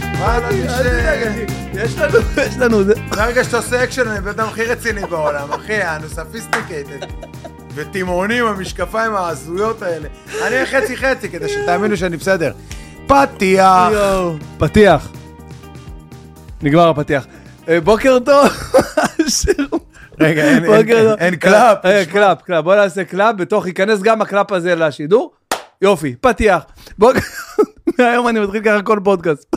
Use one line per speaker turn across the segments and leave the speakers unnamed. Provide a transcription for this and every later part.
מי ש...
יש לנו, יש לנו, זה...
ברגע שאתה עושה אקשן, אני הבן אדם הכי רציני בעולם, אחי, אנו ספיסטיקייטד. ותימהונים, המשקפיים ההזויות האלה. אני אהיה חצי חצי, כדי שתאמינו שאני בסדר. פתיח.
יואו. אה, פתיח. נגמר הפתיח. אה, בוקר טוב.
רגע, אין-
בוקר
אין-
טוב.
אין קלאפ.
רגע, קלאפ, קלאפ. בוא נעשה קלאפ, בתוך ייכנס גם הקלאפ הזה לשידור. יופי, פתיח. בוקר... מהיום אני מתחיל ככה כל פודקאסט.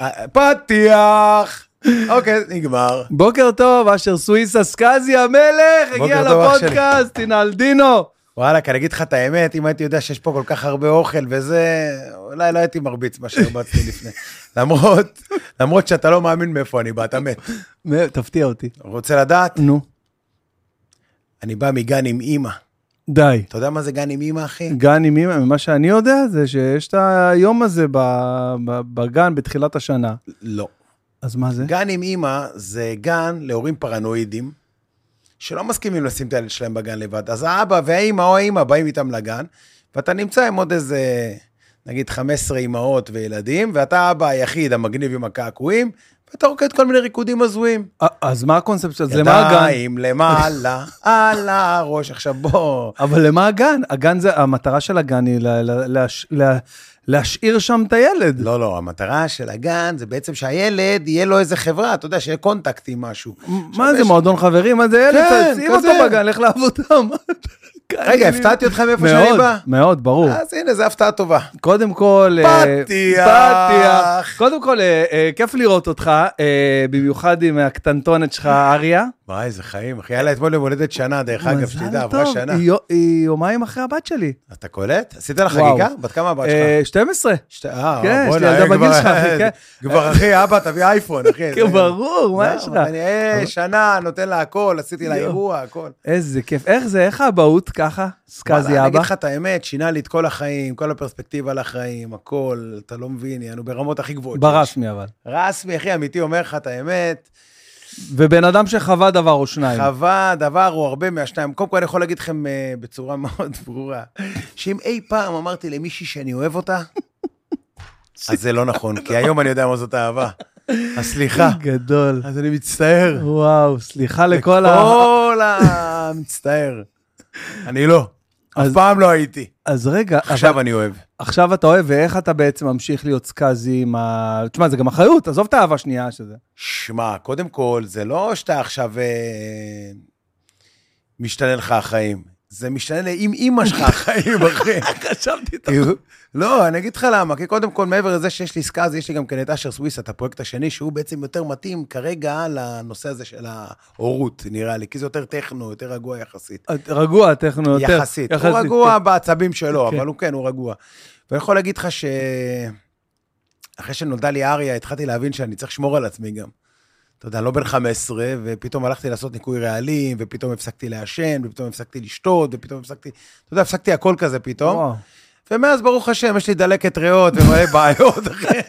אה, פתיח. אוקיי, נגמר.
בוקר טוב, אשר סוויסה סקאזי המלך, הגיע
בוקר טוב, אח שלי.
לפודקאסט, רינלדינו.
וואלכ, אני אגיד לך את האמת, אם הייתי יודע שיש פה כל כך הרבה אוכל וזה, אולי לא הייתי מרביץ מה שהרבצתי לפני. למרות, למרות שאתה לא מאמין מאיפה אני בא, אתה מת.
מ- תפתיע אותי.
רוצה לדעת?
נו.
אני בא מגן עם אימא.
די.
אתה יודע מה זה גן עם אימא, אחי?
גן עם אמא, ממה שאני יודע זה שיש את היום הזה ב- ב- בגן בתחילת השנה.
לא.
אז מה זה?
גן עם אימא זה גן להורים פרנואידים, שלא מסכימים לשים את הילד שלהם בגן לבד. אז האבא והאימא או האימא באים איתם לגן, ואתה נמצא עם עוד איזה, נגיד, 15 אימהות וילדים, ואתה האבא היחיד, המגניב עם הקעקועים, ואתה רוקד כל מיני ריקודים הזויים.
א- אז מה הקונספט של זה? מה הגן?
ידיים למעלה, על הראש. עכשיו בוא,
אבל למה הגן? הגן זה, המטרה של הגן היא לה- לה- להש- לה- להשאיר שם את הילד.
לא, לא, המטרה של הגן זה בעצם שהילד, יהיה לו איזה חברה, אתה יודע, שיהיה קונטקט עם משהו.
מה זה, מועדון חברים? מה זה
כן,
ילד? שים אותו
כזה.
בגן, לך לעבודה. מה אתה-
רגע, הפתעתי אותך מאיפה שאני
מאוד,
בא?
מאוד, ברור.
אז הנה, זו הפתעה טובה.
קודם כל, אה,
פתיח.
פתיח. קודם כל, אה, אה, כיף לראות אותך, אה, במיוחד עם הקטנטונת שלך, אריה.
וואי, איזה חיים, אחי. יאללה, אתמול יום הולדת שנה, דרך אגב,
מזל
שתדע, עברה
טוב,
שנה.
היא יו- היא יומיים אחרי הבת שלי.
אתה קולט? עשית לה
וואו.
חגיגה? בת כמה הבת שלך?
אה, 12.
שת- אה,
כן, יש לי
בוא'נה,
ילדה
אה,
בגיל
כבר-
שלך, אחי, כן.
כבר, אחי, אבא, תביא אייפון, אחי.
כן,
זה-
ברור, מה יש לך?
אני, אה, שנה, נותן לה הכל, עשיתי לה
יואו.
אירוע, הכל.
איזה כיף. איך זה, איך האבהות ככה?
וואלה,
סקאזי
אני אגיד
אבא.
לך את האמת, שינה לי את כל החיים, כל הפרספקטיבה לחיים, הכל, אתה לא מבין, יענו ברמות הכי גבוהות. שיש.
ברשמי אבל.
רסמי, אחי, אמיתי, אומר לך את האמת.
ובן אדם שחווה דבר או שניים.
חווה דבר הוא הרבה מהשניים. קודם כל, אני יכול להגיד לכם אה, בצורה מאוד ברורה, שאם אי פעם אמרתי למישהי שאני אוהב אותה, אז זה לא נכון, כי היום אני יודע מה זאת אהבה. אז סליחה.
אה, גדול.
אז אני מצטער.
וואו, סליחה לכל ה...
כל ה... מצטער. אני לא. אף
אז-
פעם לא הייתי.
אז רגע, אבל
עכשיו אני אוהב.
עכשיו אתה אוהב, ואיך אתה בעצם ממשיך להיות סקאזי עם ה... תשמע, זה גם אחריות, עזוב את האהבה השנייה שזה.
שמע, קודם כל, זה לא שאתה עכשיו... אה, משתנה לך החיים. זה משתנה עם אימא שלך החיים, אחי.
חשבתי את
כאילו, לא, אני אגיד לך למה, כי קודם כל, מעבר לזה שיש לי סקאזי, יש לי גם כן את אשר סוויס, את הפרויקט השני, שהוא בעצם יותר מתאים כרגע לנושא הזה של ההורות, נראה לי, כי זה יותר טכנו, יותר רגוע יחסית.
רגוע, טכנו יותר.
יחסית. הוא רגוע בעצבים שלו,
כן.
אבל הוא כן, הוא רגוע. ואני יכול להגיד לך ש... אחרי שנולדה לי אריה, התחלתי להבין שאני צריך לשמור על עצמי גם. אתה יודע, אני לא בן 15, ופתאום הלכתי לעשות ניקוי רעלים, ופתאום הפסקתי לעשן, ופתאום הפסקתי לשתות, ופתאום הפסקתי... אתה יודע, הפסקתי הכל כזה פתאום.
וואו.
ומאז, ברוך השם, יש לי דלקת ריאות ומלא בעיות, אחי.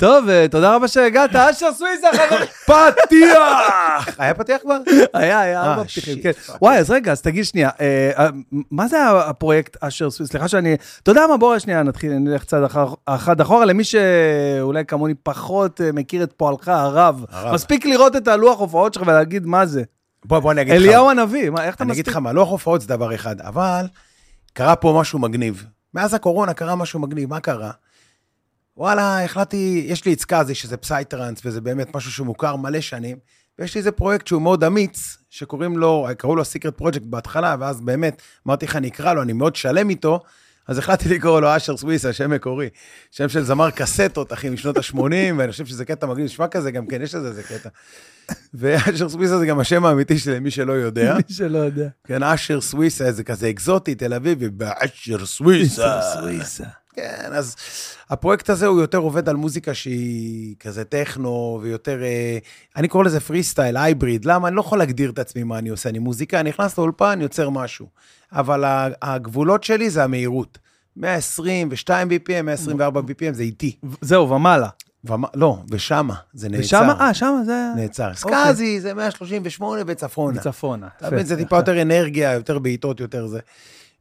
טוב, אה, תודה רבה שהגעת, אשר סוויסה, חברים.
פתיח! היה פתיח כבר?
היה, היה
אה,
ארבע פתיחים,
שיט,
כן.
פאק.
וואי, אז רגע, אז תגיד שנייה, אה, אה, מה זה הפרויקט אשר סוויס? סליחה שאני... אתה יודע מה, בוא שנייה נתחיל, נלך צעד אחר- אחד אחורה, למי שאולי כמוני פחות אה, מכיר את פועלך הרב.
הרב.
מספיק לראות את הלוח הופעות שלך ולהגיד מה זה.
בוא, בוא, אני אגיד לך.
אליהו הנביא, מה, איך אתה
אני אגיד
מספיק?
לך מה, לוח הופעות זה דבר אחד, אבל קרה פה משהו מגניב. מאז הקורונה קרה משהו מגניב, מה קרה? וואלה, החלטתי, יש לי את סקאזי, שזה פסייטרנס, וזה באמת משהו שהוא מוכר מלא שנים, ויש לי איזה פרויקט שהוא מאוד אמיץ, שקוראים לו, קראו לו סיקרט פרויקט בהתחלה, ואז באמת, אמרתי לך, אני אקרא לו, אני מאוד שלם איתו, אז החלטתי לקרוא לו אשר סוויסה, שם מקורי. שם של זמר קסטות, אחי, משנות ה-80, ואני חושב שזה קטע מגניב, נשמע כזה, גם כן, יש לזה איזה קטע. ואשר סוויסה זה גם השם האמיתי שלי, למי שלא יודע.
מי שלא יודע.
כן, אשר סוויסה, זה כזה אקזוטי, תל אביבי, באשר סוויסה.
סוויסה.
כן, אז הפרויקט הזה הוא יותר עובד על מוזיקה שהיא כזה טכנו ויותר, אה, אני קורא לזה פרי סטייל, הייבריד. למה? אני לא יכול להגדיר את עצמי מה אני עושה, אני מוזיקה, אני נכנס לאולפן, יוצר משהו. אבל ה- הגבולות שלי זה המהירות. 122 BPM, 124 BPM, זה איטי.
ו- זהו, ומעלה.
ומה- לא, ושמה, זה נעצר.
ושמה, אה, שמה זה...
נעצר.
אוקיי.
סקאזי זה 138 וצפונה.
צפונה.
אתה מבין, זה טיפה יותר אנרגיה, יותר בעיטות, יותר זה.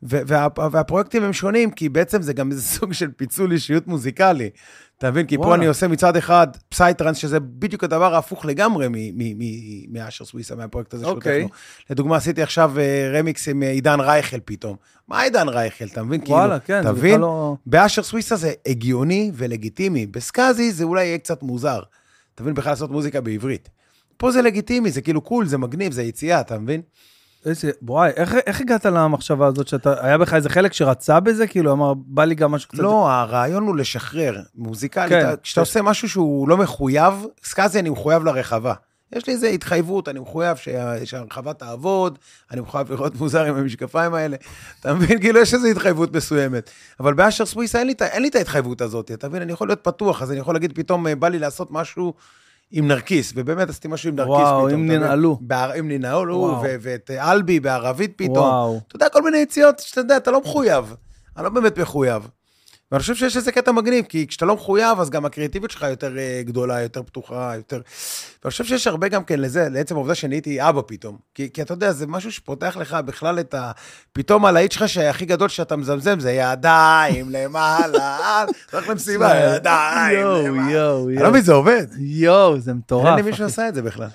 ו- וה- והפרויקטים הם שונים, כי בעצם זה גם איזה סוג של פיצול אישיות מוזיקלי. אתה מבין? כי פה
וואלה.
אני עושה מצד אחד פסייטרנס, שזה בדיוק הדבר ההפוך לגמרי מ- מ- מ- מאשר סוויסה, מהפרויקט הזה
אוקיי.
שהודפנו. לדוגמה, עשיתי עכשיו אה, רמיקס עם אה, עידן רייכל פתאום. מה עידן רייכל? אתה מבין? כאילו,
וואלה, כן,
אתה
זה
מבין?
בכלל לא...
באשר סוויסה זה הגיוני ולגיטימי, בסקאזי זה אולי יהיה קצת מוזר. אתה מבין בכלל לעשות מוזיקה בעברית. פה זה לגיטימי, זה כאילו קול, זה מגניב, זה יציאה, אתה מבין?
איזה, וואי, איך, איך הגעת למחשבה הזאת שאתה, היה בך איזה חלק שרצה בזה? כאילו, אמר, בא לי גם משהו קצת...
לא, הרעיון הוא לשחרר. מוזיקלית,
כן.
אתה- כשאתה עושה משהו שהוא לא מחויב, סקאזי אני מחויב לרחבה. יש לי איזו התחייבות, אני מחויב שה- שהרחבה תעבוד, אני מחויב לראות מוזר עם המשקפיים האלה. אתה מבין? כאילו, יש איזו התחייבות מסוימת. אבל באשר סוויסה אין לי, את ה- אין לי את ההתחייבות הזאת, אתה מבין? אני יכול להיות פתוח, אז אני יכול להגיד, פתאום אה, בא לי לעשות משהו עם נרקיס, ובאמת עשיתי משהו עם נרקיס
וואו,
פתאום.
אם
אתה מבין?
ננעלו.
בער- אם ננעלו,
וואו.
ו- ואת אלבי בערבית פתאום.
וואו.
אתה יודע, כל מיני יציאות שאתה יודע, אתה לא מחויב. אני לא באמת מחויב. ואני חושב שיש איזה קטע מגניב, כי כשאתה לא מחויב, אז גם הקריאטיביות שלך יותר אה, גדולה, יותר פתוחה, יותר... ואני חושב שיש הרבה גם כן לזה, לעצם העובדה שנהייתי אבא פתאום. כי, כי אתה יודע, זה משהו שפותח לך בכלל את ה... פתאום הלהיט שלך שהכי גדול שאתה מזמזם זה ידיים למעלה, אתה הולך למסיבה, ידיים
יואו,
למעלה.
יואו,
אני לא מבין,
יואו.
זה עובד.
יואו, זה מטורף.
אין לי
אחי.
מישהו עשה את זה בכלל.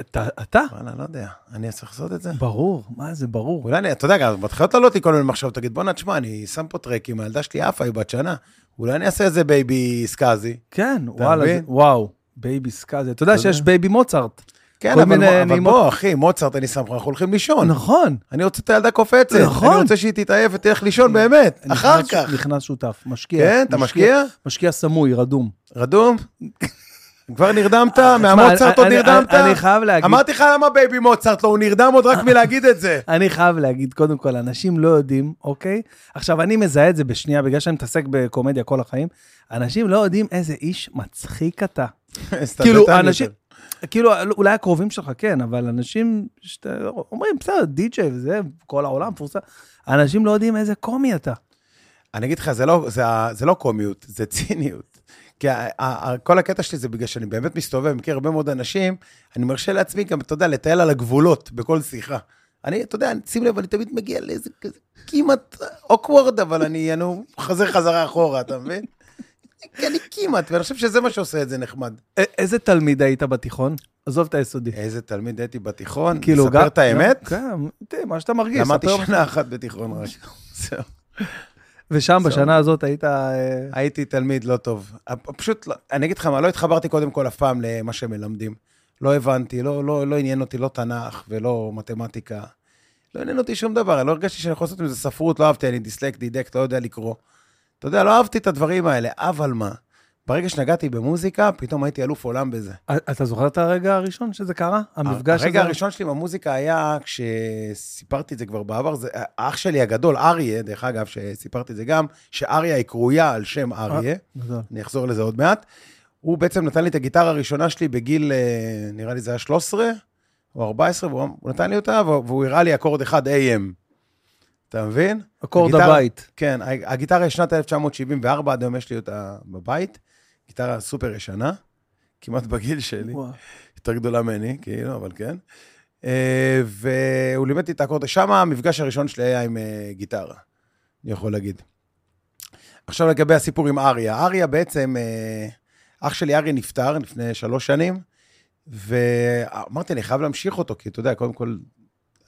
אתה? אתה?
וואלה, לא יודע. אני צריך לעשות את זה?
ברור, מה זה ברור.
אולי אני, אתה יודע, גם מתחילות לעלות לי כל מיני מחשבות, תגיד, בואנה, תשמע, אני שם פה טרקים, הילדה שלי עפה, היא בת שנה. אולי אני אעשה איזה בייבי סקאזי.
כן, וואלה, זה-
מבין?
וואו, בייבי סקאזה. אתה יודע
אתה יודע.
שיש בייבי מוצרט.
כן,
כל
אבל,
מיני
מ- אבל
נעימות.
בוא, אחי, מוצרט, אני שם לך, אנחנו הולכים לישון.
נכון.
אני רוצה את הילדה קופצת.
נכון.
אני רוצה שהיא תתעייף ותלך לישון, באמת, אחר
נכנס-
כך.
נכנס שותף, משקיע.
כן, אתה משקיע?
משקיע סמוי, רדום.
רדום? כבר נרדמת?
אה, תשמע,
מהמוצרט עוד
אני- אני-
נרדמת?
אני חייב להגיד-
אמרתי לך למה בייבי מוצרט לא, הוא נרדם עוד רק מלהגיד את זה.
אני חייב להגיד, קודם כל, אנשים לא יודעים, אוקיי? עכשיו, אני מזהה את זה בשנייה, בגלל שאני מתעסק בקומדיה כל החיים. אנשים לא יודעים איזה איש מצחיק אתה. כאילו,
הסתבכת לי
אנשים...
יותר.
כאילו, אולי הקרובים שלך כן, אבל אנשים שאתה, אומרים, בסדר, די-ג'יי וזה, כל העולם מפורסם. אנשים לא יודעים איזה קומי אתה.
אני אגיד לך, זה לא, זה, ה- זה לא קומיות, זה ציניות. כי ה, ה, ה, כל הקטע שלי זה בגלל שאני באמת מסתובב, מכיר הרבה מאוד אנשים, אני מרשה לעצמי גם, אתה יודע, לטייל על הגבולות בכל שיחה. אני, אתה יודע, אני- שים לב, אני תמיד מגיע לאיזה כזה כמעט אוקוורד, אבל אני, אני חזר חזרה אחורה, אתה מבין? כי אני כמעט, ואני חושב שזה מה שעושה את זה נחמד.
א- איזה תלמיד היית בתיכון? עזוב את היסודי.
איזה תלמיד הייתי בתיכון,
כאילו,
כאילו, ספר
גם-
את האמת,
גם- גם, תראה, מה שאתה מרגיש.
למדתי
ספר-
שנה אחת בתיכון רק. זהו.
ושם,
זהו.
בשנה הזאת היית... אה,
הייתי תלמיד לא טוב. הפ- פשוט, לא- אני אגיד לך מה, לא התחברתי קודם כל אף פעם למה שמלמדים. לא הבנתי, לא, לא, לא עניין אותי לא תנ"ך ולא מתמטיקה. לא עניין אותי שום דבר, לא הרגשתי שאני יכול לעשות עם זה ספרות, לא אהבתי, אני דיסלק, דידקט, לא יודע לקרוא. אתה יודע, לא אהבתי את הדברים האלה, אבל מה? ברגע שנגעתי במוזיקה, פתאום הייתי אלוף עולם בזה.
אתה זוכר את הרגע הראשון שזה קרה? המפגש הזה?
הרגע הראשון שלי במוזיקה היה, כשסיפרתי את זה כבר בעבר, זה האח שלי הגדול, אריה, דרך אגב, שסיפרתי את זה גם, שאריה היא קרויה על שם אריה.
גדול.
אני אחזור לזה עוד מעט. הוא בעצם נתן לי את הגיטרה הראשונה שלי בגיל, אה, נראה לי זה היה 13 או 14, והוא אמ, הוא נתן לי אותה, והוא והוא הראה לי אקורד אחד AM. אתה מבין?
אקורד
הגיטרה-
הבית.
כן, ה- הגיטרה היא שנת 1974, עד היום יש לי אותה בבית. גיטרה סופר ישנה, כמעט בגיל שלי.
וואו.
יותר גדולה ממני, כאילו, אבל כן. אה, והוא לימד אותי את האקורד, שם המפגש הראשון שלי היה עם אה, גיטרה, אני יכול להגיד. עכשיו לגבי הסיפור עם אריה. אריה בעצם, אה, אח שלי אריה נפטר לפני שלוש שנים, ואמרתי, אני חייב להמשיך אותו, כי אתה יודע, קודם כל,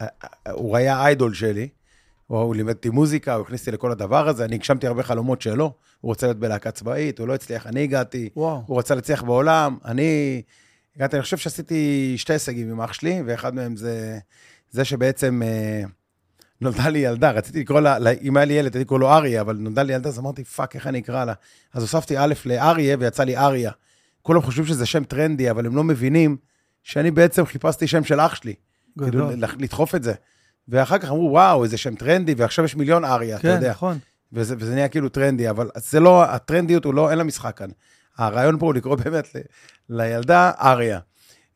אה, אה, הוא היה איידול שלי. הוא הוא לימד אותי מוזיקה, הוא הכניס אותי לכל הדבר הזה, אני הגשמתי הרבה חלומות שלו. הוא רוצה להיות בלהקה צבאית, הוא לא הצליח, אני הגעתי.
וואו.
הוא רצה להצליח בעולם, אני... הגעתי, אני חושב שעשיתי שתי הישגים עם אח שלי, ואחד מהם זה זה שבעצם אה, נולדה לי ילדה, רציתי לקרוא לה, לה- אם היה לי ילד, הייתי קורא לו אריה, אבל נולדה לי ילדה, אז אמרתי, פאק, איך אני אקרא לה? אז הוספתי א' לאריה, ויצא לי אריה. כולם חושבים שזה שם טרנדי, אבל הם לא מבינים שאני בעצם חיפשתי שם של אח שלי. כאילו,
גדול.
לח- לדחוף את זה. ואחר כך אמרו, וואו, איזה שם טרנדי, ועכשיו יש מיליון אריה, אתה
כן,
יודע. אה.
נכון.
וזה, וזה נהיה כאילו טרנדי, אבל זה לא, הטרנדיות הוא לא, אין לה משחק כאן. הרעיון פה הוא לקרוא באמת ל, לילדה אריה.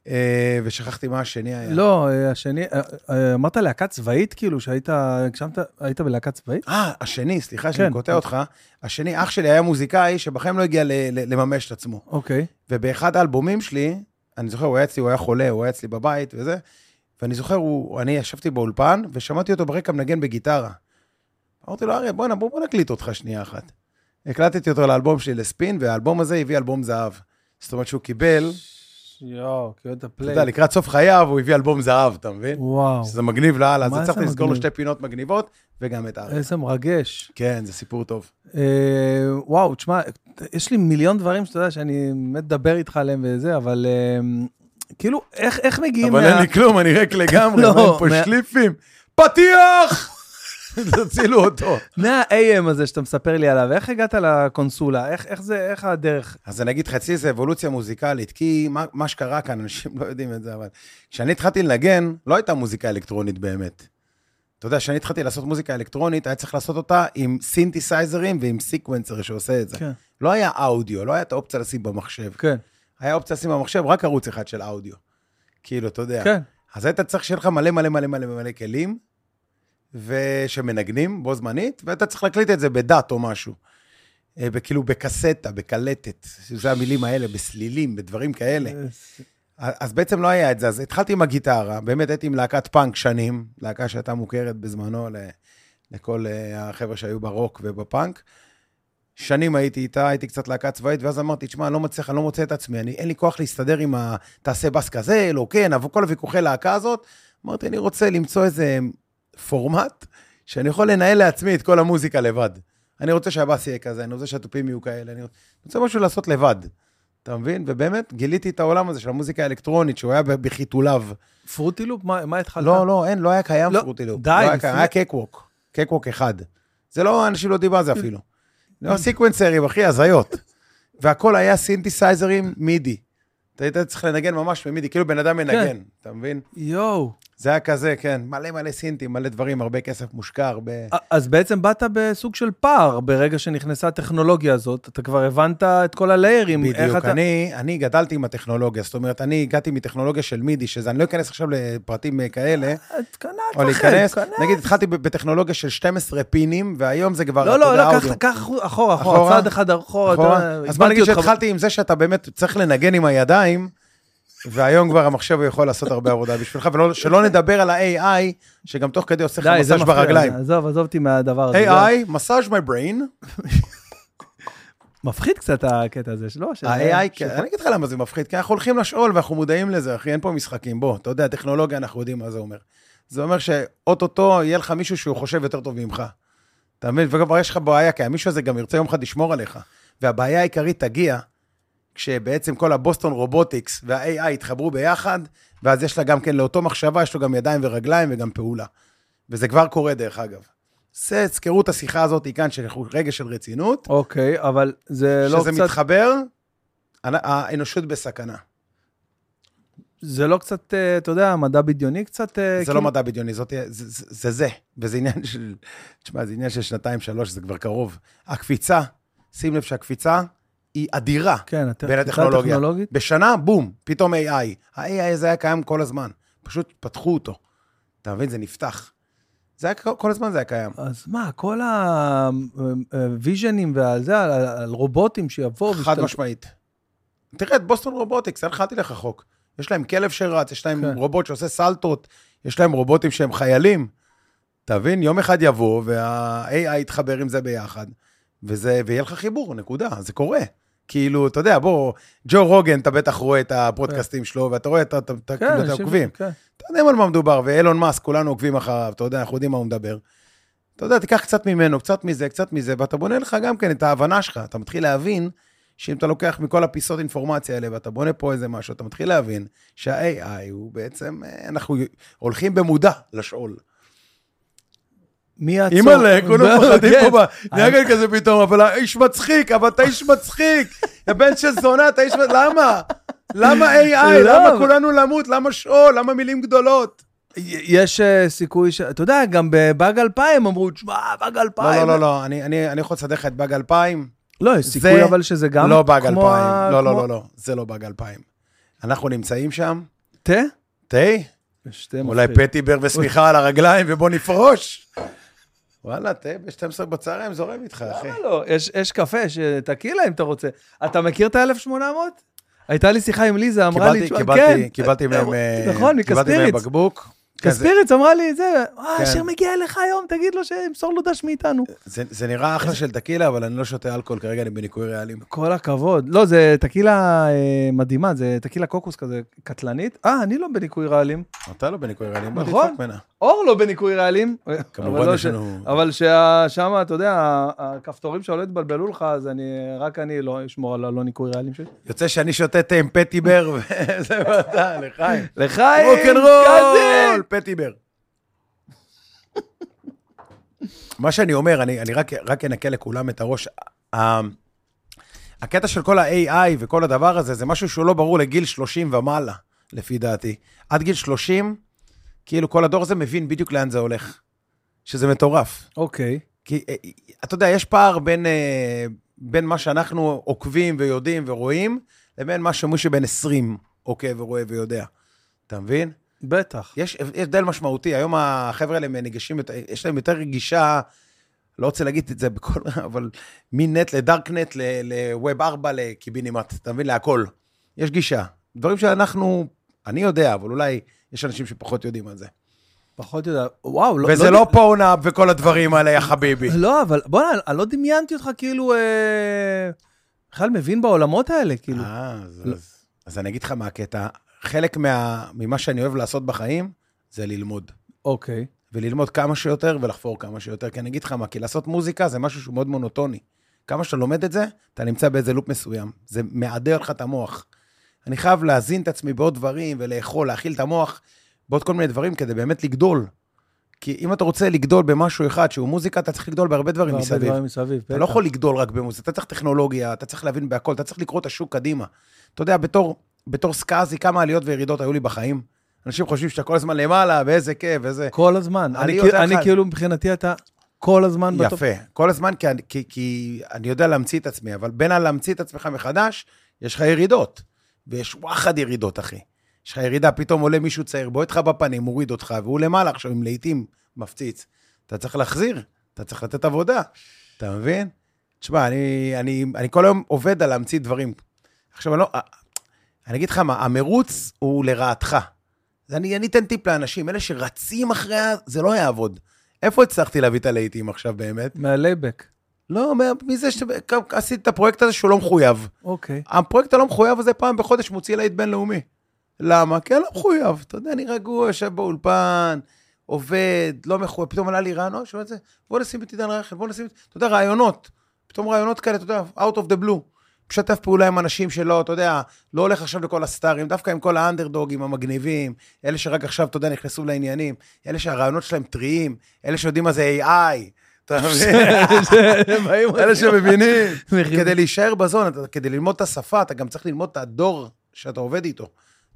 אה, ושכחתי מה השני היה.
לא, אה, השני, אה, אה, אמרת להקה צבאית, כאילו, שהיית, הגשמת, היית בלהקה צבאית?
אה, השני, סליחה
כן.
שאני קוטע אותך. השני, אח שלי היה מוזיקאי שבחיים לא הגיע ל, ל, לממש את עצמו.
אוקיי.
ובאחד האלבומים שלי, אני זוכר, הוא היה אצלי, הוא היה חולה, הוא היה אצלי בבית וזה, ואני זוכר, הוא, אני ישבתי באולפן, ושמעתי אותו ברקע מנגן בגיטרה. אמרתי לו, אריה, בוא'נה, בוא, בוא נקליט אותך שנייה אחת. הקלטתי אותו לאלבום שלי לספין, והאלבום הזה הביא אלבום זהב. זאת אומרת שהוא קיבל,
יואו, כאילו את
אתה
הפליי.
יודע, לקראת סוף חייו הוא הביא אלבום זהב, אתה מבין?
וואו,
שזה מגניב לאללה, אז
מה זה
הצלחתי לזכור לו
מגניב?
שתי פינות מגניבות, וגם את אריה.
איזה מרגש.
כן, זה סיפור טוב.
אה, וואו, תשמע, יש לי מיליון דברים שאתה יודע שאני באמת מדבר איתך עליהם וזה, אבל אה, כאילו, איך, איך מגיעים...
אבל אין לי כלום, אני ריק לגמרי,
לא,
אבל אין פה
מה-
שליפים. פתיח! תצילו אותו.
מה-AM הזה שאתה מספר לי עליו, איך הגעת לקונסולה? איך, איך זה, איך הדרך?
אז אני אגיד לך, אצלי זה אבולוציה מוזיקלית, כי מה, מה שקרה כאן, אנשים לא יודעים את זה, אבל כשאני התחלתי לנגן, לא הייתה מוזיקה אלקטרונית באמת. אתה יודע, כשאני התחלתי לעשות מוזיקה אלקטרונית, היה צריך לעשות אותה עם סינתסייזרים ועם סיקוונסר שעושה את זה.
כן.
לא היה אודיו, לא היה את האופציה לשים במחשב.
כן,
היה אופציה לשים במחשב רק ערוץ אחד של אודיו. כאילו, אתה יודע.
כן.
אז היית צריך שיהיה לך מלא מלא מלא מלא מלא כלים, ושמנגנים בו זמנית, ואתה צריך להקליט את זה בדאט או משהו. אה, וכאילו בקסטה, בקלטת, שזה המילים האלה, בסלילים, בדברים כאלה.
אה,
אז בעצם לא היה את זה, אז התחלתי עם הגיטרה, באמת הייתי עם להקת פאנק שנים, להקה שהייתה מוכרת בזמנו ל- לכל אה, החבר'ה שהיו ברוק ובפאנק. שנים הייתי איתה, הייתי קצת להקה צבאית, ואז אמרתי, תשמע, אני לא מצליח, אני לא מוצא את עצמי, אני, אין לי כוח להסתדר עם ה... תעשה בס כזה, לא כן, אבל כל הוויכוחי להקה הזאת. אמרתי, אני רוצה למצוא איזה פורמט שאני יכול לנהל לעצמי את כל המוזיקה לבד. אני רוצה שהבס יהיה כזה, אני רוצה שהתופים יהיו כאלה, אני רוצה משהו לעשות לבד. אתה מבין? ובאמת, גיליתי את העולם הזה של המוזיקה האלקטרונית, שהוא היה ב- בחיתוליו.
פרוטי לופ? מה, מה התחלת?
לא, לא, אין, לא היה קיים
לא,
פרוטי לופ.
די,
לא היה
לפני-
קיים, היה קקווק. קקווק אחד. זה לא, אנשים לא יודעים מה זה אפילו.
כן.
לא, סיקוונסרים, אחי, הזיות. והכל היה סינתסייזרים מידי. אתה היית צריך לנגן ממש במידי, כאילו בן אדם
כן.
מנגן, אתה מבין?
יואו.
זה היה כזה, כן, מלא מלא סינטים, מלא דברים, הרבה כסף מושקע, הרבה...
אז בעצם באת בסוג של פער ברגע שנכנסה הטכנולוגיה הזאת, אתה כבר הבנת את כל הליירים. איך
בדיוק,
אתה...
אני, אני גדלתי עם הטכנולוגיה, זאת אומרת, אני הגעתי מטכנולוגיה של מידי, שזה, אני לא אכנס עכשיו לפרטים אה, כאלה,
את קנאת לכם,
או להיכנס,
קנאת.
נגיד, התחלתי ב- בטכנולוגיה של 12 פינים, והיום זה כבר,
לא,
אתה
לא,
יודע,
לא,
אודיו.
קח- קח אחורה, אחורה,
אחורה?
צעד אחד אחורה.
נכון?
אתה-
אז בוא
הבנתי
נגיד
אותך.
שהתחלתי עם זה שאתה באמת צריך לנגן עם הידיים, והיום כבר המחשב יכול לעשות הרבה עבודה בשבילך, ושלא נדבר על ה-AI, שגם תוך כדי עושה לך
די, זה
מסאז'
מפריע,
ברגליים.
עזוב, עזוב אותי מהדבר הזה. זה
AI, מסאז' my brain,
מפחיד קצת הקטע הזה שלו. ש-
ה-AI,
ש-
כן, אני אגיד לך למה זה מפחיד, כי אנחנו הולכים לשאול ואנחנו מודעים לזה, אחי, אין פה משחקים, בוא, אתה יודע, טכנולוגיה, אנחנו יודעים מה זה אומר. זה אומר שאו-טו-טו יהיה לך מישהו שהוא חושב יותר טוב ממך. אתה מבין? וכבר יש לך בעיה, כי המישהו הזה גם ירצה יום אחד לשמור עליך. והבעיה העיקרית תגיע כשבעצם כל הבוסטון רובוטיקס וה-AI יתחברו ביחד, ואז יש לה גם כן, לאותו מחשבה, יש לו גם ידיים ורגליים וגם פעולה. וזה כבר קורה, דרך אגב. זה, תזכרו את השיחה הזאת כאן, של רגע של רצינות.
אוקיי, אבל זה לא
כשזה
קצת...
מתחבר, הנ- האנושות בסכנה.
זה לא קצת, אה, אתה יודע, מדע בדיוני קצת... אה,
זה
כאילו-
לא מדע בדיוני, זאת, זה, זה- זה זה, וזה עניין של, תשמע, זה עניין של שנתיים, שלוש, זה כבר קרוב. הקפיצה, שים לב שהקפיצה היא אדירה
כן, הת-
בין
הת-
הטכנולוגיה.
הטכנולוגית.
בשנה, בום, פתאום AI. ה-AI הזה היה קיים כל הזמן, פשוט פתחו אותו. אתה מבין? זה נפתח. זה היה, כל הזמן זה היה קיים.
אז מה, כל הוויז'נים ועל זה, על- על על רובוטים שיבואו...
חד
וישתלטו-
משמעית. תראה, את בוסטון רובוטיקס, אין לך, אל תלך רחוק. יש להם כלב שרץ, יש להם
כן.
רובוט שעושה סלטות, יש להם רובוטים שהם חיילים. תבין, יום אחד יבוא, וה-AI יתחבר עם זה ביחד, וזה, ויהיה לך חיבור, נקודה, זה קורה. כאילו, אתה יודע, בוא, ג'ו רוגן, אתה בטח רואה את הפודקאסטים שלו, ואתה רואה את ה... אתה- אתה-
כן,
כאילו, אתה
אנשים-
עוקבים.
כן.
אתה יודעים על מה מדובר, ואילון מאסק, כולנו עוקבים אחריו, אתה יודע, אנחנו יודעים מה הוא מדבר. אתה יודע, תיקח קצת ממנו, קצת מזה, קצת מזה, ואתה בונה לך גם כן את ההבנה שלך. אתה מתחיל להבין שאם אתה לוקח מכל הפיסות אינפורמציה האלה, ואתה בונה פה איזה משהו, אתה מתחיל להבין שה-AI הוא בעצם, אה, אנחנו הולכים במודע לשאול.
מי יעצור?
אימא'לה, כולם מפחדים פה,
כן.
ב- נהיה כאן כזה פתאום, אבל האיש מצחיק, אבל אתה איש מצחיק, הבן של זונה, אתה איש... מצ- למה? למה AI?
לא.
למה כולנו למות? למה שאול? למה מילים גדולות?
יש אה, סיכוי ש... אתה יודע, גם בבאג 2000 אמרו, תשמע, באג 2000.
לא, לא, לא, לא, אני, אני, אני יכול לסדר לך את באג 2000.
לא, יש סיכוי אבל שזה גם
לא באג 2000.
כמו ה-
לא, לא,
כמו-
לא, לא, זה לא באג 2000. אנחנו נמצאים שם,
תה?
תה,
שתה
אולי
מפחיד.
פטיבר ושמיכה על הרגליים ובוא נפרוש. וואלה, תה ב-12 בצהריים זורם איתך, אחי.
למה לא? יש- יש קפה, יש אה, טקילה אם אתה רוצה. אתה מכיר את ה-1800? הייתה לי שיחה עם ליזה, אמרה לי,
קיבלתי,
"תשמע,
קיבלתי,
כן,
קיבלתי מהם, אה,
נכון,
קיבלתי מהם
מקספיריץ.
בקבוק. כן, כזה.
כספיריץ אמרה לי, זה, אה,
כן.
אשר מגיע אליך היום, תגיד לו שימסור לו דש מאיתנו.
זה, זה נראה אחלה של טקילה, אבל אני לא שותה אלכוהול, כרגע אני בניקוי רעלים.
כל הכבוד. לא, זה טקילה אה, מדהימה, זה טקילה קוקוס כזה קטלנית. אה, אני לא בניקוי רעלים.
אתה לא בניקוי רעלים, בוא
נכון.
תדפוק ממנה.
אור לא בניקוי רעלים.
כמובן,
אבל לא
יש
ש-
לנו-
אבל ששם, אתה יודע, ה- הכפתורים שלו לא יתבלבלו לך, אז אני, רק אני לא אשמור על הלא ניקוי רעלים שלי.
יוצא שאני שותה תה עם פטיבר, וזה ואתה, לחיים.
לחיים!
רוקנרול! פטיבר. מה שאני אומר, אני, אני רק, רק אנקה לכולם את הראש. ה- הקטע של כל ה-AI וכל הדבר הזה, זה משהו שהוא לא ברור לגיל 30 ומעלה, לפי דעתי. עד גיל 30, כאילו כל הדור הזה מבין בדיוק לאן זה הולך. שזה מטורף.
אוקיי.
כי אה, אתה יודע, יש פער בין, אה, בין מה שאנחנו עוקבים ויודעים ורואים, לבין מה שמישהו בן 20 עוקב ורואה ויודע. אתה מבין?
בטח.
יש יש הבדל משמעותי, היום החבר'ה האלה ניגשים, יותר- יש להם יותר גישה, לא רוצה להגיד את זה בכל, אבל מנט לדארקנט, ל- לווב 4, לקיבינימט, אתה מבין? להכל. יש גישה. דברים שאנחנו, אני יודע, אבל אולי יש אנשים שפחות יודעים על זה.
פחות יודע. וואו, לא...
וזה לא פורנאפ וכל הדברים האלה, יא חביבי.
לא, אבל בוא'נה, אני לא דמיינתי אותך כאילו... אה, בכלל מבין בעולמות האלה, כאילו.
אה, אז-
לא.
אז- אז אני אגיד לך מה הקטע. חלק מה- ממה שאני אוהב לעשות בחיים, זה ללמוד.
אוקיי.
וללמוד כמה שיותר ולחפור כמה שיותר. כי אני אגיד לך מה, כי לעשות מוזיקה זה משהו שהוא מאוד מונוטוני. כמה שאתה לומד את זה, אתה נמצא באיזה לופ מסוים. זה מעדר לך את המוח. אני חייב להזין את עצמי בעוד דברים ולאכול, להאכיל את המוח בעוד כל מיני דברים כדי באמת לגדול. כי אם אתה רוצה לגדול במשהו אחד שהוא מוזיקה, אתה צריך לגדול בהרבה דברים
והרבה
מסביב.
דברים מסביב,
אתה לא יכול לגדול רק במוזיקה, אתה צריך טכנולוגיה, אתה צריך להבין בהכל, אתה צריך לקרוא את השוק קדימה. אתה יודע, בתור, בתור סקאזי, כמה עליות וירידות היו לי בחיים. אנשים חושבים שאתה כל הזמן למעלה, ואיזה כיף, ואיזה...
כל הזמן.
אני
אני
יודע
כאילו- אני
לך-
כאילו, מבחינתי אתה כל הזמן בטופ.
יפה. כל הזמן, כי, אני- כי, כי אני יודע להמציא את עצמי, אבל בין הלהמציא את עצמך מחדש, יש לך ירידות. ויש וואחד ירידות, אחי. יש לך ירידה, פתאום עולה מישהו צעיר, בועט לך בפנים, מוריד אותך, והוא למעלה עכשיו, עם לעיתים מפציץ. אתה צריך להחזיר, אתה צריך לתת עבודה, אתה מבין? תשמע, אני, אני, אני כל היום עובד על להמציא דברים. עכשיו, אני לא... אני אגיד לך מה, המרוץ הוא לרעתך. אז אני, אני אתן טיפ לאנשים, אלה שרצים אחריה, זה לא יעבוד. איפה הצלחתי להביא את הלהיטים עכשיו באמת?
מהלייבק.
לא, מה- מזה שעשית את הפרויקט הזה שהוא לא מחויב.
אוקיי.
הפרויקט הלא מחויב הזה פעם בחודש מוציא להיט בינלאומי. למה? כי אני לא מחויב. אתה יודע, אני רגוע, יושב באולפן, עובד, לא מחויב. פתאום עלה לי רעיון, "אה, שומע את זה? בוא נשים את עידן רייכל, בוא נשים את... אתה יודע, רעיונות. פתאום רעיונות כאלה, אתה יודע, out of the blue. משתף פעולה עם אנשים שלא, אתה יודע, לא הולך עכשיו לכל הסטארים, דווקא עם כל האנדרדוגים המגניבים, אלה שרק עכשיו, אתה יודע, נכנסו לעניינים, אלה שהרעיונות שלהם טריים, אלה שיודעים מה זה AI, אתה מבין? אלה
לא?
שמבינים. כדי להישאר בזון, אתה, כדי ללמוד את השפה, אתה גם צריך ללמוד את הדור שאתה עובד איתו.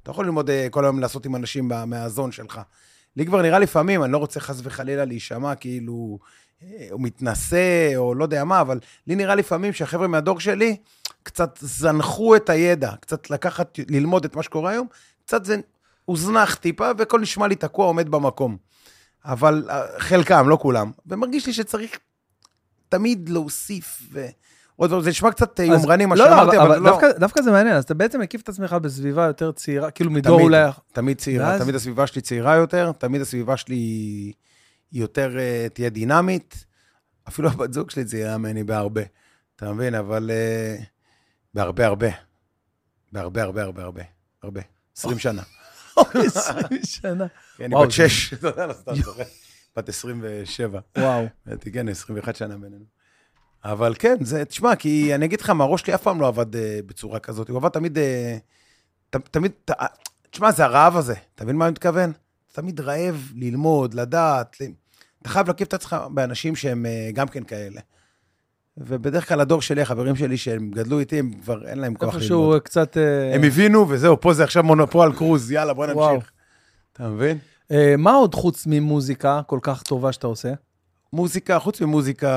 אתה יכול ללמוד אה, כל היום לעשות עם אנשים מה- מהזון שלך. לי כבר נראה לפעמים, אני לא רוצה חס וחלילה להישמע כאילו אה, הוא מתנשא או לא יודע מה, אבל לי נראה לפעמים שהחבר'ה מהדור שלי קצת זנחו את הידע, קצת לקחת, ללמוד את מה שקורה היום, קצת זה הוזנח טיפה, והכל נשמע לי תקוע, עומד במקום. אבל אה, חלקם, לא כולם. ומרגיש לי שצריך תמיד להוסיף ו... עוד פעם, זה נשמע קצת אה,
אז-
יומרני מה
לא, לא,
שאמרתי, אבל לא.
דווקא- דווקא זה מעניין, אז אתה בעצם מקיף את עצמך בסביבה יותר צעירה, כאילו מדור
תמיד.
אולי...
תמיד צעירה,
ואז-
תמיד הסביבה שלי צעירה יותר, תמיד הסביבה שלי היא יותר אה, תהיה דינמית. אפילו הבת זוג שלי צעירה ממני בהרבה, אתה מבין? אבל אה, בהרבה הרבה. בהרבה הרבה הרבה הרבה. הרבה. 20 שנה.
20 שנה.
כן, אני
וואו,
בת
זה-
6, אתה יודע, לא סתם זוכר. בת 27.
וואו.
הייתי, כן, 21 שנה בינינו. אבל כן, זה, תשמע, כי אני אגיד לך מה, הראש שלי אף פעם לא עבד אה, בצורה כזאת, הוא עבד תמיד, אה, ת, תמיד, ת, אה, תשמע, זה הרעב הזה, אתה מבין מה אני מתכוון? אתה תמיד רעב ללמוד, לדעת, ל... אתה חייב להקיף את עצמך באנשים שהם אה, גם כן כאלה. ובדרך כלל הדור שלי, החברים שלי שהם גדלו איתי, הם כבר אין להם כוח ללמוד.
איפשהו קצת... אה,
הם הבינו, וזהו, פה זה עכשיו מונופול קרוז, יאללה, בוא
וואו.
נמשיך. אתה מבין?
אה, מה עוד חוץ ממוזיקה כל כך טובה שאתה עושה?
מוזיקה, חוץ ממוזיקה...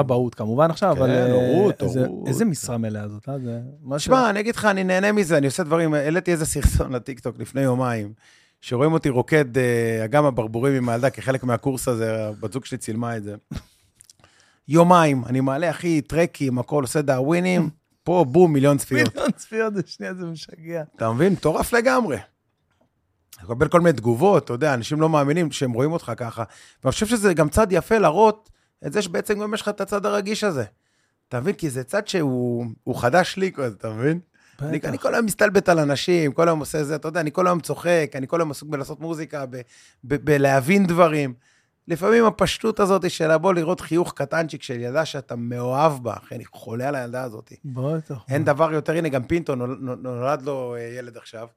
אבהות אה, כמובן עכשיו,
כן,
אבל... אה,
הורות,
איזה-
הורות.
איזה משרה מלאה זאת, אה? זה... משהו-
תשמע, אני אגיד לך, אני נהנה מזה, אני עושה דברים, העליתי איזה סרטון לטיקטוק לפני יומיים, שרואים אותי רוקד אה, אגם הברבורים עם הילדה, כחלק מהקורס הזה, הבת זוג שלי צילמה את זה. יומיים, אני מעלה, אחי, טרקים, הכל, עושה דאווינים, פה בום, מיליון צפיות.
מיליון צפיות בשנייה, זה משגע.
אתה מבין? מטורף לגמרי. אתה מקבל כל מיני תגובות, אתה יודע, אנשים לא מאמינים שהם רואים אותך ככה. ואני חושב שזה גם צד יפה להראות את זה שבעצם גם יש לך את הצד הרגיש הזה. אתה מבין? כי זה צד שהוא הוא חדש לי, כל- אתה מבין? אני, אני כל היום מסתלבט על אנשים, כל היום עושה זה, אתה יודע, אני כל היום צוחק, אני כל היום עסוק בלעשות מוזיקה, ב, ב, בלהבין דברים. לפעמים הפשטות הזאת של לבוא לראות חיוך קטנצ'יק של ילדה שאתה מאוהב בה, אחי, אני חולה על הילדה הזאת.
בטח.
אין דבר יותר, הנה, גם פינטו נול- נול- נולד לו אה, ילד עכשיו.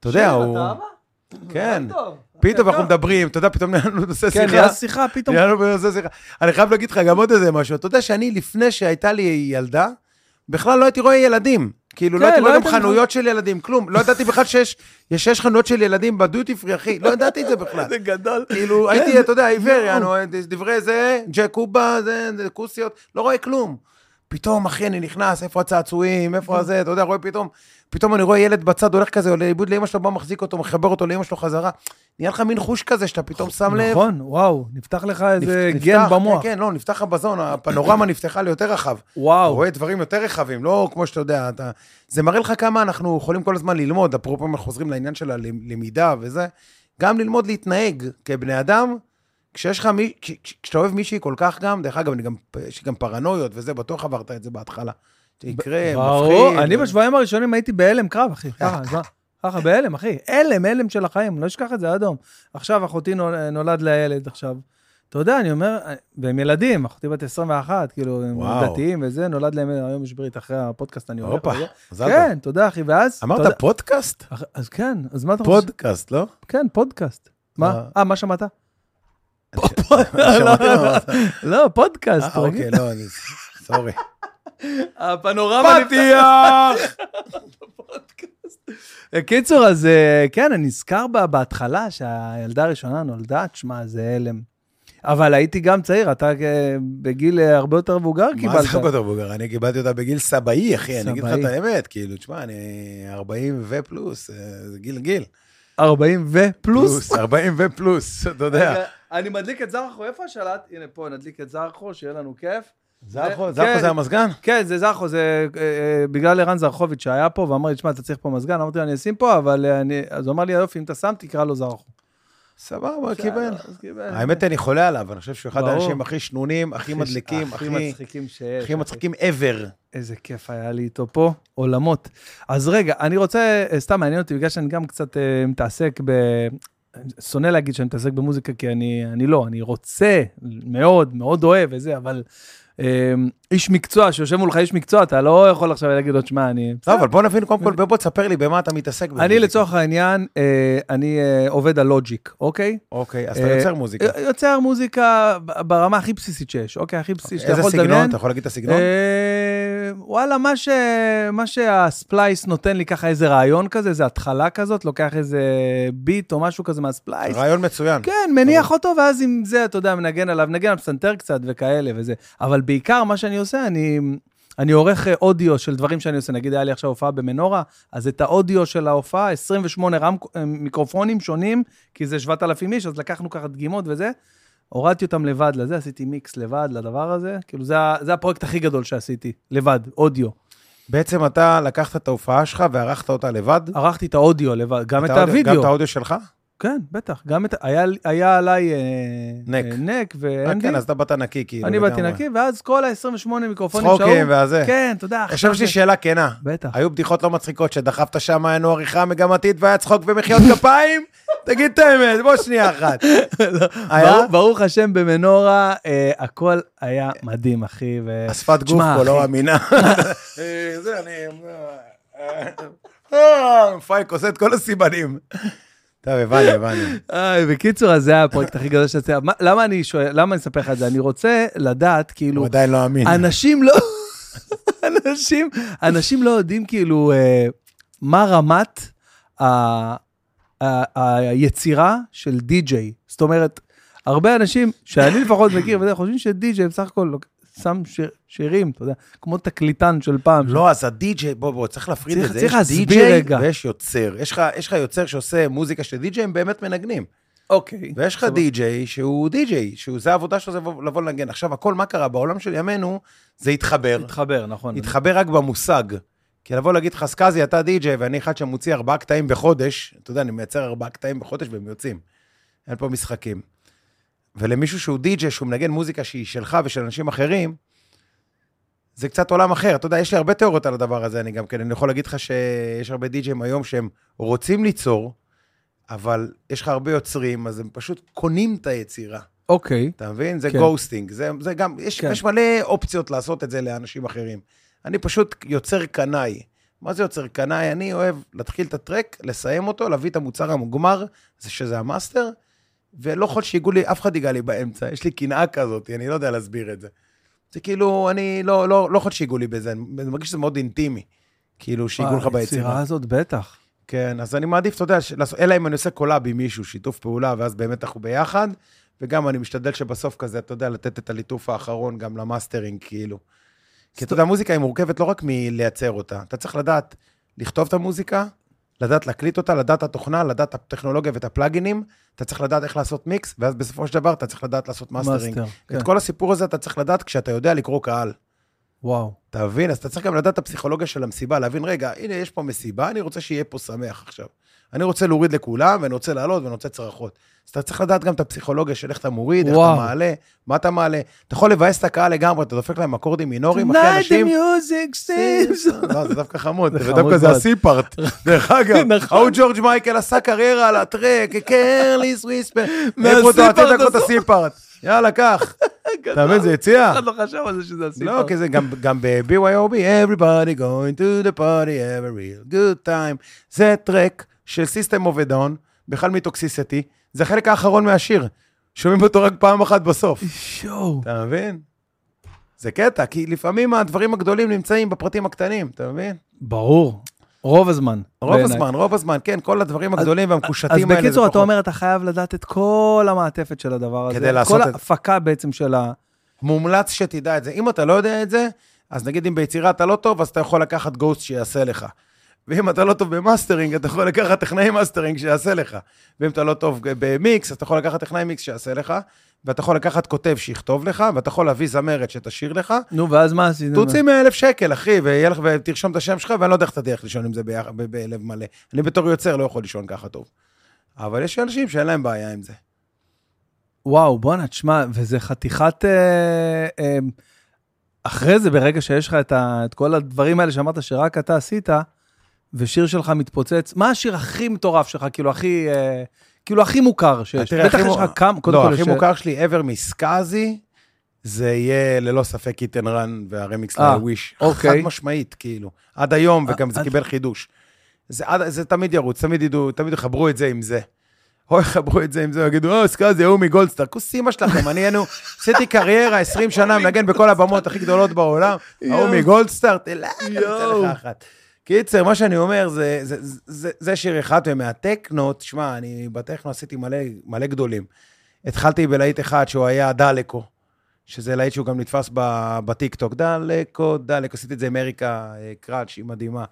אתה יודע, הוא... כן.
אוקיי,
פתאום אנחנו מדברים, אתה יודע, פתאום נהיה לנו נושא
כן,
שיחה.
נהיה שיחה פתאום.
נהיה לנו בנושא שיחה. אני חייב להגיד לך גם עוד איזה משהו. אתה יודע שאני, לפני שהייתה לי ילדה, בכלל לא הייתי רואה ילדים. כאילו,
כן,
לא הייתי
לא
רואה גם
הייתם-
חנויות של ילדים, כלום. לא ידעתי בכלל שיש יש שש חנויות של ילדים בדיוטי פרי, אחי. לא ידעתי את זה בכלל.
זה כן. גדול.
כאילו, הייתי, אתה יודע, עיוור, יענו, דברי זה, ג'קובה, זה, זה, כוסיות, לא רואה כלום. פתאום, אחי, אני נכנס, איפה הצעצועים,
Mm-hmm.
איפה זה, אתה יודע, רואה פתאום, פתאום אני רואה ילד בצד הולך כזה, הולך לאיבוד לאמא שלו, בא, מחזיק אותו, מחבר אותו לאמא שלו חזרה. נהיה לך מין חוש כזה, שאתה פתאום שם לב.
נכון, וואו, נפתח לך
נפ-
איזה
נפתח,
גן במוח.
כן, כן, לא, נפתח הבזון, הפנורמה נפתחה ליותר רחב. אתה
וואו.
רואה דברים יותר רחבים, לא כמו שאתה יודע, אתה... זה מראה לך כמה אנחנו יכולים כל הזמן ללמוד, אפרופו אם אנחנו חוזרים לעניין של הלמידה וזה, גם ללמוד להתנהג כבני אדם, כשיש לך מי... כש- כש- כשאתה אוהב מישהי כל כך גם, דרך אגב, אני גם... יש לי גם פרנויות וזה, בטוח עברת את זה בהתחלה. זה יקרה,
ברור,
מפחיד.
אני בשבועיים הראשונים הייתי בהלם קרב,
אה,
אחי. ככה, אז מה? ככה, בהלם, אחי. הלם, הלם של החיים, לא אשכח את זה עד היום. עכשיו אחותי נול- נולד לה ילד עכשיו. אתה יודע, אני אומר, והם ילדים, אחותי בת 21, כאילו, הם
וואו.
דתיים וזה, נולד להם, היום יש ברית, אחרי הפודקאסט אני הולך.
הופה,
וזה.
מזל טוב.
כן, תודה, אחי, ואז... אתה יודע-
אמרת פודקאסט?
אח- אז כן, אז מה אתה חושב?
פודקאסט, לא?
כן, פודקאסט. מה?
מה?
אה, מה שמעת?
שמעתי
לא,
מה
לא.
אמרת.
לא, פודקאסט,
אה, אוקיי,
רגיל.
לא, אני... סורי.
הפנורמה פתיח! קיצור, אז אה, כן, אני נזכר בה בהתחלה שהילדה הראשונה נולדה, תשמע, זה הלם. אבל הייתי גם צעיר, אתה אה, בגיל אה, הרבה יותר מבוגר
מה זה
קיבלת.
חכות הבוגר? אני קיבלתי אותה בגיל סבאי, אחי, אני אגיד לך את
סבאי.
האמת, כאילו, תשמע, אני 40 ופלוס, אה, זה גיל גיל.
40 ופלוס.
40 ופלוס, אתה יודע.
רגע, אני מדליק את זרחו, איפה השלט? הנה פה, נדליק את זרחו, שיהיה לנו כיף.
זרחו,
כן.
זרחו זה המזגן?
כן, זה זרחו, זה אה, אה, בגלל ערן זרחוביץ' שהיה פה, ואמר לי, תשמע, אתה צריך פה מזגן, אמרתי לו, אני אשים פה, אבל אה, אני... אז הוא אמר לי, יופי, אם אתה שם, תקרא לו זרחו.
סבבה, לא קיבל.
אז קיבל.
האמת, אני חולה עליו, אני חושב שהוא אחד
ברור.
האנשים הכי שנונים, הכי מדליקים, הכי
הכי מצחיקים שיש.
הכי מצחיקים ever.
איזה כיף היה לי איתו פה, עולמות. אז רגע, אני רוצה, אה, סתם מעניין אותי, בגלל שאני גם קצת אה, מתעסק ב... שונא להגיד שאני מתעסק במוזיקה, כי אני, אני לא, אני רוצה, מאוד, מאוד אוהב וזה, אבל אה, איש מקצוע, שיושב מולך איש מקצוע, אתה לא יכול עכשיו להגיד לו, שמע, אני...
לא, אבל בוא נבין קודם כל, בוא תספר לי במה אתה מתעסק.
אני
במוזיקה.
לצורך העניין, אה, אני אה, עובד על לוג'יק, אוקיי?
אוקיי, אז אתה
אה,
יוצר מוזיקה.
יוצר מוזיקה ב- ברמה הכי בסיסית שיש, אוקיי? הכי בסיסית שאתה
איזה
יכול לדמיין.
סגנון? אתה יכול להגיד את הסגנון?
אה, וואלה, מה, ש... מה שהספלייס נותן לי ככה איזה רעיון כזה, איזה התחלה כזאת, לוקח איזה ביט או משהו כזה מהספלייס.
רעיון מצוין.
כן, מניח אותו, ואז עם זה, אתה יודע, מנגן עליו, מנגן על פסנתר קצת וכאלה וזה. אבל בעיקר מה שאני עושה, אני... אני עורך אה, אודיו של דברים שאני עושה, נגיד היה לי עכשיו הופעה במנורה, אז את האודיו של ההופעה, 28 רמק, אה, מיקרופונים שונים, כי זה 7,000 איש, אז לקחנו ככה דגימות וזה, הורדתי אותם לבד לזה, עשיתי מיקס לבד לדבר הזה, כאילו זה, ה- זה הפרויקט הכי גדול שעשיתי, לבד, אודיו.
בעצם אתה לקחת את ההופעה שלך וערכת אותה לבד?
ערכתי את האודיו לבד, גם את,
האודיו-
הוידאו.
גם את האודיו שלך?
כן, בטח, גם את, היה, היה עליי אה,
נק.
אה, נק
אה,
ואנדי.
כן, אז אתה באת נקי, כאילו.
אני באתי
לגמרי.
נקי, ואז כל ה-28 מיקרופונים
צחוקים והזה.
כן, תודה.
עכשיו יש לי שאלה כנה.
בטח.
היו בדיחות לא מצחיקות שדחפת שם, היינו עריכה מגמתית והיה צחוק ומחיאות כפיים? תגיד את האמת, בוא שנייה אחת.
לא,
היה?
ברוך- ברוך השם במנורה, אה, הכל היה מדהים, אחי. ו-
השפת גוף
תשמע,
פה לא
אחי,
אמינה. אה, זה, אני... אה, פייק עושה את כל הסימנים. טוב, הבנו, הבנו.
איי, בקיצור, אז זה היה הפרויקט הכי גדול שעשיתי. מה- למה אני שואל, למה אני אספר לך את זה? אני רוצה לדעת, כאילו,
הוא עדיין לא אמין.
אנשים לא... אנשים, אנשים לא יודעים, כאילו, אה, מה רמת ה, ה, היצירה של די-ג'יי. זאת אומרת, הרבה אנשים שאני לפחות מכיר, וזה, חושבים שדי-ג'יי בסך הכל לוק- שם שיר, שירים, אתה יודע, כמו תקליטן של פעם.
לא, אז הדי-ג'יי, בוא, בוא, צריך להפריד
צריך-
את זה.
צריך
יש
להסביר
די-ג'יי
רגע.
ויש יוצר. יש לך- יש לך יוצר שעושה מוזיקה של די-ג'יי, הם באמת מנגנים.
אוקיי.
ויש לך די-ג'יי שהוא די-ג'יי, שהוא זה העבודה שלו, זה לבוא- לבוא לנגן. עכשיו, הכל מה קרה בעולם של ימינו, זה התחבר.
התחבר, נכון.
התחבר רק במושג. כי לבוא להגיד לך, סקאזי, אתה די-ג'יי, ואני אחד שמוציא ארבעה קטעים בחודש, אתה יודע, אני מייצר ארבעה קטעים בחודש והם יוצאים. אין פה משחקים. ולמישהו שהוא די-ג'יי, שהוא מנגן מוזיקה שהיא שלך ושל אנשים אחרים, זה קצת עולם אחר. אתה יודע, יש לי הרבה תיאוריות על הדבר הזה, אני גם כן, אני יכול להגיד לך שיש הרבה די-ג'יים היום שהם רוצים ליצור, אבל יש לך הרבה יוצרים, אז הם פשוט קונים את היצירה.
אוקיי.
אתה מבין? זה
כן.
גוסטינג. זה, זה גם, יש,
כן.
יש מלא אופציות לעשות את זה לאנשים אחרים. אני פשוט יוצר קנאי. מה זה יוצר קנאי? אני אוהב להתחיל את הטרק, לסיים אותו, להביא את המוצר המוגמר, זה שזה המאסטר, ולא יכול שיגעו לי, אף אחד ייגע לי באמצע. יש לי קנאה כזאת, אני לא יודע להסביר את זה. זה כאילו, אני לא, לא, לא יכול שיגעו לי בזה, אני מרגיש שזה מאוד אינטימי. כאילו, שיגעו לך
היצירה
ביצירה.
הזאת, בטח.
כן, אז אני מעדיף, אתה יודע, ש- לעשות- אלא אם אני עושה קולאב עם מישהו, שיתוף פעולה, ואז באמת אנחנו ביחד, וגם אני משתדל שבסוף כזה, אתה יודע, לתת את הליטוף האחרון גם למאסטרינג, כאילו. כי אתה יודע, המוזיקה היא מורכבת לא רק מלייצר אותה, אתה צריך לדעת לכתוב את המוזיקה, לדעת להקליט אותה, לדעת את התוכנה, לדעת את הטכנולוגיה ואת הפלאגינים, אתה צריך לדעת איך לעשות מיקס, ואז בסופו של דבר אתה צריך לדעת לעשות מאסטרינג.
מאסטר, כן.
את כל הסיפור הזה אתה צריך לדעת כשאתה יודע לקרוא קהל.
וואו.
אתה מבין? אז אתה צריך גם לדעת את הפסיכולוגיה של המסיבה, להבין, רגע, הנה, יש פה מסיבה, אני רוצה שיהיה פה שמח עכשיו. אני רוצה להוריד לכולם, ואני רוצה לעלות, ואני רוצה צרחות. אז אתה צריך לדעת גם את הפסיכולוגיה של איך אתה מוריד, איך
וואו.
אתה מעלה, מה אתה מעלה. אתה יכול לבאס את הקהל לגמרי, אתה דופק להם אקורדים מינוריים, אחי
Tonight the
אנשים...
music saves.
לא, זה דווקא חמוד,
זה
זה
חמוד
דווקא זה
מאוד.
הסי-פארט. דרך אגב,
נכון.
ההוא ג'ורג' מייקל עשה קריירה על הטרק, קרליס וויספר,
מהסי-פארט
איפה אתה, תן את
עשו-
הסי-פארט. יאללה, קח. אתה מבין, זה
אף
יציאה.
אחד לא חשב על זה שזה הסיפור.
לא, כי זה גם, גם ב-BYOB, everybody going to the party, have a real good time. זה טרק של System of a Down, בכלל מטוקסיסיטי, זה החלק האחרון מהשיר. שומעים אותו רק פעם אחת בסוף.
שואו.
אתה מבין? זה קטע, כי לפעמים הדברים הגדולים נמצאים בפרטים הקטנים, אתה מבין?
ברור. רוב הזמן.
רוב
בעיניי.
הזמן, רוב הזמן, כן, כל הדברים הגדולים והמקושטים
אז
האלה. זה
בקיצור, אתה
פחות.
אומר, אתה חייב לדעת את כל המעטפת של הדבר הזה.
כדי לעשות
כל
את-
ההפקה בעצם של ה...
מומלץ שתדע את זה. אם אתה לא יודע את זה, אז נגיד אם ביצירה אתה לא טוב, אז אתה יכול לקחת גוסט שיעשה לך. ואם אתה לא טוב במאסטרינג, אתה יכול לקחת טכנאי מאסטרינג שיעשה לך. ואם אתה לא טוב במיקס, אז אתה יכול לקחת טכנאי מיקס שיעשה לך, ואתה יכול לקחת כותב שיכתוב לך, ואתה יכול להביא זמרת שתשיר לך.
נו, ואז מה עשינו?
תוציא 100 אלף שקל, אחי, ויהיה לך, ותרשום את השם שלך, ואני לא יודע איך אתה תלך לישון עם זה ביח- ב- בלב מלא. אני בתור יוצר לא יכול לישון ככה טוב. אבל יש אנשים שאין להם בעיה עם זה.
וואו, בואנה, תשמע, וזה חתיכת... אה, אה, אחרי זה, ברגע שיש לך את, ה, את כל הדברים האלה שאמרת שרק אתה עשית, ושיר שלך מתפוצץ, מה השיר הכי מטורף שלך, כאילו הכי... אה, כאילו הכי מוכר שיש?
תראה,
בטח
הכי
יש
מו-
לך כמה, קודם
לא,
כל
הכי
יש...
מוכר שלי ever מסקאזי, זה יהיה ללא ספק איטן רן והרמיקס
אה,
לוויש.
אוקיי. אה,
חד משמעית, כאילו. עד היום, וגם זה
עד-
קיבל חידוש. זה עד- זה תמיד ירוץ, תמיד ידעו, תמיד יחברו את זה עם זה. או יחברו את זה עם זה, יגידו, אה, סקאזי, ההוא מגולדסטאר. כוס אימא שלכם, אני היינו, עשיתי קריירה 20 שנה, מנגן בכל הבמות הכי גדולות בעולם, ההוא
יואו.
מגולדסטאר, תלך, אני
יואו.
אתן לך אחת. קיצר, מה שאני אומר, זה, זה, זה, זה, זה שיר אחד, ומהטכנו, תשמע, אני בטכנו עשיתי מלא, מלא גדולים. התחלתי בלהיט אחד שהוא היה דלקו, שזה להיט שהוא גם נתפס ב- בטיקטוק. דלקו, דלקו, עשיתי את זה עם אמריקה אה, קראץ', היא מדהימה.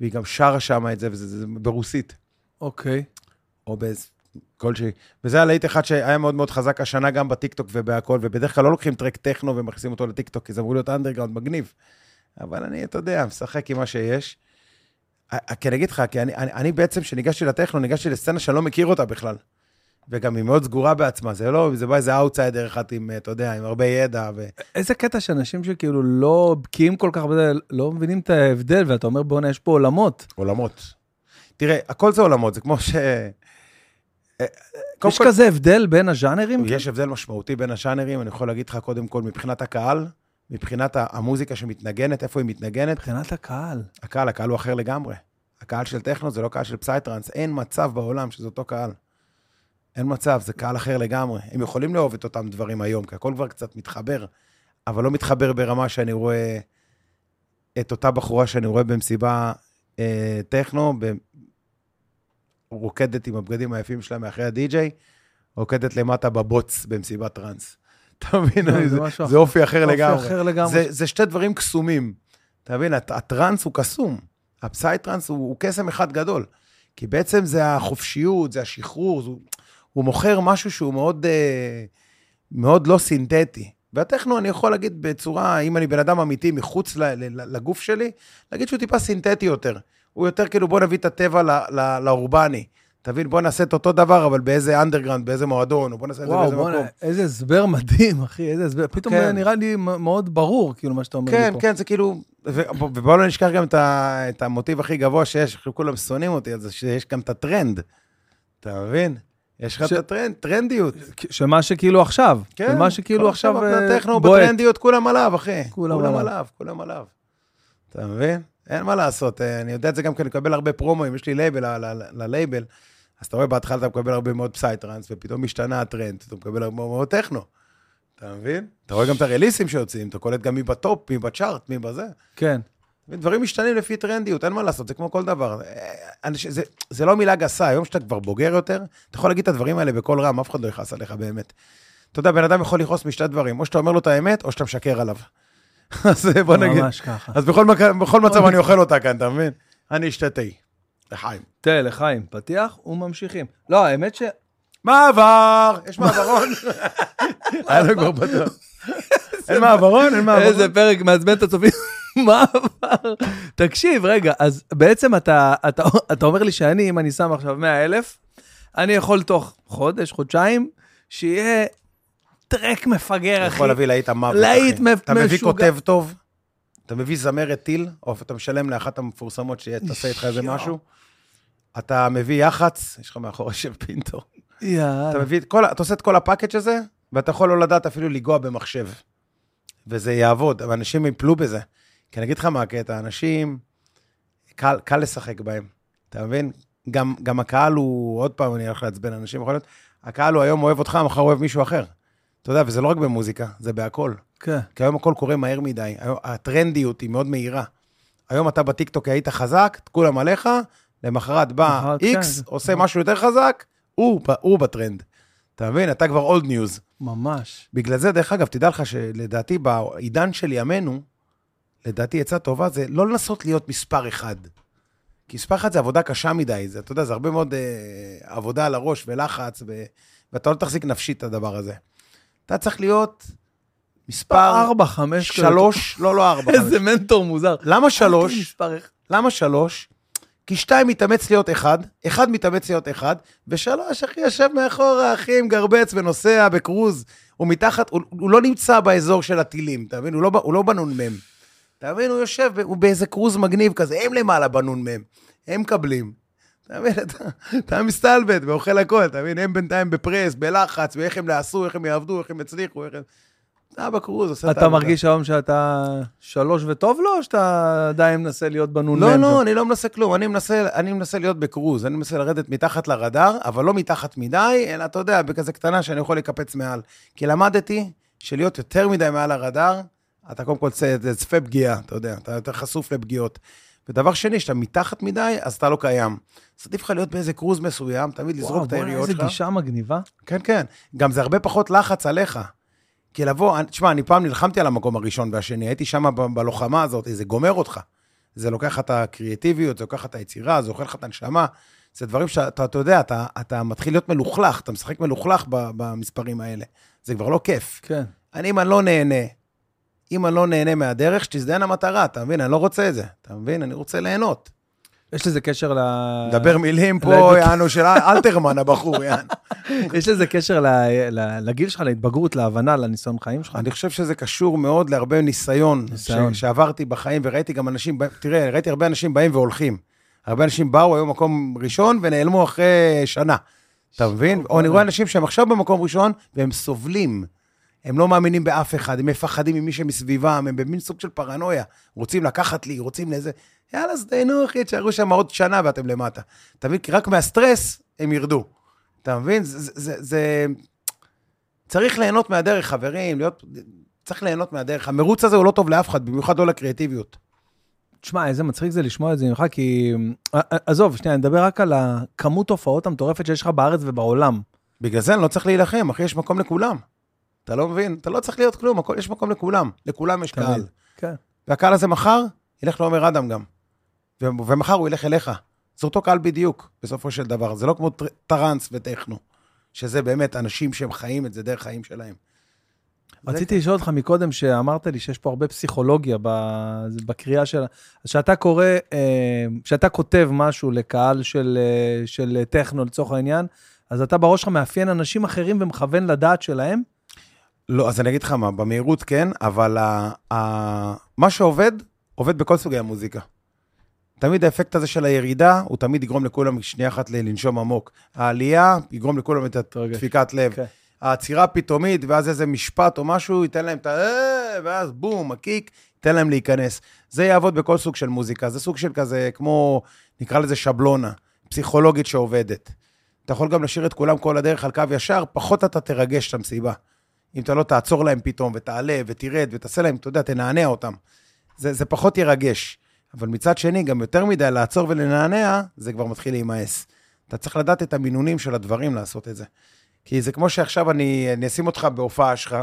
והיא גם שרה שם את זה, וזה זה, זה ברוסית,
אוקיי.
או באיזה... כלשהי. וזה היה להיט אחד שהיה מאוד מאוד חזק השנה גם בטיקטוק ובהכל, ובדרך כלל לא לוקחים טרק טכנו ומכניסים אותו לטיקטוק, כי זה אמור להיות אנדרגראונד מגניב. אבל אני, אתה יודע, משחק עם מה שיש. ה- כי אני אגיד לך, כי אני, אני, אני בעצם, כשניגשתי לטכנו, ניגשתי לסצנה שאני לא מכיר אותה בכלל. וגם היא מאוד סגורה בעצמה, זה לא, זה בא איזה אאוטסיידר אחד עם, אתה יודע, עם הרבה ידע, ו...
איזה קטע שאנשים שכאילו לא בקיאים כל כך בזה, לא מבינים את ההבדל, ואתה אומר, בואנה, יש פה עולמות.
עולמות. תראה, הכל זה עולמות, זה כמו ש... קודם
יש
כל- כן.
כזה הבדל בין הז'אנרים?
יש הבדל משמעותי בין השאנרים, אני יכול להגיד לך קודם כל, מבחינת הקהל, מבחינת ה- המוזיקה שמתנגנת, איפה היא מתנגנת,
מבחינת הקהל.
הקהל, הקהל הוא אחר לגמרי. הקהל של טכנו זה לא קהל של פסייטרנס, אין מצב בעולם שזה אותו קהל. אין מצב, זה קהל אחר לגמרי. הם יכולים לאהוב את אותם דברים היום, כי הכל כבר קצת מתחבר, אבל לא מתחבר ברמה שאני רואה את אותה בחורה שאני רואה במסיבה אה, טכנו, ב... רוקדת עם הבגדים היפים שלה מאחרי הדי-ג'יי, רוקדת למטה בבוץ במסיבת טראנס. אתה מבין?
לא,
אני-
זה
זה,
משהו
זה אופי אחר
אופי
לגמרי.
אחר לגמרי.
זה, זה שתי דברים קסומים. אתה מבין, הט- הטראנס הוא קסום. הפסייטרנס הוא, הוא קסם אחד גדול. כי בעצם זה החופשיות, זה השחרור, זה, הוא מוכר משהו שהוא מאוד, אה, מאוד לא סינתטי. והטכנו, אני יכול להגיד בצורה, אם אני בן אדם אמיתי מחוץ ל- ל- לגוף שלי, להגיד שהוא טיפה סינתטי יותר. הוא יותר כאילו, בוא נביא את הטבע ל- ל- לאורבני. תבין, בוא נעשה את אותו דבר, אבל באיזה אנדרגראונד, באיזה מועדון, או בוא נעשה את זה
וואו,
באיזה
בוא'נה,
מקום.
איזה הסבר מדהים, אחי, איזה הסבר. פתאום
כן.
זה נראה לי מ- מאוד ברור, כאילו, מה שאתה אומר לי
כן,
פה.
כן, זה כאילו... ו- ובואו לא נשכח גם את ה- את המוטיב הכי גבוה שיש, עכשיו כולם שונאים אותי, אז שיש גם את הטרנד. אתה מבין? יש לך
ש-
את הטרנד, טרנדיות.
כ- שמה שכאילו עכשיו.
כן,
כן. מה שכאילו
כל
עכשיו
הפרט
אה,
הטכנו
בועט.
בטרנדיות, כולם עליו, אחי.
כולם
כולם
עליו.
עליו, כולם עליו. אתה מבין? אין מה לעשות, אה, אני יודע את זה גם כי אני מקבל הרבה פרומואים, יש לי לייבל, ל- ל- ללייבל. אז אתה רואה, בהתחלה אתה מקבל הרבה מאוד פסייטרנס, ופתאום השתנה הטרנד, אתה מקבל הרבה מאוד טכנו. אתה מבין? אתה רואה גם את הרליסים שיוצאים, אתה קולט גם מי בטופ, מי בצ'ארט, מי בזה.
כן.
דברים משתנים לפי טרנדיות, אין מה לעשות, זה כמו כל דבר. אה, אנש- זה, זה לא מילה גסה, היום שאתה כבר בוגר יותר, אתה יכול להגיד את הדברים האלה בקול רם, אף אחד לא יכעס עליך באמת. אתה יודע, בן אדם יכול לכעוס משתי דברים, או שאתה אומר לו את האמת, או שאתה משקר עליו. אז אה, בוא נגיד.
ממש ככה.
אז בכל, מק... בכל מצב אני אוכל אותה כאן, אתה מבין? אני אשתה תה. לחיים.
תל, לחיים, פתיח וממשיכים. לא, האמת ש... אה,
מעבר! יש מעברון. היה לו כבר בטוח. אין מעברון, אין מעברון.
איזה פרק מעצבן את הצופים. מה עבר? תקשיב, רגע, אז בעצם אתה, אתה, אתה אומר לי שאני, אם אני שם עכשיו 100 אלף, אני יכול תוך חודש, חודשיים, שיהיה טרק מפגר, אחי.
יכול להביא להיט המוות,
להיט
אחי.
מ-
אתה מביא
משוגע.
כותב טוב, אתה מביא זמרת טיל, או אתה משלם לאחת המפורסמות שתעשה איתך איזה
יואו.
משהו. אתה מביא יח"צ, יש לך מאחורי של פינטו. אתה
יאללה.
מביא את כל, ה- אתה עושה את כל הפאקג' הזה, ואתה יכול לא לדעת אפילו לנגוע במחשב. וזה יעבוד, אבל אנשים יפלו בזה. כי אני אגיד לך מה הקטע, אנשים, קל, קל לשחק בהם, אתה מבין? גם, גם הקהל הוא, עוד פעם, אני הולך לעצבן אנשים, יכול להיות, הקהל הוא היום אוהב אותך, מחר אוהב מישהו אחר. אתה יודע, וזה לא רק במוזיקה, זה בהכל.
כן.
כי היום הכל קורה מהר מדי, היום- הטרנדיות היא מאוד מהירה. היום אתה בטיקטוק היית חזק, כולם עליך, למחרת בא
למחרת, כן,
איקס,
זה-
עושה משהו יותר חזק, הוא ב- הוא בטרנד. אתה מבין? אתה כבר אולד ניוז.
ממש.
בגלל זה, דרך אגב, תדע לך שלדעתי בעידן של ימינו, לדעתי עצה טובה זה לא לנסות להיות מספר אחד. כי מספר אחד זה עבודה קשה מדי, זה, אתה יודע, זה הרבה מאוד אה, עבודה על הראש ולחץ, ו... ואתה לא תחזיק נפשית את הדבר הזה. אתה צריך להיות מספר...
ארבע, חמש. כאלה.
שלוש, לא, לא ארבע.
איזה
חמש.
מנטור מוזר.
למה
אל תהיי
שלוש?
מספר אחד.
למה שלוש? כי שתיים מתאמץ להיות אחד, אחד מתאמץ להיות אחד, ושלוש, אחי, יושב מאחורה, אחי, עם גרבץ ונוסע בקרוז. הוא מתחת, הוא, הוא לא נמצא באזור של הטילים, אתה מבין? הוא לא, ב- הוא לא בנ"מ. אתה מבין? הוא יושב, ב- הוא באיזה קרוז מגניב כזה, הם למעלה בנ"מ, הם מקבלים. אתה מבין? אתה, אתה מסתלבט ואוכל הכל, אתה מבין? הם בינתיים בפרס, בלחץ, ואיך הם יעשו, איך הם יעבדו, איך הם יצליחו, איך הם... אתה בקרוז, עושה את
אתה
העבודה.
מרגיש היום שאתה שלוש וטוב לו, או שאתה עדיין מנסה להיות בנון
לא,
מנג'ר?
לא, אני לא מנסה כלום, אני מנסה, אני מנסה להיות בקרוז, אני מנסה לרדת מתחת לרדאר, אבל לא מתחת מדי, אלא אתה יודע, בכזה קטנה שאני יכול לקפץ מעל. כי למדתי שלהיות יותר מדי מעל הרדאר, אתה קודם כל צא- זה צפה פגיעה, אתה יודע, אתה יותר חשוף לפגיעות. ודבר שני, שאתה מתחת מדי, אז אתה לא קיים. אז עדיף לך להיות באיזה קרוז מסוים, תמיד
וואו,
לזרוק את
בוא'נה,
היריות
איזה
שלך.
גישה מגניבה.
כן, כן. גם זה הרבה פחות לחץ עליך. כי לבוא, אני- תשמע, אני פעם נלחמתי על המקום הראשון והשני, הייתי שם ב- בלוחמה הזאת, זה גומר אותך. זה לוקח לך את הקריאטיביות, זה לוקח לך את היצירה, זה אוכל לך את הנשמה. זה דברים שאתה, אתה יודע, אתה, אתה מתחיל להיות מלוכלך, אתה משחק מלוכלך ב- במספרים האלה. זה כבר לא כיף.
כן.
אני, אם אני לא נהנה, אם אני לא נהנה מהדרך, שתזדיין המטרה, אתה מבין? אני לא רוצה את זה, אתה מבין? אני רוצה ליהנות.
יש לזה קשר ל...
דבר מילים פה,
אה, להגיד-
יענו, של אלתרמן, הבחור, יענו.
יש לזה קשר ל- ל- לגיל שלך, להתבגרות, להבנה, לניסיון חיים שלך.
אני חושב שזה קשור מאוד להרבה ניסיון,
ניסיון.
ניסיון. ש- שעברתי בחיים, וראיתי גם אנשים, בא- תראה, ראיתי הרבה אנשים באים והולכים. הרבה אנשים באו, היו מקום ראשון, ונעלמו אחרי שנה. אתה מבין?
אוקיי.
או אני רואה אנשים שהם עכשיו במקום ראשון, והם סובלים. הם לא מאמינים באף אחד, הם מפחדים ממי שמסביבם, הם במין סוג של פרנויה. רוצים לקחת לי, רוצים לזה. יאללה, אז תהנו, אחי, תשארו שם עוד שנה ואתם למטה. אתה מבין? כי רק מהסטרס הם ירדו. אתה מבין? זה, זה, זה, זה... צריך ליהנות מהדרך, חברים, להיות... צריך ליהנות מהדרך. המרוץ הזה הוא לא טוב לאף אחד, במיוחד לא לקריאטיביות.
תשמע, איזה מצחיק זה לשמוע את זה ממך, כי... ע- ע- עזוב, שנייה, אני מדבר רק על הכמות הופעות המטורפת שיש לך בארץ ובעולם.
בגלל זה אני לא צריך להילחם, אחי, יש מקום לכולם. אתה לא מבין? אתה לא צריך להיות כלום, הכל, יש מקום לכולם. לכולם יש
אתה מבין?
קהל.
כן.
והקהל הזה מחר ילך לעומר אדם גם. ו- ומחר הוא ילך אליך. זה אותו קהל בדיוק, בסופו של דבר. זה לא כמו טר- טראנס וטכנו, שזה באמת אנשים שהם חיים את זה דרך חיים שלהם.
רציתי לשאול אותך מקודם, שאמרת לי שיש פה הרבה פסיכולוגיה ב- זה בקריאה של... כשאתה קורא, אה, כשאתה כותב משהו לקהל של, אה, של טכנו, לצורך העניין, אז אתה בראש שלך מאפיין אנשים אחרים ומכוון לדעת שלהם?
לא, אז אני אגיד לך מה, במהירות כן, אבל ה, ה, מה שעובד, עובד בכל סוגי המוזיקה. תמיד האפקט הזה של הירידה, הוא תמיד יגרום לכולם שנייה אחת ל- לנשום עמוק. העלייה יגרום לכולם את
תרגש.
הדפיקת לב.
כן.
העצירה הפתאומית, ואז איזה משפט או משהו, ייתן להם את ה... "אה", ואז בום, הקיק, ייתן להם להיכנס. זה יעבוד בכל סוג של מוזיקה. זה סוג של כזה, כמו, נקרא לזה שבלונה, פסיכולוגית שעובדת. אתה יכול גם לשיר את כולם כל הדרך על קו ישר, פחות אתה תרגש את המסיבה. אם אתה לא תעצור להם פתאום, ותעלה, ותרד, ותעשה להם, אתה יודע, תנענע אותם. זה, זה פחות ירגש. אבל מצד שני, גם יותר מדי לעצור ולנענע, זה כבר מתחיל להימאס. אתה צריך לדעת את המינונים של הדברים לעשות את זה. כי זה כמו שעכשיו אני, אני אשים אותך בהופעה שלך,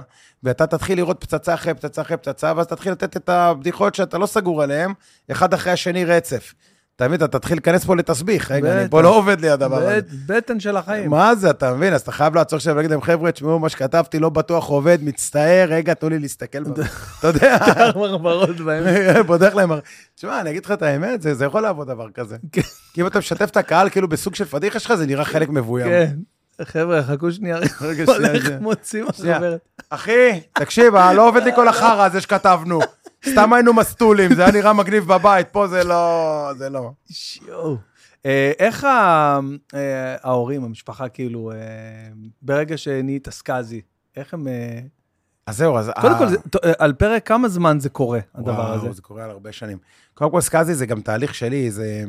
ואתה תתחיל לראות פצצה אחרי פצצה אחרי פצצה, ואז תתחיל לתת את הבדיחות שאתה לא סגור עליהן, אחד אחרי השני רצף. אתה מבין, אתה תתחיל להיכנס פה לתסביך, רגע, אני
בטח.
פה לא עובד לי הדבר הזה.
בט- בטן של החיים.
מה זה, אתה מבין? אז אתה חייב לעצור שם ולהגיד להם, חבר'ה, תשמעו, מה שכתבתי לא בטוח עובד, מצטער, רגע, תנו לי להסתכל. ב- אתה יודע,
מרמרות בהם.
פותח להם... הר- תשמע, אני אגיד לך את האמת, זה זה יכול לעבוד דבר כזה.
כן.
כי אם אתה משתף את הקהל כאילו בסוג של פדיחה שלך, זה נראה חלק מבוים.
כן. חבר'ה, חכו שנייה,
רגע, שנייה,
הולך
שנייה.
מוצאים
שנייה.
החברת.
אחי, תקשיב, אה, לא עובד לי כל החרא הזה שכתבנו. סתם היינו מסטולים, זה היה נראה מגניב בבית, פה זה לא... זה לא.
שיואו. אה, איך ה- אה, ההורים, המשפחה, כאילו, אה, ברגע שנהיית סקאזי, איך הם... אה,
אז זהו, אז...
קודם
אה,
כל, זה- ת- אה, על פרק כמה זמן זה קורה, הדבר הזה?
וואו, זה קורה על הרבה שנים. קודם כל, סקאזי זה גם תהליך שלי, זה...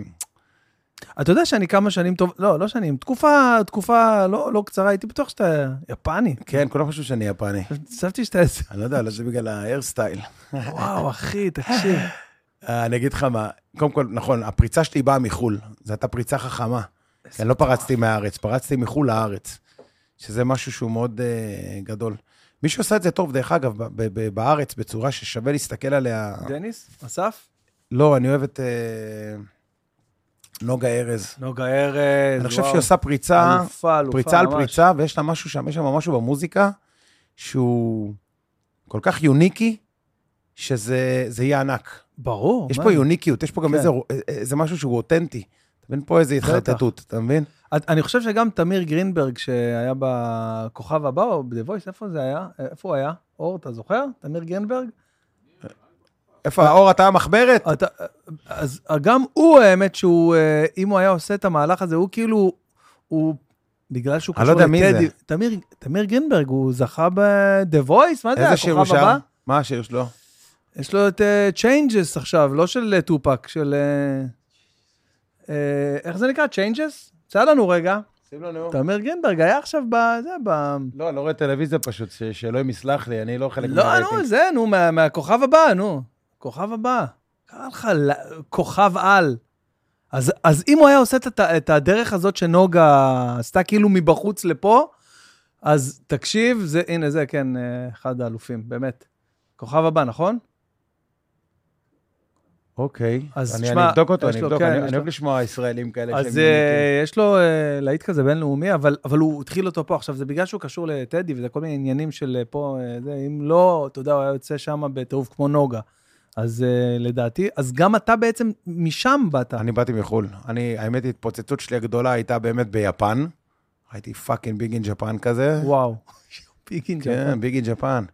אתה יודע שאני כמה שנים טוב, לא, לא שנים, תקופה, תקופה לא לא קצרה, הייתי בטוח שאתה יפני.
כן, כולם חושבים שאני יפני.
חשבתי שאתה איזה...
אני לא יודע, אולי זה בגלל ההרסטייל.
וואו, אחי, תקשיב.
אה, אני אגיד לך מה, קודם כל, נכון, הפריצה שלי באה מחו"ל. זו הייתה פריצה חכמה. כי אני לא פרצתי מהארץ, פרצתי מחו"ל לארץ. שזה משהו שהוא מאוד אה, גדול. מי שעושה את זה טוב, דרך אגב, ב- ב- ב- בארץ, בצורה ששווה להסתכל עליה...
דניס, אסף?
לא, אני אוהב את אה, נוגה ארז.
נוגה ארז,
אני חושב שהיא עושה פריצה,
כן, אלופה, אלופה,
פריצה על
ממש.
פריצה, ויש לה משהו שם, יש שם משהו במוזיקה שהוא כל כך יוניקי, שזה זה יהיה ענק.
ברור.
יש
מה
פה
זה?
יוניקיות, יש פה גם
כן.
איזה, א- א- איזה משהו שהוא אותנטי. אתה מבין? פה איזה
בטח.
התחרטטות, אתה מבין?
את- אני חושב שגם תמיר גרינברג, שהיה בכוכב הבא, או ב-The Voice, איפה זה היה? איפה הוא היה? אור, אתה זוכר? תמיר גרינברג?
איפה,
אה.
האור, אתה המחברת?
אתה, אז אה, גם הוא, האמת שהוא, אה, אם הוא היה עושה את המהלך הזה, הוא כאילו, הוא, בגלל שהוא
אני
קשור
לא יודע מי זה.
תמיר, תמיר גרינברג, הוא זכה ב-The Voice, מה זה,
איזה שיר הוא
הכוכב
שר?
הבא?
מה השיר שלו?
יש לו את אה, Changes עכשיו, לא של אה, טופק, של... אה, אה, איך זה נקרא? Changes? צא לנו רגע.
שים לו נאום.
תמיר גרינברג היה עכשיו ב... זה, ב...
לא, אני לא רואה טלוויזיה פשוט, ש- שאלוהים יסלח לי, אני לא חלק
לא, נו, זה, נו, מה- מהכוכב הבא, נו. כוכב הבא. קרא לך ל- כוכב על. אז, אז אם הוא היה עושה את, הת- את הדרך הזאת שנוגה עשתה כאילו מבחוץ לפה, אז תקשיב, זה, הנה זה, כן, אה, אחד האלופים, באמת. כוכב הבא, נכון?
אוקיי,
אז
אני
תשמע,
אני אבדוק אותו,
יש
אני
לו,
אבדוק,
כן,
אני
יש
אני
לו.
אוהב לשמוע ישראלים כאלה.
אז
שהם יוניקים.
אה, יש לו אה, להיט כזה בינלאומי, אבל, אבל הוא התחיל אותו פה. עכשיו, זה בגלל שהוא קשור לטדי, וזה כל מיני עניינים של אה, פה, אה, זה, אם לא, אתה יודע, הוא היה יוצא שם בטירוף כמו נוגה. אז אה, לדעתי, אז גם אתה בעצם משם באת.
אני באתי מחו"ל. אני, האמת, ההתפוצצות שלי הגדולה הייתה באמת ביפן. הייתי פאקינג ביג אין ג'פן כזה.
וואו. נכון? פיקינג.
כן, ביג אין ג'פן.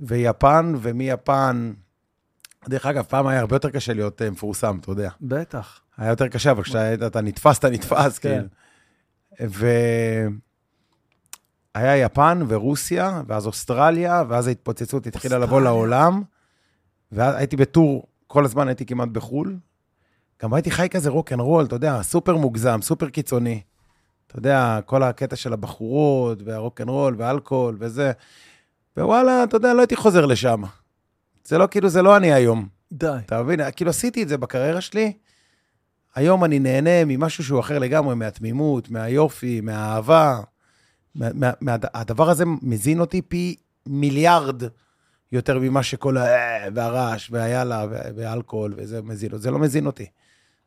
ויפן, ומיפן... דרך אגב, פעם היה הרבה יותר קשה להיות אה, מפורסם, אתה יודע.
בטח.
היה יותר קשה, אבל כשאתה אתה נתפס, אתה נתפס,
כן.
כן. ו... היה יפן ורוסיה, ואז אוסטרליה, ואז ההתפוצצות התחילה לבוא
אוסטרליה.
לעולם. ואז הייתי בטור, כל הזמן הייתי כמעט בחו"ל. גם הייתי חי כזה רול, אתה יודע, סופר מוגזם, סופר קיצוני. אתה יודע, כל הקטע של הבחורות, והרוקנרול, ואלכוהול, וזה. ווואלה, אתה יודע, לא הייתי חוזר לשם. זה לא כאילו, זה לא אני היום.
די.
אתה מבין? כאילו עשיתי את זה בקריירה שלי. היום אני נהנה ממשהו שהוא אחר לגמרי, מהתמימות, מהיופי, מהאהבה. מה, מה, מה, הדבר הזה מזין אותי פי מיליארד יותר ממה שכל ה... והרעש, והיאללה, וה- והאלכוהול, וזה מזין אותי. זה לא מזין אותי.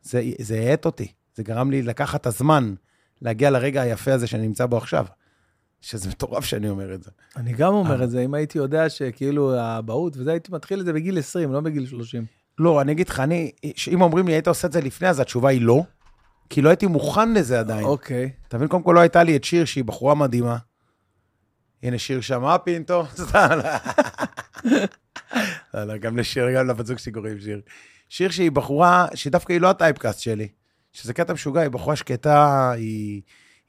זה זה האט אותי. זה גרם לי לקחת את הזמן להגיע לרגע היפה הזה שאני נמצא בו עכשיו. שזה מטורף שאני אומר את זה.
אני גם
אה.
אומר את זה, אם הייתי יודע שכאילו האבהות וזה, הייתי מתחיל את זה בגיל 20, לא בגיל 30.
לא, אני אגיד לך, אני, אם אומרים לי, היית עושה את זה לפני, אז התשובה היא לא, כי לא הייתי מוכן לזה עדיין.
אוקיי.
אתה מבין, קודם כל לא הייתה לי את שיר, שהיא בחורה מדהימה. הנה שיר שם, מה פינטו? סתם, לא. לא, לא, גם לשיר, גם לבת זוג שלי קוראים שיר. שיר שהיא בחורה, שדווקא היא לא הטייפקאסט שלי, שזה קטע משוגע, היא בחורה שקטה, היא,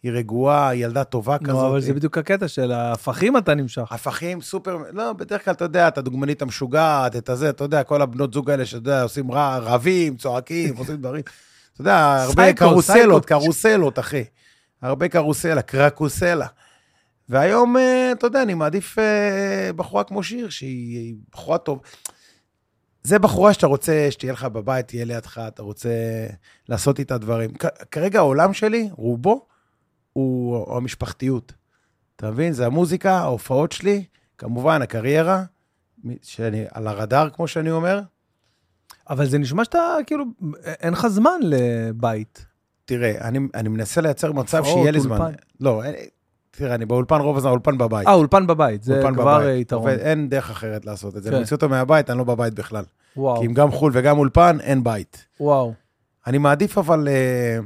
היא רגועה, היא ילדה טובה כזאת. אה.
נו, אבל זה בדיוק הקטע של ההפכים אתה נמשך.
הפכים סופר, לא, בדרך כלל, אתה יודע, את הדוגמנית המשוגעת, את הזה, אתה יודע, כל הבנות זוג האלה שאתה יודע, עושים רע, רבים, צועקים, עושים דברים. אתה יודע, הרבה
סייקו,
קרוסלות,
סייקו.
קרוסלות, אחי. הרבה קרוסלה, קרקוסלה. והיום, אה, אתה יודע, אני מעדיף אה, בחורה כמו שיר, שהיא היא בחורה טוב. זה בחורה שאתה רוצה שתהיה לך בבית, תהיה לידך, אתה רוצה לעשות איתה דברים. כ- כרגע העולם שלי, רובו, הוא המשפחתיות. אתה מבין? זה המוזיקה, ההופעות שלי, כמובן, הקריירה, מי- שאני על הרדאר, כמו שאני אומר.
אבל זה נשמע שאתה, כאילו, אין לך זמן לבית.
תראה, אני, אני מנסה לייצר מצב
הופעות,
שיהיה לי זמן.
אולפן.
לא, אין- תראה, אני באולפן רוב הזמן, אולפן בבית.
אה, אולפן בבית, זה
אולפן
כבר
בבית.
אה, יתרון.
עובד- אין דרך אחרת לעשות את זה.
כן. אוקיי.
אני מוציא אותו מהבית, אני לא בבית בכלל.
וואו,
כי אם גם חו"ל וגם אולפן, אין בית.
וואו.
אני מעדיף אבל אה,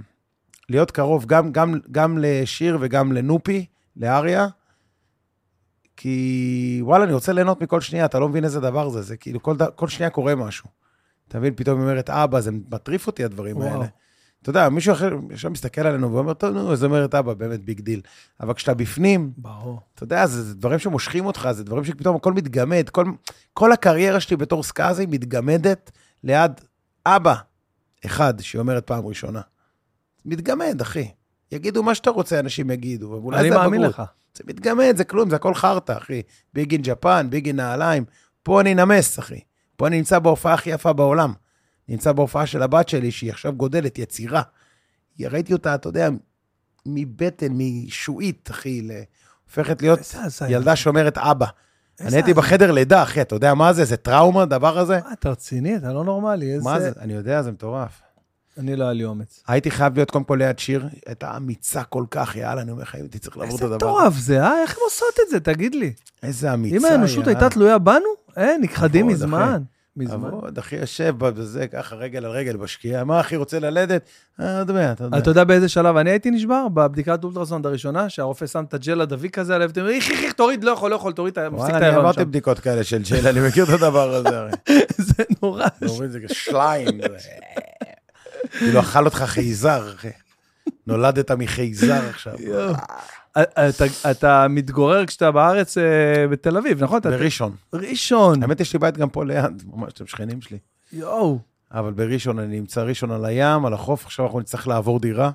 להיות קרוב גם, גם, גם לשיר וגם לנופי, לאריה, כי וואלה, אני רוצה ליהנות מכל שנייה, אתה לא מבין איזה דבר זה, זה כאילו כל, ד- כל שנייה קורה משהו. אתה מבין, פתאום היא אומרת, אבא, זה מטריף אותי הדברים
וואו.
האלה. אתה יודע, מישהו אחר ישר מסתכל עלינו ואומר, טוב, נו, אז אומרת אבא, באמת ביג דיל. אבל כשאתה בפנים,
ברור.
אתה יודע, זה, זה דברים שמושכים אותך, זה דברים שפתאום הכל מתגמד. כל, כל הקריירה שלי בתור סקאזי מתגמדת ליד אבא אחד שאומרת פעם ראשונה. מתגמד, אחי. יגידו מה שאתה רוצה, אנשים יגידו, ואולי
אני
זה
מאמין
הבגרות.
לך.
זה מתגמד, זה כלום, זה הכל חרטא, אחי. ביג אין ג'פן, ביג אין נעליים. פה אני נמס, אחי. פה אני נמצא בהופעה הכי יפה בעולם. נמצא בהופעה של הבת שלי, שהיא עכשיו גודלת, יצירה. ראיתי אותה, אתה יודע, מבטן, משועית, אחי, ל... הופכת להיות
איזה הזיה.
ילדה שאומרת אבא.
איזה
אני הייתי
הזיה.
בחדר לידה, אחי, אתה יודע מה זה? זה טראומה, הדבר הזה?
מה, אתה רציני? אתה לא נורמלי. איזה...
מה זה? אני יודע, זה מטורף.
אני לא היה לי אומץ.
הייתי חייב להיות קודם כל ליד שיר, הייתה אמיצה כל כך, יאללה, אני אומר לך, הייתי צריך לעבור את
איזה
הדבר.
מטורף זה, אה? איך הן עושות את זה? תגיד לי.
איזה אמיצה.
אם האנושות
יאללה.
הייתה תלויה בנו, אה, נכחדים
נכון,
מזמן.
אחי. נכון.
מזמן.
עבוד, אחי, יושב בזה, ככה רגל על רגל בשקיעה, מה אחי רוצה ללדת? אה, עוד מעט, עוד מעט.
אתה יודע באיזה שלב אני הייתי נשבר? בבדיקת אולטרסונד הראשונה, שהרופא שם את הג'ל הדביק הזה עליו, ואתם אומרים, איך, איך, איך, תוריד, לא יכול, לא יכול, תוריד, אתה מפסיק
וואלה,
את
אני
ההיריון
עברתי
שם.
בדיקות כאלה של ג'ל, אני מכיר את הדבר הזה, הרי.
זה נורא.
אומרים זה כשליים. כאילו, אכל אותך חייזר, אחי. נולדת מחייזר עכשיו.
יואו. אה, אתה- אתה מתגורר כשאתה בארץ, אה, בתל אביב, נכון? אתה-
בראשון.
ראשון.
האמת, יש לי בית גם פה ליד, ממש, אתם שכנים שלי.
יואו.
אבל בראשון, אני נמצא ראשון על הים, על החוף, עכשיו אנחנו נצטרך לעבור דירה.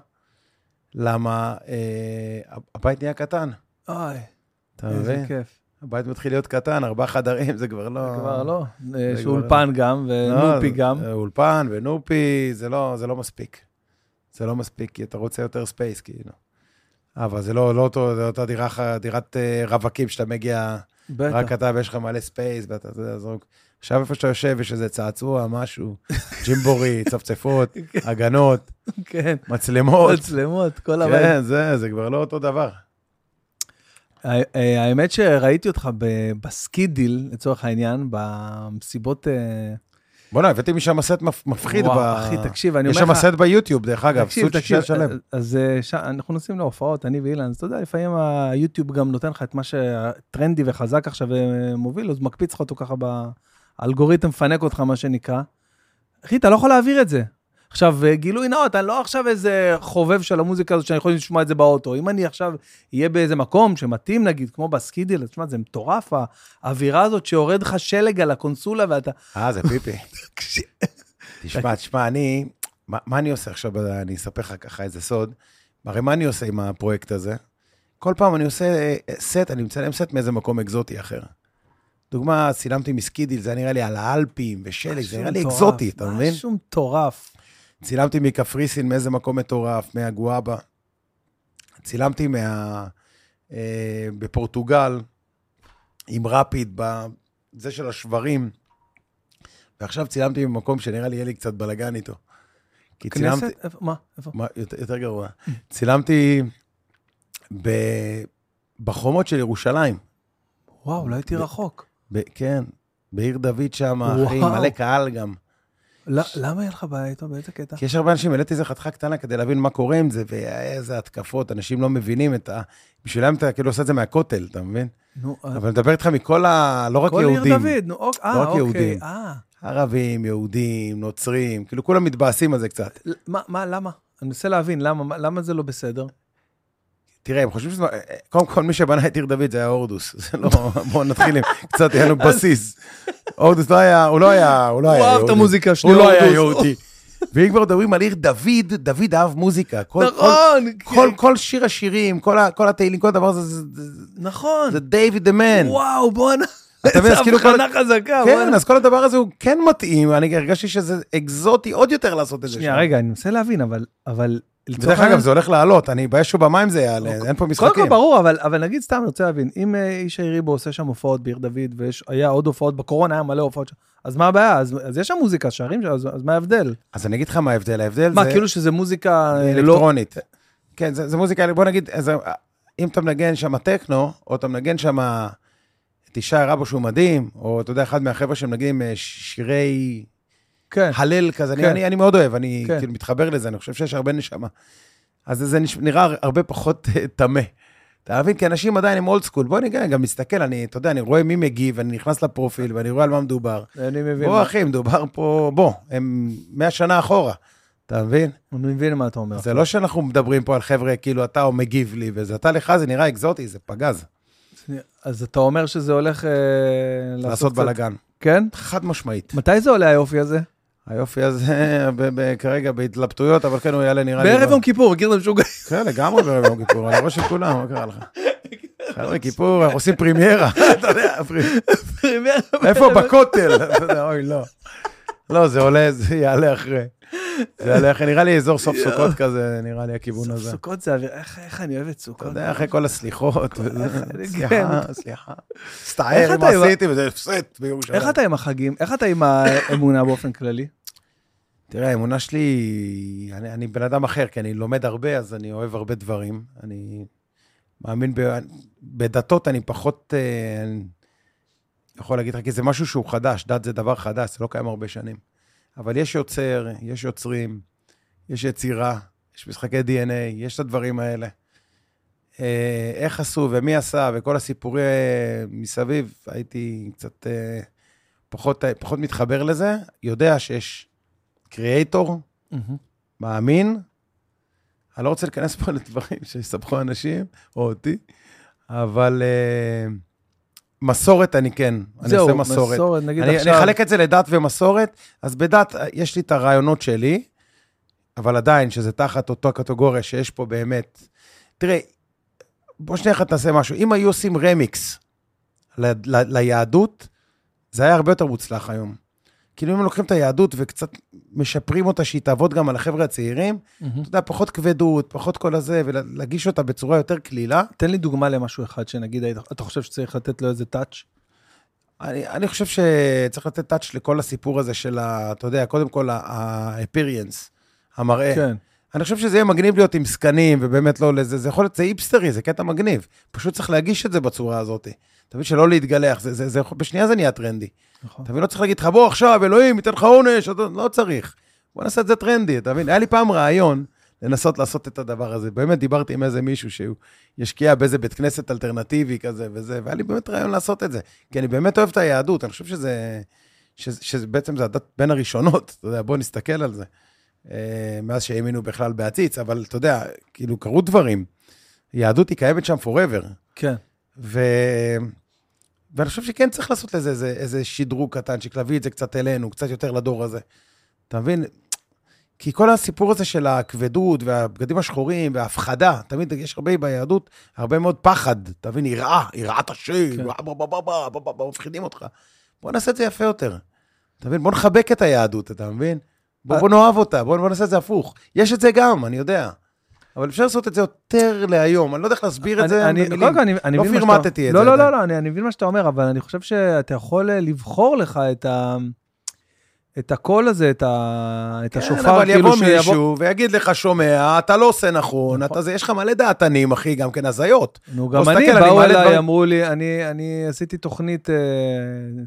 למה אה, הבית נהיה קטן,
אוי,
אתה
איזה
מבין?
כיף.
הבית מתחיל להיות קטן, ארבעה חדרים, זה כבר לא...
זה כבר לא.
זה
יש
כבר
אולפן גם,
לא,
ונופי
זה-
גם.
זה אולפן ונופי, זה לא, זה לא מספיק. זה לא מספיק, כי אתה רוצה יותר ספייס, כאילו. אבל זה לא, לא אותו, זה אותה דירה, ח- דירת אה, רווקים שאתה מגיע, רק
בטח.
אתה ויש לך מלא ספייס, ואתה אתה יודע, זרוק. עכשיו איפה שאתה יושב, יש איזה צעצוע, משהו, ג'ימבורי, צפצפות, הגנות,
כן.
מצלמות.
מצלמות, כל הבית.
כן, זה, זה כבר לא אותו דבר.
הא- אה, האמת שראיתי אותך ב- בסקידיל, לצורך העניין, במסיבות... אה,
בוא'נה, הבאתי משם סט מפ- מפחיד.
וואו,
ב-
אחי, תקשיב, אני
יש
אומר
שם
לך...
סט ביוטיוב, דרך אגב,
תקשיב,
סוט
תקשיב,
שישה שלם.
אז אה, ש- אנחנו נוסעים להופעות, אני ואילן, אז אתה יודע, לפעמים היוטיוב גם נותן לך את מה שטרנדי וחזק עכשיו אה, מוביל, אז מקפיץ לך אותו ככה ב... האלגוריתם מפנק אותך, מה שנקרא. אחי, אתה לא יכול להעביר את זה. עכשיו, אה, גילוי נאות, אני לא עכשיו איזה חובב של המוזיקה הזאת שאני יכול לשמוע את זה באוטו. אם אני עכשיו אהיה באיזה מקום שמתאים, נגיד, כמו בסקידיל, תשמע, זה מטורף, האווירה הזאת שיורד לך שלג על הקונסולה ואתה...
אה, זה פיפי. תשמע, תשמע, אני, מה, מה אני עושה עכשיו, ב- אני אספר לך ככה איזה סוד. הרי מה אני עושה עם הפרויקט הזה? כל פעם אני עושה אה, אה, סט, אני מצלם סט מאיזה מקום אקזוטי אחר. דוגמה, צילמתי מסקידיל, זה היה נראה לי על האלפים ושלג, זה
משהו
נראה לי
מטורף,
אקזוטי, אתה מבין?
משהו מטורף.
צילמתי מקפריסין, מאיזה מקום מטורף, מהגואבה. צילמתי מה... אה, בפורטוגל, עם רפיד, ב- זה של השברים. ועכשיו צילמתי במקום שנראה לי יהיה לי קצת בלאגן איתו. כי צילמתי...
כנסת? אה, איפה- מה? איפה?
מה, יותר, יותר גרוע. צילמתי ב... בחומות של ירושלים.
וואו, לא הייתי רחוק.
ב- כן, בעיר דוד שם,
וואו.
אחי, מלא קהל גם.
ל- למה היה לך בעיה איתו? באיזה קטע?
כי יש הרבה אנשים, העליתי איזה חתיכה קטנה כדי להבין מה קורה עם זה, ואיזה התקפות, אנשים לא מבינים את ה... בשבילם אתה כאילו עושה את זה מהכותל, אתה מבין?
נו, אה,
אבל אני מדבר איתך מכל ה... לא רק
כל עיר
יהודים.
דוד, נו, אוק-
לא
אה,
רק
אוקיי.
יהודים.
אה,
ערבים, יהודים, נוצרים, כאילו כולם מתבאסים על זה קצת.
ל- מה- מה, למה? אני מנסה להבין, למה- מה- למה זה לא בסדר?
תראה, הם חושבים שזה... אה, קודם כל, מי שבנה את עיר דוד זה היה הורדוס. זה לא... בואו נתחיל עם... קצת, היה לנו בסיס. הורדוס לא היה... הוא לא היה... הוא לא
הוא
היה
אהב את
יהודי.
המוזיקה שלי,
הוא לא היה
הורדוס.
יהודי. ואם כבר מדברים על עיר דוד, דוד אהב מוזיקה. כל-
נכון,
כל- כל- כל שיר השירים, כל ה- כל התהילים, כל הדבר הזה, זה- זה-
נכון.
זה דיוויד דה מן.
וואו, בואנה.
אתה מבין, אז כאילו
איזה
כל-
הבחנה חזקה,
כן,
בואנה.
אז כל הדבר הזה הוא כן מתאים, אני הרגשתי שזה אקזוטי עוד יותר לעשות את זה.
שנייה,
שם.
רגע, אני מנסה להבין, אבל... אבל... לצורך
ודרך
העניין- אוקיי.
אגב, זה הולך לעלות, אני אתבייש שבמים זה יעלה, אין פה
קודם כל
משחקים.
ברור, אבל, אבל נגיד סתם, אני רוצה להבין, אם אה, איש העיריבו עושה שם הופעות בעיר דוד, והיה עוד הופעות, בקורונה היה מלא הופעות שם, אז מה הבעיה? אז, אז יש שם מוזיקה, שרים, שם, אז, אז מה ההבדל?
אז אני אגיד לך מה ההבדל, ההבדל
מה,
זה
כאילו שזה מוזיקה אה, לא...
אלקטרונית. כן, זה זה מוזיקה, בוא נגיד, אז, אה, אם אתה מנגן שם טכנו, או אתה מנגן שם אה, את אישה רבו שהוא מדהים, או אתה יודע, אחד מהחבר'ה שמנגנים אה, שירי
כן,
הלל כזה, אני-
כן.
אני אני מאוד אוהב, אני
כן.
כאילו מתחבר לזה, אני חושב שיש הרבה נשמה. אז זה נש- נראה הרבה פחות אה, טמא. אתה מבין? כי אנשים עדיין הם אולד סקול. בוא ניגע, גם מסתכל, אני, אתה יודע, אני רואה מי מגיב, אני נכנס לפרופיל ואני רואה על מה מדובר.
אני מבין.
בוא,
מה-
אחי, מדובר פה, בוא, הם 100 שנה אחורה, אתה מבין?
אני מבין מה אתה אומר.
זה לא שאנחנו מדברים פה על חבר'ה, כאילו, אתה או מגיב לי, וזה אתה לך, זה נראה אקזוטי, זה פגז,
אז אתה אומר שזה הולך אה,
לעשות
קצת-
בלאגן.
כן?
חד משמעית.
מתי זה עולה היופי הזה?
היופי הזה ב- ב- כרגע בהתלבטויות, אבל כן, הוא יעלה נראה לי.
בערב
ב-
יום כיפור, מכיר את המשוגע?
כן, לגמרי בערב יום כיפור, על הראש של כולם, מה קרה לך? חבר'ה, כיפור, אנחנו עושים פרימיירה, אתה יודע, פרי- איפה בכותל? אתה יודע, אוי, לא. לא, זה עולה, זה יעלה אחרי. זה יעלה אחרי, נראה לי אזור סוף סוכות כזה, נראה לי הכיוון הזה.
סוכות זה אוויר, איך- איך אני אוהב את סוכות.
אתה יודע, אחרי כל הסליחות, וזה,
אני-
סליחה,
כן.
סליחה.
איך
הסתער,
אתה
מה
עם ה-
עשיתי, וזה הפסט בירושלים.
איך אתה עם החגים? איך אתה עם האמונה באופן כללי?
תראה, האמונה שלי, אני, אני בן אדם אחר, כי אני לומד הרבה, אז אני אוהב הרבה דברים. אני מאמין, ב, בדתות אני פחות, אה, אני יכול להגיד לך, כי זה משהו שהוא חדש, דת זה דבר חדש, זה לא קיים הרבה שנים. אבל יש יוצר, יש יוצרים, יש יצירה, יש משחקי DNA, יש את הדברים האלה. אה, איך עשו ומי עשה וכל הסיפורי אה, מסביב, הייתי קצת אה, פחות, אה, פחות מתחבר לזה. יודע שיש קריאייטור, מאמין. אני לא רוצה להיכנס פה לדברים שיסבכו אנשים, או אותי, אבל uh, מסורת אני כן, אני עושה מסורת.
נגיד
אני,
עכשיו...
אני אחלק את זה לדת ומסורת, אז בדת אה, יש לי את הרעיונות שלי, אבל עדיין, שזה תחת אותו הקטגוריה שיש פה באמת. תראה, בוא שנייה אחת נעשה משהו. אם היו עושים רמיקס ל, ל, ליהדות, זה היה הרבה יותר מוצלח היום. כאילו, אם הם לוקחים את היהדות וקצת משפרים אותה, שהיא תעבוד גם על החבר'ה הצעירים,
מהמם.
אתה יודע, פחות כבדות, פחות כל הזה, ולהגיש אותה בצורה יותר קלילה,
תן לי דוגמה למשהו אחד שנגיד, היית- אתה חושב שצריך לתת לו איזה טאץ'?
אני, אני חושב שצריך לתת טאץ' לכל הסיפור הזה של, ה, אתה יודע, קודם כל ה-appearance, המראה. כן.
כן.
אני חושב שזה יהיה מגניב להיות עם זקנים, ובאמת לא לזה, זה יכול להיות, זה היפסטרי, זה קטע מגניב. פשוט צריך להגיש את זה בצורה הזאת. אתה מבין שלא להתגלח, זה, זה, זה, יכול- בשנייה זה נהיה טרנדי.
נכון.
אתה מבין, לא צריך להגיד לך, בוא עכשיו, אלוהים, ייתן לך עונש, אתה, לא צריך. בוא נעשה את זה טרנדי, אתה מבין? היה לי פעם רעיון לנסות לעשות את הדבר הזה. באמת דיברתי עם איזה מישהו שהוא ישקיע באיזה בית כנסת אלטרנטיבי כזה וזה, והיה לי באמת רעיון לעשות את זה. כי אני באמת אוהב את היהדות, אני חושב שזה, שזה, שזה בעצם זה הדת בין הראשונות, אתה יודע, בוא נסתכל על זה. אה, מאז שהאמינו בכלל בעציץ, אבל אתה יודע, כאילו קרו דברים. יהדות היא קיימת שם forever.
כן.
ו... ואני חושב שכן צריך לעשות לזה איזה, איזה שדרוג קטנצ'יק, להביא את זה קצת אלינו, קצת יותר לדור הזה. אתה מבין? כי כל הסיפור הזה של הכבדות והבגדים השחורים וההפחדה, תמיד יש הרבה ביהדות, הרבה מאוד פחד, אתה מבין? יראה, יראת השם,
כן.
וואה, בוא, בוא, בוא, בוא, בוא, בוא, בוא, מפחידים אותך. בוא נעשה את זה יפה יותר. אתה מבין? בוא נחבק את היהדות, אתה מבין? בוא,
אה.
בוא נאהב אותה, בוא, בוא נעשה את זה הפוך. יש את זה גם, אני יודע. אבל אפשר לעשות את זה יותר להיום, אני לא יודע איך להסביר את זה
אני- אני- קודם כל, אני- אני
לא
מבין מה שאתה-
פרמטתי את
לא,
זה
לא, לא,
עדיין.
לא, אני אני מבין מה שאתה אומר, אבל אני חושב שאתה יכול אה, לבחור לך את ה... את הקול הזה, את, ה... את
כן,
השופר,
אבל
כאילו
יבוא מישהו ויגיד לך, שומע, אתה לא עושה נכון, אתה זה, יש לך מלא דעתנים, אחי, גם כן הזיות.
נו,
בוא
גם אני,
תסתכל, אני
באו
מעלה
אליי,
דברים-
אמרו לי, אני, אני עשיתי תוכנית, אה,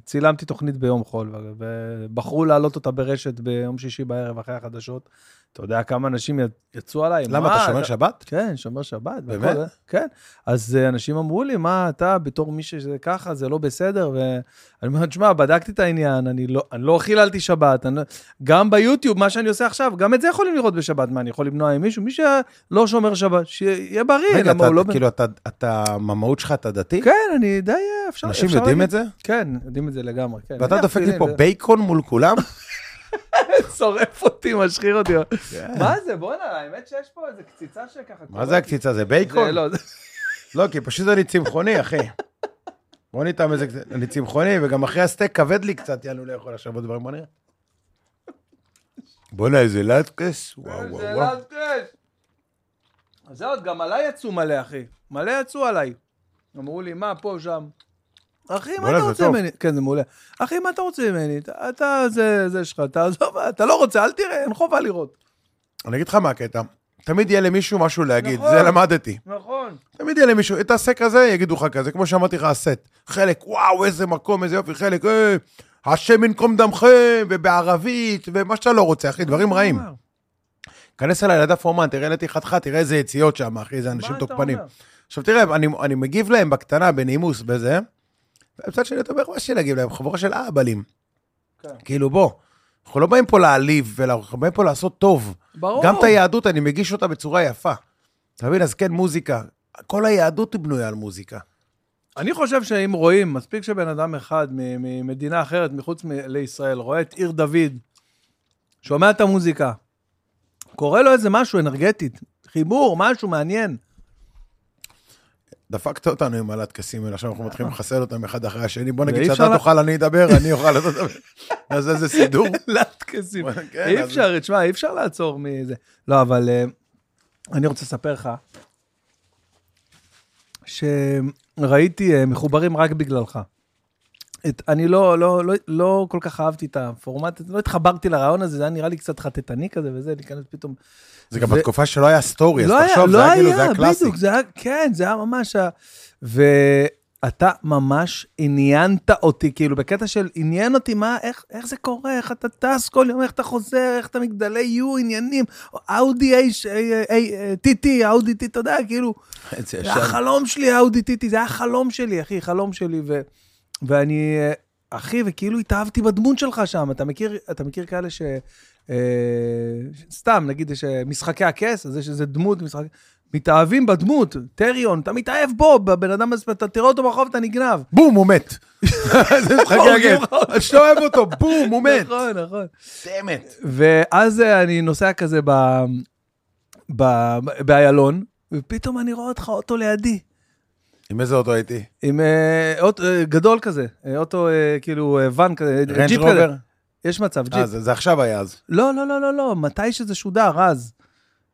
צילמתי תוכנית ביום חול, ו- ובחרו להעלות אותה ברשת ביום שישי בערב אחרי החדשות. אתה יודע כמה אנשים י- יצאו עליי?
למה, אתה שומר שבת?
כן, שומר שבת. והכל,
באמת?
אה? כן. אז אה, אנשים אמרו לי, מה אתה, בתור מי שזה ככה, זה לא בסדר, ואני אומר, תשמע, בדקתי את העניין, אני לא, אני לא חיללתי שבת, אני... לא- גם ביוטיוב, מה שאני עושה עכשיו, גם את זה יכולים לראות בשבת, מה, אני יכול למנוע עם מישהו? מי שלא שומר שבת, שיהיה בריא,
רגע,
למה
אתה,
הוא לא...
כאילו, אתה, אתה, המהות שלך, אתה דתי?
כן, אני די, אה, אפשר...
אנשים
אפשר
יודעים
להגיד-
את זה?
כן, יודעים את זה לגמרי, כן.
ואתה
אני
דופק לי
אפילו-
פה בייקון מול כולם?
שורף אותי, משחיר אותי. מה זה, בואנה, האמת שיש פה איזה קציצה שככה...
כן. מה זה הקציצה? זה בייקון?
זה לא, זה-
לא, כי פשוט אני צמחוני, אחי. בוא ניתן איזה קצת, אני צמחוני, וגם אחרי הסטייק כבד לי קצת, יאללה, לא יכול עכשיו עוד דברים, בוא נראה. בואנה, איזה לטקס, וואו, וואו,
זה
וואו.
לאזקש. אז זה עוד, גם עליי יצאו מלא, אחי. מלא יצאו עליי. אמרו לי, מה, פה, שם. אחי, מה
וואלה,
אתה
זה
רוצה
טוב.
ממני? כן, זה מעולה. אחי, מה אתה רוצה ממני? אתה- אתה, זה זה שלך, תעזוב, אתה לא רוצה, אל תראה, אין חובה לראות.
אני אגיד לך מה הקטע, תמיד יהיה למישהו משהו להגיד,
נכון.
זה למדתי.
נכון.
תמיד יהיה למישהו, תעשה כזה, יגידו לך כזה, כמו שאמרתי לך, הסט. חלק, וואו, איזה מקום, איזה יופי, חלק, אה, השם ינקום דמכם, ובערבית, ומה שאתה לא רוצה, אחי, דברים רעים. כנס אליי לדף אומן, תראה לאתי חתך, תראה איזה יציאות שם, אחי, איזה אנשים
מה אתה
תוקפנים.
אומר?
עכשיו תראה, אני, אני מגיב להם בקטנה, בנימוס, בזה, ובצד שני אתה אומר, מה יש לי להגיב להם? חבורה של אהבלים.
כן.
כאילו, בוא, אנחנו לא באים פה להעליב, אלא אנחנו באים פה לעשות טוב.
ברור.
גם את היהדות, אני מגיש אותה בצורה יפה. אתה מבין? אז כן, מוזיקה. כל היהדות היא בנויה על מוזיקה.
אני חושב שאם רואים, מספיק שבן אדם אחד מ- ממדינה אחרת, מחוץ מ- לישראל, רואה את עיר דוד, שומע את המוזיקה, קורא לו איזה משהו אנרגטית, חיבור, משהו מעניין.
דפקת אותנו עם הלטקסים האלה, עכשיו אנחנו מתחילים לחסל אותם אחד אחרי השני. בוא נגיד
ואי
שאתה
אה. אפשר לה-
תאכל, אני אדבר, אני אוכל, אתה תדבר. אז איזה סידור.
לטקסים.
כן,
אי
אז-
אפשר, תשמע, אי אפשר לעצור מזה. לא, אבל אה, אני רוצה לספר לך, שראיתי אה, מחוברים רק בגללך. את, אני לא, לא, לא, לא כל כך אהבתי את הפורמט, הזה, לא התחברתי לרעיון הזה, זה היה נראה לי קצת חטטני כזה וזה, להיכנס פתאום.
זה גם
ו-
בתקופה שלא היה סטורי, אז
לא היה,
תחשוב,
לא
זה היה
היה,
כאילו, זה היה קלאסי.
בדיוק, זה היה, כן, זה היה ממש ה... ואתה ממש עניינת אותי, כאילו, בקטע של עניין אותי, מה, איך, איך זה קורה, איך אתה טס כל יום, איך אתה חוזר, איך אתה מגדלי יו, עניינים, אאודי איי- איי- איי- TT, אאודי TT, אתה יודע, כאילו,
זה
זה היה החלום שלי, אאודי TT, זה היה החלום שלי, אחי, חלום שלי, ו... ואני, אה, אחי, וכאילו התאהבתי בדמות שלך שם, אתה מכיר, אתה מכיר כאלה ש... אה, ש- סתם, נגיד, יש אה, משחקי הכס, אז יש איזה דמות, משחק... מתאהבים בדמות, טריון, אתה מתאהב בו, בבן אדם הזה, אתה תראה אותו ברחוב, אתה נגנב.
בום, הוא מת. זה משחק
הורגים
יגן.
אותו.
עד שאתה אוהב אותו, בום, הוא מת.
נכון, נכון.
באמת.
ואז אה, אני נוסע כזה ב... ב... באיילון, ופתאום אני רואה אותך אוטו לידי.
עם איזה אוטו הייתי?
עם אה, אוטו אה, גדול כזה, אה, אוטו אה, כאילו אה, ואן כזה, אה,
רנג'
ג'יפ כזה.
רובר?
יש מצב,
אה,
ג'יפ.
זה זה עכשיו היה אז.
לא, לא, לא, לא, לא, מתי שזה שודר, אז.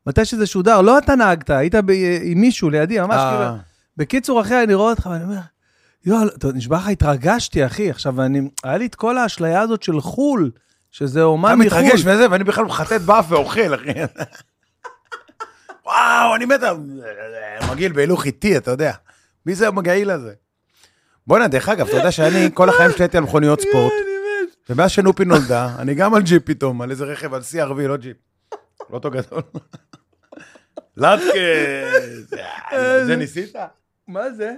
מתי שזה שודר, לא אתה נהגת, היית ב... אה, עם מישהו לידי, ממש
אה,
כאילו. בקיצור, אחי, אני רואה אותך ואני אומר, יואל, אתה נשבע לך, התרגשתי, אחי. עכשיו, אני, היה לי את כל האשליה הזאת של חו"ל, שזה
אתה
אומן מחו"ל.
מתרגש מזה, ואני בכלל מחטט באף ואוכל, אחי. וואו, אני מת, על- מגעיל בהילוך איתי, אתה יודע. מי זה המגעיל הזה? בואנה, דרך אגב, אתה יודע שאני כל החיים שלי הייתי על מכוניות ספורט,
אני מת.
ומאז שנופי נולדה, אני גם על ג'יפ פתאום, על איזה רכב, על CRV, לא ג'יפ. לא אותו גדול. לטקס, אה, זה ניסית?
מה זה?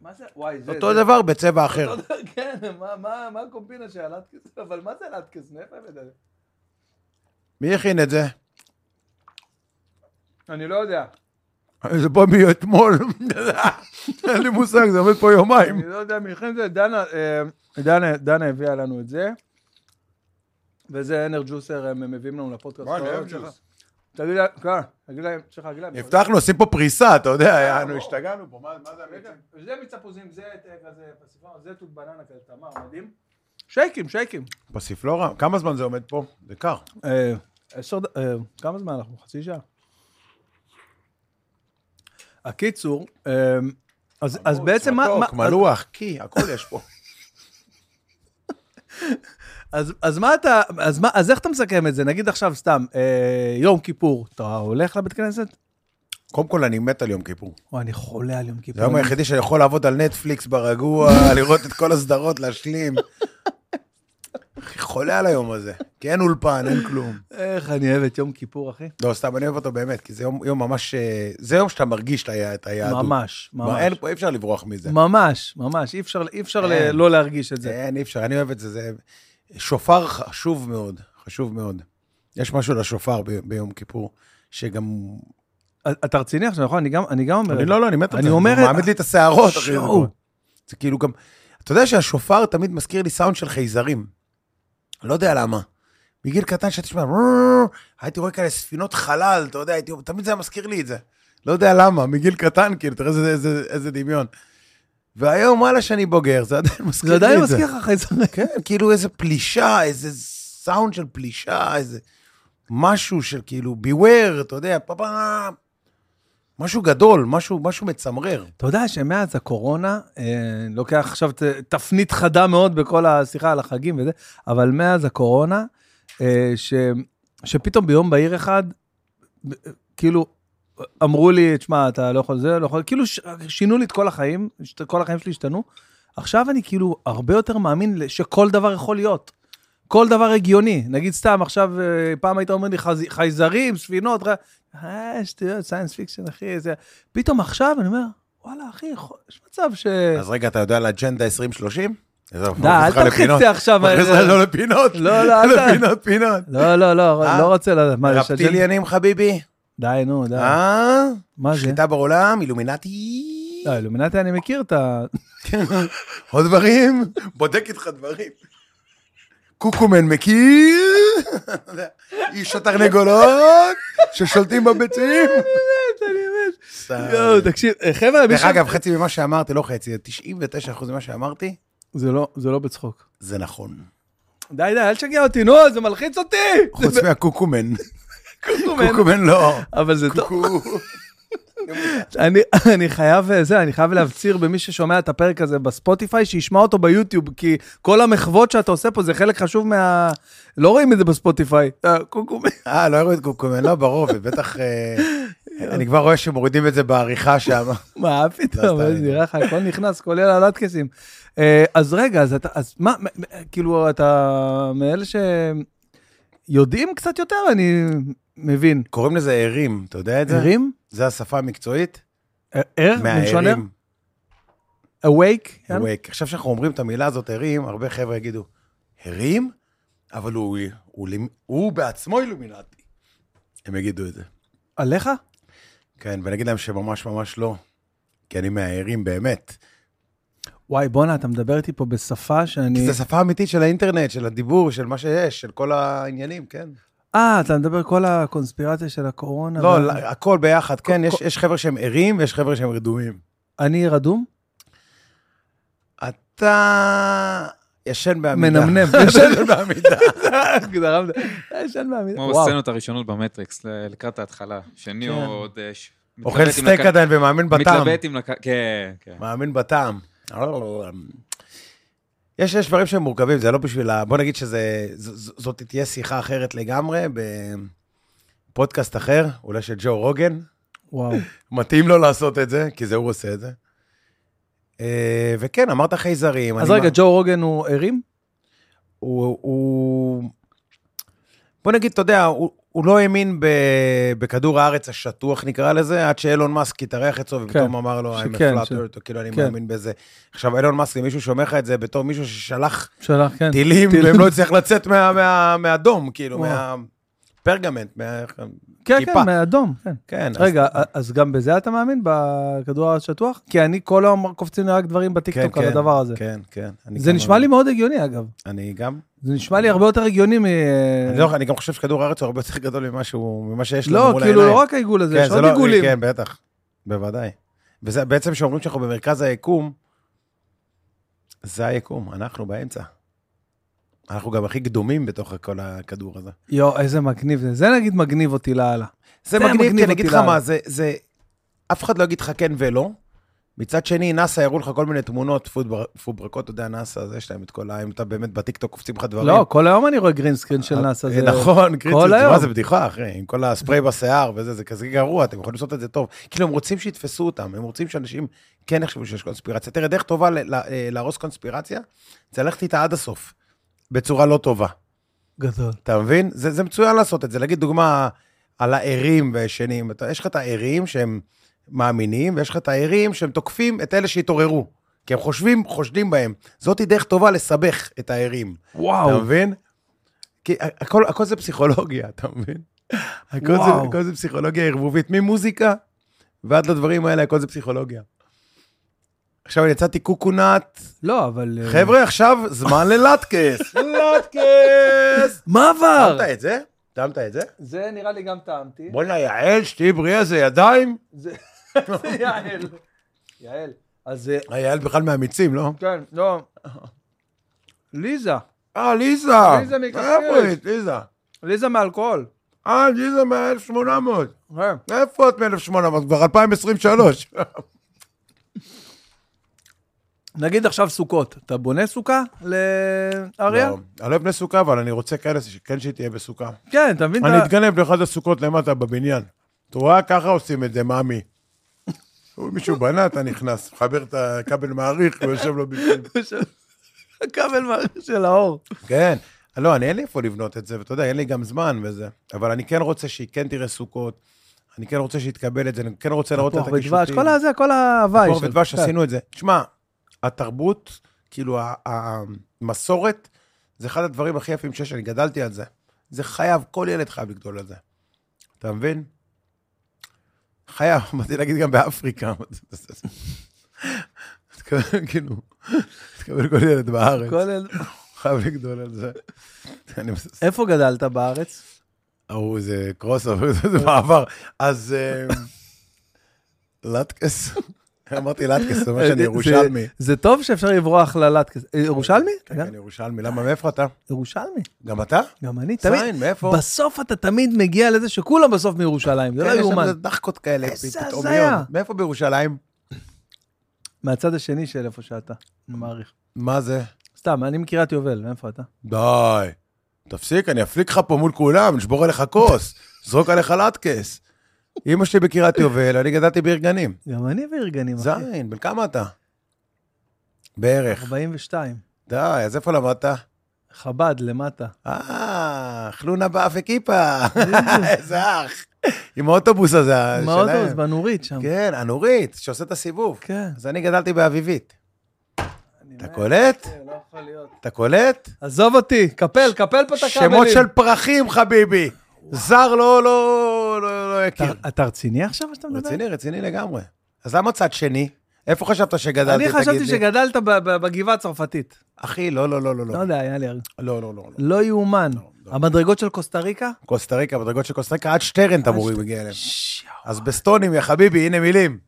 מה זה? וואי, זה...
אותו
זה-
דבר בצבע אחר.
אותו דבר, כן, מה- מה מה הקומבינה של הלטקס? אבל מה זה הלטקס? מאיפה הבאת את זה?
מי הכין את זה?
אני לא יודע.
זה בא מאתמול. אין לי מושג, זה עומד פה יומיים.
אני לא יודע מי הכין את זה, דנה, אה, דנה, דנה הביאה לנו את זה, וזה אנרג'וסר הם מביאים לנו לפודקאסט.
וואי,
לא, לא,
אנרג'וס.
צריך- תגיד להם, כן, תגיד להם, צריך להגיד להם.
הבטחנו, עושים פה פריסה, אתה יודע, אנו השתגענו פה, מה מה זה
אה, רגע,
המיצים?
זה מיץ תפוזים, זה אה, כזה פסיפון, זה תות בננה כזה, תמר, מדהים. שייקים, שייקים.
פסיפלורה? כמה זמן זה עומד פה? זה קר.
אה, עשר ד... אה, כמה זמן אנחנו? חצי שעה? הקיצור, אה, אז, אז בעצם מה...
מתוק,
מה-
מלוח, קי, הכל יש פה.
אז, אז מה אתה, אז, מה, אז איך אתה מסכם את זה? נגיד עכשיו סתם, אה, יום כיפור, אתה הולך לבית כנסת?
קודם כל, אני מת על יום כיפור.
או, אני חולה על יום כיפור.
זה היום היחידי שאני יכול לעבוד על נטפליקס ברגוע, לראות את כל הסדרות, להשלים. אחי, חולה על היום הזה, כי אין אולפן, אין כלום.
איך אני אוהב את יום כיפור, אחי.
לא, סתם, אני אוהב אותו באמת, כי זה יום, יום ממש... אה, זה יום שאתה מרגיש לה- את היהדות.
ממש,
מה,
ממש.
אין פה, אי אפשר לברוח מזה.
ממש, ממש. אי אפשר, אי אפשר ל-
אין.
לא להרגיש את זה.
אין, אי אפשר, אני אוהב את זה. זה שופר חשוב מאוד, חשוב מאוד. יש משהו לשופר ב- ביום כיפור, שגם...
אתה רציני עכשיו, נכון? אני גם, אני גם אומר...
אני
את
לא, לא, אני מת על זה.
אני אומר...
הוא מעמיד לי את השערות, אחי. זה
שואו.
כבר- זה כאילו גם... אתה יודע שהשופר תמיד מזכיר לי סאונד של חייזרים. לא יודע למה. מגיל קטן שאתה תשמע, "רור", הייתי רואה כאלה ספינות חלל, אתה יודע, הייתי, תמיד זה היה מזכיר לי את זה. לא יודע למה, מגיל קטן, כאילו, תראה איזה, איזה, איזה דמיון. והיום, וואלה, שאני בוגר, זה עדיין לא מזכיר לי
זה
את זה.
עדיין מזכיר לך חייזרים.
כן, כאילו איזה פלישה, איזה סאונד של פלישה, איזה משהו של כאילו, beware, אתה יודע, פאפה, משהו גדול, משהו, משהו מצמרר.
אתה יודע שמאז הקורונה, אה, לוקח עכשיו ת- תפנית חדה מאוד בכל השיחה על החגים וזה, אבל מאז הקורונה, אה, ש, שפתאום ביום בהיר אחד, ב- כאילו, אמרו לי, תשמע, אתה לא יכול זה, לא יכול, כאילו ש, שינו לי את כל החיים, שת- כל החיים שלי השתנו. עכשיו אני כאילו הרבה יותר מאמין ל- שכל דבר יכול להיות. כל דבר הגיוני. נגיד סתם, עכשיו, אה, פעם היית אומר לי חז, חייזרים, ספינות, ר- אה, שטויות, סיינס פיקשן, אחי, זה... פתאום עכשיו אני אומר, וואלה, אחי, יכול- יש מצב ש...
אז רגע, אתה יודע על אג'נדה 2030?
כן. די, אל תלחיץ אותי עכשיו.
מכניס
אה,
אותנו לפינות.
לא, לא, אל ת-
לפינות, פינות.
לא, לא, לא,
אה?
לא רוצה לדעת. מה, יש אג'נדה?
רפטיליאנים, חביבי?
די, נו, די.
אה?
מה זה?
שליטה בעולם, אילומינטי.
לא, אילומינטי, אני מכיר את ה...
עוד דברים? בודק איתך דברים. קוקומן מכיר? איש התרנגולות ששולטים בביצים?
יואו, תקשיב, אה, חבר'ה, מי ש...
דרך אגב, חצי ממה שאמרתי, לא חצי, 99% ממה שאמרתי,
זה לא- זה לא בצחוק.
זה נכון.
די, די, אל תשגע אותי, נו, זה מלחיץ אותי!
חוץ מהקוקומן.
קוקומן.
קוקומן לא.
אבל זה טוב.
קוקו.
אני, אני חייב, אה, זה, אני חייב להפציר במי ששומע את הפרק הזה בספוטיפיי, שישמע אותו ביוטיוב, כי כל המחוות שאתה עושה פה זה חלק חשוב מה... לא רואים את זה בספוטיפיי. אה, קוקומן.
אה, לא הראו את קוקומן, לא, ברור, ובטח... אה, אני כבר רואה שמורידים את זה בעריכה שם.
מה פתאום,
לא, סתם,
איזה נראה לך, הכל נכנס, כולל הלטקסים. אה, אז רגע, אז אתה, אז מה, מ- מ- כאילו, אתה מאלה שיודעים קצת יותר, אני מבין.
קוראים לזה ערים, אתה יודע את זה?
ערים?
זה השפה המקצועית?
אה, ער? מלשון
מהערים.
ער? awake? כן?
awake. עכשיו שאנחנו אומרים את המילה הזאת, הרים, הרבה חבר'ה יגידו, הרים? אבל הוא, הוא, הוא, הוא בעצמו אילומינטי. הם יגידו את זה.
עליך?
כן, ואני אגיד להם שממש ממש לא. כי אני מההרים באמת.
וואי, בואנה, אתה מדבר איתי פה בשפה שאני...
כי זו שפה אמיתית של האינטרנט, של הדיבור, של מה שיש, של כל העניינים, כן.
אה, אתה מדבר כל הקונספירציה של הקורונה.
לא,
אבל-
לא, הכל ביחד, כן, יש,
כל-
יש חבר'ה שהם ערים ויש חבר'ה שהם רדומים.
אני רדום?
אתה ישן בעמידה.
מנמנם.
ישן בעמידה. אה,
הגדרה מד- ישן מאמין.
כמו
וואו.
בסצנות הראשונות במטריקס, ל- לקראת ההתחלה. שני
כן.
או עוד... אה, ש- מתלבט
אוכל
אם
סטייק
לקח-
עדיין ומאמין בטעם.
מתלבט אם לקח... כן, כן.
מאמין בטעם. יש, יש דברים שהם מורכבים, זה לא בשביל ה... בוא נגיד שזה... ז- ז- זאת תהיה שיחה אחרת לגמרי, בפודקאסט אחר, אולי של ג'ו רוגן.
וואו.
מתאים לו לעשות את זה, כי זה הוא עושה את זה. אה, וכן, אמרת חייזרים.
אז
אני
רגע,
מה-
ג'ו רוגן הוא ערים?
הוא, הוא... בוא נגיד, אתה יודע, הוא, הוא לא האמין ב, בכדור הארץ השטוח, נקרא לזה, עד שאילון מאסק התארח אצלו, ופתאום
כן.
אמר לו, I'm a
שכן,
flat
ש-
earth, כאילו, אני
כן.
מאמין בזה. עכשיו, אילון מאסק, אם מישהו שומע לך את זה בתור מישהו ששלח
שלח, כן.
טילים,
טילים.
והם לא הצליח לצאת מה, מה, מהדום, כאילו,
וואו.
מהפרגמנט, מה...
כן, כן,
כיפה.
מאדום, כן.
כן. אז-
רגע, אז גם בזה אתה מאמין? בכדור הארץ שטוח? כי אני כל היום קופצים לי רק דברים בטיקטוק על הדבר הזה.
כן, כן. אני
זה
גם-
נשמע לי מאוד הגיוני, אגב.
אני גם.
זה נשמע לי הרבה יותר הגיוני מ...
אני לא- אני גם חושב שכדור הארץ הוא הרבה יותר גדול ממה שהוא- ממה שיש לנו מול
לא,
העיניים.
כאילו, לא רק העיגול הזה,
כן,
יש
זה
עוד
לא-
עיגולים.
כן, בטח, בוודאי. וזה בעצם כשאומרים שאנחנו במרכז היקום, זה היקום, אנחנו באמצע. אנחנו גם הכי קדומים בתוך כל הכדור הזה.
יואו, איזה מגניב זה. זה נגיד מגניב אותי לאללה.
זה
מגניב
מגניב, כי
אותי
אני אגיד לך
לאללה.
מה, זה, זה, אף אחד לא יגיד לך כן ולא, מצד שני, נאסא הראו לך כל מיני תמונות, פובר- פוברקות, אתה יודע, נאסא, אז יש להם את כל ה... אם אתה באמת בטיקטוק קופצים לך דברים.
לא, כל היום אני רואה גרינסקרין של נאסא.
אה,
זה-
נכון, קריצות,
היום.
מה זה בדיחה, אחי, עם כל הספרי בשיער וזה, זה כזה גרוע, אתם יכולים לעשות את זה טוב. כאילו, הם רוצים שיתפסו אותם, הם רוצים שאנשים כן יחשבו שיש קונספירציה. תראה, דרך טובה ל- ל- אה, להרוס קונספירציה, זה ללכת איתה עד הסוף, בצורה לא טובה.
גדול.
אתה מבין? זה, זה מצוין לעשות את זה. להגיד דוגמה על הערים והישנים. אתה- יש לך את הערים שהם מאמינים, ויש לך את הערים שהם תוקפים את אלה שהתעוררו. כי הם חושבים, חושדים בהם. זאת היא דרך טובה לסבך את הערים. אתה
וואו.
מבין? כי ה- הכל, הכל זה פסיכולוגיה, אתה מבין? הכל זה,
וואו.
הכל זה פסיכולוגיה ערבובית, ממוזיקה ועד לדברים האלה, הכל זה פסיכולוגיה. עכשיו אני יצאתי קוקונט,
לא, אבל... אה,
חבר'ה, עכשיו זמן ללטקס. לטקס!
מה עבר?
טעמת את זה? טעמת את זה?
זה נראה לי גם טעמתי.
בואנה, יעל, שתהיי בריאה זה ידיים?
זה יעל. יעל. אז אה,
יעל בכלל מהמיצים, לא?
כן, לא. ליזה.
אה, ליזה.
ליזה מקשקש.
איפה את, ליזה?
ליזה מאלכוהול.
אה, ליזה מ-1800.
כן.
איפה את מ-1800? כבר 2023.
נגיד עכשיו סוכות, אתה בונה סוכה לאריה?
לא, אני לא אבנה סוכה, אבל אני רוצה כאלה שכן שהיא תהיה בסוכה.
כן, אתה מבין?
אני לא-
אתה-
אתגנב לאחד הסוכות למטה בבניין. את רואה? ככה עושים את זה, מאמי. מישהו בנה, אתה נכנס, מחבר את הכבל מעריך ויושב לו בפנים.
הכבל מערכת של האור.
כן. לא, אני אין לי איפה לבנות את זה, ואתה יודע, אין לי גם זמן וזה. אבל אני כן רוצה שהיא כן תראה סוכות, אני כן רוצה שהיא תקבל את זה, אני כן רוצה לראות את
תפוח
הקישוטים.
ודבש, כל הזה, כל ההוואי.
תפוח
של-
ודבש,
כן.
עשינו את זה. שמע, התרבות, כאילו, ה- ה- המסורת, זה אחד הדברים הכי יפים שיש, אני גדלתי על זה. זה חייב, כל ילד חייב לגדול על זה. אתה מבין? חייב, באתי להגיד גם באפריקה. תקבל, כאילו, תקבל כל ילד בארץ.
כל אל-
חייב לגדול על זה. אני מס-
איפה גדלת בארץ?
ההוא זה קרוס, אבל זה מעבר. אז אה, לטקס, אמרתי לטקס, זה אומר שאני
זה-
ירושלמי.
זה טוב שאפשר לברוח ללט כזה. אה, ירושלמי? אתה
כן,
גם?
אני ירושלמי. למה, מאיפה אתה?
ירושלמי.
גם אתה?
גם אני, תמיד.
זין, מאיפה?
בסוף אתה תמיד מגיע לזה שכולם בסוף מירושלים, זה
כן,
לא
יש שם
יאומן.
איזה דחקות כאלה,
איזה
פתאומיות.
הזיה.
מאיפה בירושלים?
מהצד השני של איפה שאתה, אני מעריך.
מה זה?
סתם, אני מקריית יובל, מאיפה אתה?
די. תפסיק, אני אפליק לך פה מול כולם, נשבור עליך כוס, זרוק עליך לטקס. אמא שלי בקריית יובל, אני גדלתי בעיר גנים.
גם אני בארגנים, אחי.
זין, בן כמה אתה? בערך.
42.
די, אז איפה למדת?
חב"ד למטה.
אה, חלונה באף וכיפה, איזה אח. עם האוטובוס הזה שלהם.
עם האוטובוס בנורית שם.
כן, הנורית, שעושה את הסיבוב.
כן.
אז אני גדלתי באביבית.
אני
אתה
מת,
קולט?
אחי, לא יכול להיות.
אתה קולט?
עזוב אותי, קפל, קפל פה את הכבלים.
שמות של פרחים, חביבי. זר לא, לא, לא, לא הכיר.
אתה- אתה רציני עכשיו מה שאתה מדבר?
רציני, רציני לגמרי. אז למה צד שני? איפה חשבת שגדלתי,
אני
תגיד לי?
חשבתי שגדלת ב- ב- בגבעה הצרפתית.
אחי, לא, לא, לא, לא,
לא
לא.
יודע, היה לי... הר-
לא, לא, לא. לא.
לא יאומן.
לא.
המדרגות של קוסטה ריקה?
קוסטה ריקה, בדרגות של קוסטה ריקה, עד שטרן אתה אמורים להגיע אליהם.
ש-
אז בסטונים, יא חביבי, הנה מילים.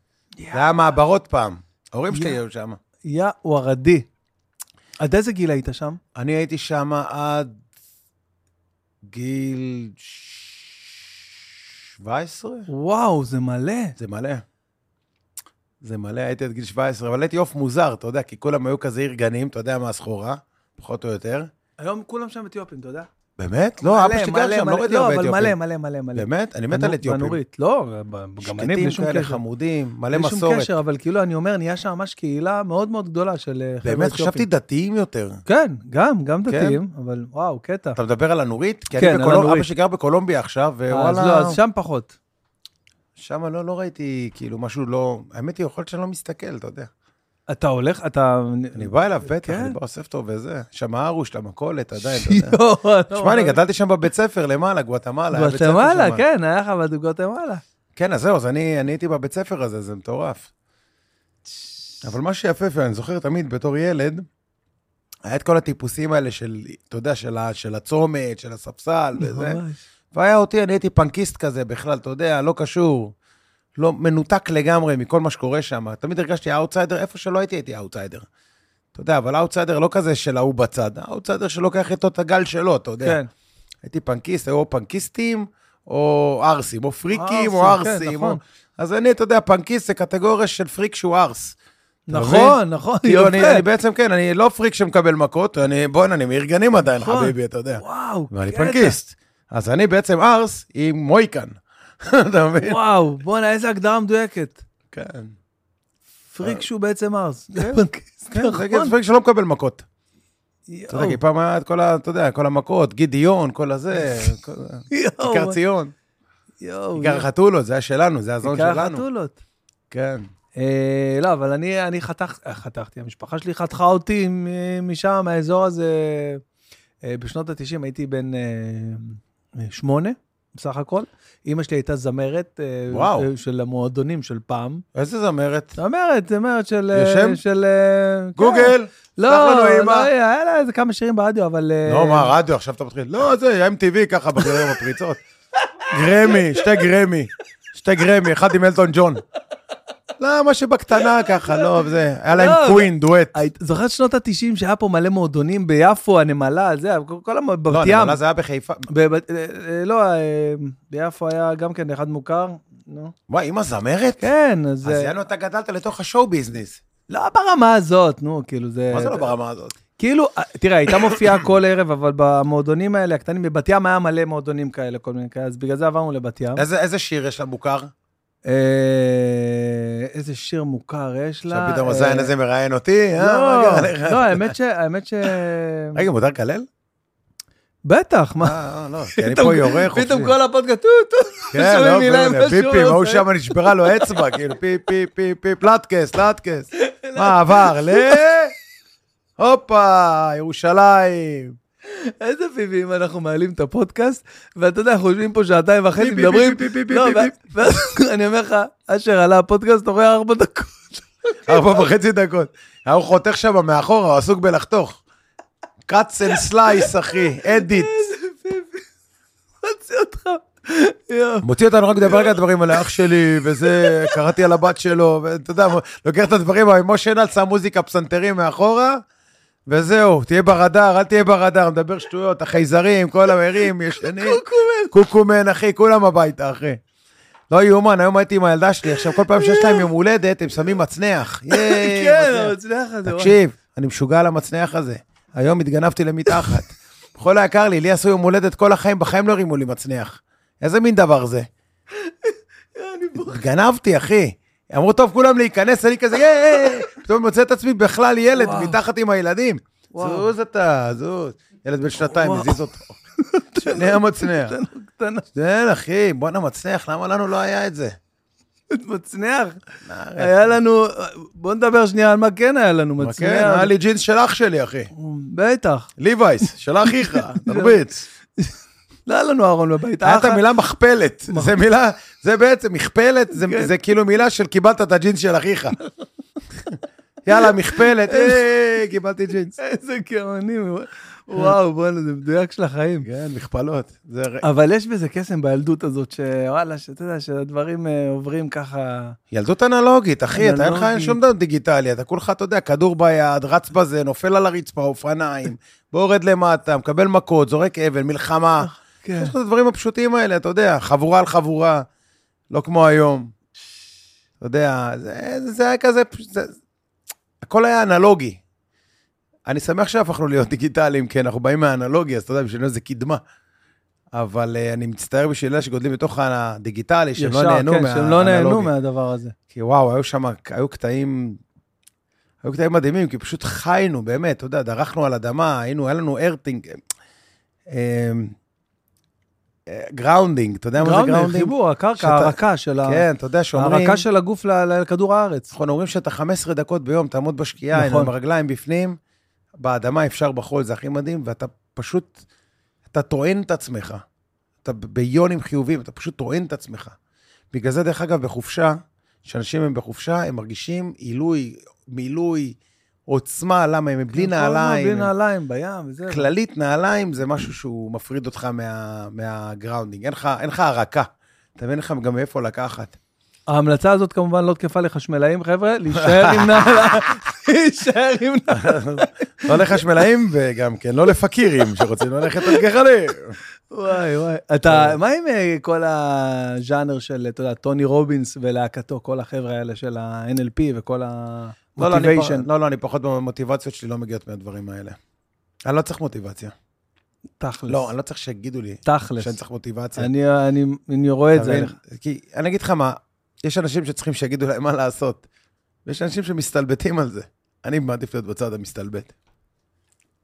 אה, זה היה מעברות פעם. ההורים שלי
יא.
היו שם.
יא ורדי. עד איזה גיל היית שם?
אני הייתי שם עד גיל 17?
וואו, זה מלא.
זה מלא. זה מלא, הייתי עד גיל 17, אבל הייתי עוף מוזר, אתה יודע, כי כולם היו כזה עיר גנים, אתה יודע מה הסחורה, פחות או יותר.
היום כולם שם אתיופים, אתה יודע?
באמת? לא, אבא שלי גר שם, לא ראיתי הרבה אתיופים.
אבל מלא, מלא, מלא, מלא.
באמת? אני מת על
בנו-
אתיופים.
בנורית, לא, גם אני, בלי
שקטים
שום
כאלה,
קשר.
חמודים, מלא
בלי שום
מסורת.
קשר, אבל כאילו, אני אומר, נהיה שם ממש קהילה מאוד מאוד גדולה של אה, חבר'ה
באמת,
אתיופים.
חשבתי דתיים יותר.
כן, גם, גם
כן?
דתיים, אבל וואו, קטע.
אתה מדבר על הנורית? כי
כן,
אני
על
בקולומ...
הנורית.
אבא שלי גר בקולומביה עכשיו, ווואלה...
אז לא, אז שם פחות.
שם לא, לא ראיתי כאילו משהו לא... האמת היא, יכול להיות שאני לא מסתכל, אתה יודע.
אתה הולך, אתה...
אני בא אליו, בטח,
כן.
אני בא אוסף אותו וזה. שם הרוש, למכולת, עדיין, אתה יודע.
יואו, אתה
תשמע,
אומר,
אני גדלתי שם בבית ספר למעלה, גואטמלה. היה בית ספר
גואטמלה,
שם.
כן, היה לך בגואטמלה.
כן, אז זהו, אז אני אני הייתי בבית ספר הזה, זה מטורף. אבל מה שיפהפה, אני זוכר תמיד בתור ילד, היה את כל הטיפוסים האלה של, אתה יודע, של ה- של הצומת, של הספסל וזה.
ממש.
והיה אותי, אני הייתי פנקיסט כזה בכלל, אתה יודע, לא קשור. לא, מנותק לגמרי מכל מה שקורה שם. תמיד הרגשתי אאוטסיידר, איפה שלא הייתי, הייתי אאוטסיידר. אתה יודע, אבל האאוטסיידר לא כזה של ההוא בצד, האאוטסיידר שלוקח איתו את הגל שלו, אתה יודע.
כן.
הייתי פנקיסט, היו או פנקיסטים, או ערסים, או פריקים,
ערסים,
או
כן,
ערסים. או-
נכון.
אז אני, אתה יודע, פנקיסט זה קטגוריה של פריק שהוא ארס. אתה
נכון, נכון,
כאילו, אני, אני
יפה.
בעצם, כן, אני לא פריק שמקבל מכות, אני, בוא'נה, אני מארגנים עדיין,
נכון.
חביבי, אתה יודע.
וואו, כן,
ואני
קטע.
פנקיסט. אז אני בעצם ארס עם מויקן. אתה מבין?
וואו, בואנה, איזה הגדרה מדויקת.
כן.
פריק שהוא בעצם ארס.
אה, כן, זה
נכון.
כאילו פריק שלא מקבל מכות. אתה יודע,
יואו,
כי פעם היה את כל ה... אתה יודע, כל המכות, גידיון, כל הזה, כל ה-
יואו,
כיכר ציון,
יואו,
כיכר החתולות, זה היה שלנו, זה הזון
כיכר
שלנו.
החתולות.
כן.
אה, לא, אבל אני, אני חתך, אה, חתכתי, המשפחה שלי חתכה אותי מ- משם, מהאזור הזה. אה, בשנות ה-90 הייתי בן אה, אה, שמונה, בסך הכל. אימא שלי הייתה זמרת אה,
וואו.
אה, של המועדונים של פעם.
איזה זמרת.
זמרת, זמרת של... אה,
יש שם?
של... אה, כן.
גוגל!
לא,
שלח לנו
לא,
אימא.
היה לה איזה כמה שירים ברדיו, אבל... אה,
לא, מה, רדיו, עכשיו אתה מתחיל. לא, זה MTV ככה, בגלל הפריצות. גרמי, שתי גרמי. שתי גרמי, אחד עם אלטון ג'ון. לא, מה שבקטנה ככה, לא, זה. היה להם
לא,
קווין, דואט.
היית- זוכרת שנות ה-90 שהיה פה מלא מועדונים ביפו, הנמלה, זה, כל- כל המ...
לא,
בת ים.
נמלה זה היה בחיפה.
בבת- אה, אה, לא, אה, ביפו היה גם כן אחד מוכר, נו.
וואי, אמא זמרת?
כן,
אז
אז... אה,
יאנו, אתה גדלת לתוך השואו ביזנס.
לא ברמה הזאת, נו, כאילו זה...
מה זה לא ברמה הזאת?
כאילו, אה, תראה, הייתה מופיעה כל ערב, אבל במועדונים האלה, הקטנים, בבת ים היה מלא מועדונים כאלה, כל מיני כאלה, אז בגלל זה עברנו לבת ים.
איזה איזה שיר יש לה מוכר?
אה, איזה שיר מוכר יש לה.
שפתאום
אה,
הזין הזה מראיין אותי? אה, מה
לא,
קרה לך?
לא, האמת ש... האמת ש...
רגע, מותר לקלל?
בטח, מה?
אה, אה, לא, כי אני פה יורה חופשי.
פתאום כל הפודקאסט, טו, טו,
כן,
שומעים
לא,
מילה
בוא'נה,
ממה שהוא
פיפים, ההוא
עושה.
שם נשברה לו אצבע, כאילו, פי, פי, פי, פי, פלטקס, פלטקס.
לא.
מה, עבר ל... הופה, ירושלים.
איזה ביבים, אנחנו מעלים את הפודקאסט, ואתה יודע, אנחנו יושבים פה שעתיים וחצי,
ביבי,
מדברים,
ביבי, ביבי,
לא,
ביבי.
ו- ואז אני אומר לך, אשר עלה הפודקאסט, אחרי ארבע דקות.
ארבע וחצי דקות. ההוא חותך שם מאחורה, הוא עסוק בלחתוך. cuts and slice, אחי, אדיט.
הוציא אותך. יואו.
מוציא אותנו רק לדבר על הדברים האלה, אח שלי, וזה, קראתי על הבת שלו, ואתה יודע, לוקח את הדברים, אבל משה נל שם מוזיקה פסנתרים מאחורה, וזהו, תהיה ברדאר, אל תהיה ברדאר, מדבר שטויות, החייזרים, כל המרים, ישנים,
קוקומן.
קוקומן, אחי, כולם הביתה, אחי. לא יאומן, היום הייתי עם הילדה שלי, עכשיו כל פעם שיש להם יום הולדת, הם שמים מצנח. ייי,
כן,
מצנח.
המצליח הזה. וואי.
תקשיב, אני משוגע על המצנח הזה. היום התגנבתי למתחת. בכל היקר לי, לי עשו יום הולדת כל החיים, בחיים לא הרימו לי מצנח. איזה מין דבר זה?
אני בוכה.
גנבתי, אחי. אמרו, טוב, כולם להיכנס, אני כזה, יאה, פתאום מוצא את עצמי בכלל ילד,
וואו.
מתחת עם הילדים.
וואו.
זוז אתה, זוז. ילד בן שנתיים,
וואו.
מזיז אותו. שני המצנח.
קטנה.
כן, אחי, בואנה מצנח, למה לנו לא היה את זה?
מצנח. היה לנו, בוא נדבר שנייה על מה כן היה לנו
מה,
מצנח.
כן, היה לי ג'ינס של אח שלי, אחי.
בטח.
ליווייס, של אחיך, תרביץ.
לא היה לנו אהרון בבית.
היה
היה
את המילה מכפלת, זה מילה, זה בעצם, מכפלת, זה-
כן.
זה כאילו מילה של קיבלת את הג'ינס של אחיך. יאללה, מכפלת, היי, קיבלתי ג'ינס.
איזה גאונים. וואו, בוא'נה, זה מדויק של החיים.
כן, מכפלות. זה ר-
אבל יש בזה קסם בילדות הזאת, שוואלה, שאתה יודע, שהדברים אה, עוברים ככה...
ילדות אנלוגית, אחי, אתה אין לך אין
אנלוגית.
שום דבר דיגיטלי, אתה כולך, אתה יודע, כדור ביד, רץ בזה, נופל על הרצפה, אופניים, בורד למטה, מקבל מכות, זורק אבן, מלחמה.
כן.
יש לך את הדברים הפשוטים האלה, אתה יודע, חבורה על חבורה, לא כמו היום. אתה יודע, זה, זה היה כזה, פש- זה, הכל היה אנלוגי. אני שמח שהפכנו להיות דיגיטליים, כי אנחנו באים מהאנלוגי, אז אתה יודע, בשבילנו זה קדמה. אבל uh, אני מצטער בשביל אלה שגודלים בתוך הדיגיטלי, שהם
ישר,
לא נהנו
כן,
מהאנלוגי.
שהם לא נהנו מהדבר הזה.
כי וואו, היו שם, היו קטעים, היו קטעים מדהימים, כי פשוט חיינו, באמת, אתה יודע, דרכנו על אדמה, היינו, היה לנו ארטינג, גראונדינג, אה, אתה יודע מה זה
גראונדינג,
גראונדינג?
חיבור, הקרקע,
שאתה-
ההרקה של ה...
כן, אתה יודע שאומרים,
ההרקה של הגוף ל- ל- לכדור הארץ.
נכון, אומרים שאתה 15 דקות ביום, תעמוד בשקיעה, הנה,
נכון.
עם הרגליים בפנים, באדמה אפשר בחול, זה הכי מדהים, ואתה פשוט, אתה טוען את עצמך. אתה ב- ביונים חיובים, אתה פשוט טוען את עצמך. בגלל זה, דרך אגב, בחופשה, כשאנשים הם בחופשה, הם מרגישים עילוי, מילוי, עוצמה, למה הם בלי
נכון,
נעליים.
בלי
הם-
נעליים, בים וזה.
כללית, נעליים זה משהו שהוא מפריד אותך מה, מהגראונדינג. אין לך, אין לך הרקה. אתה מבין אין לך גם מאיפה לקחת.
ההמלצה הזאת כמובן לא תקפה לחשמלאים, חבר'ה, להישאר עם נעליים. להישאר עם...
לא לחשמלאים וגם כן לא לפקירים שרוצים ללכת על גחלים.
וואי וואי.
כן.
אתה, מה עם אה, כל הז'אנר של, אתה יודע, טוני רובינס ולהקתו, כל החבר'ה האלה של ה-NLP וכל
לא, לא, אני פח-
ה-motivation?
לא, לא, אני פחות במוטיבציות שלי לא מגיעות מהדברים האלה. אני לא צריך מוטיבציה.
תכלס.
לא, אני לא צריך שיגידו לי
תכלס.
שאני צריך מוטיבציה.
אני- אני אני רואה את
אתה
זה.
מבין? כי אני אגיד לך מה, יש אנשים שצריכים שיגידו להם מה לעשות, ויש אנשים שמסתלבטים על זה. אני מעדיף להיות בצד המסתלבט.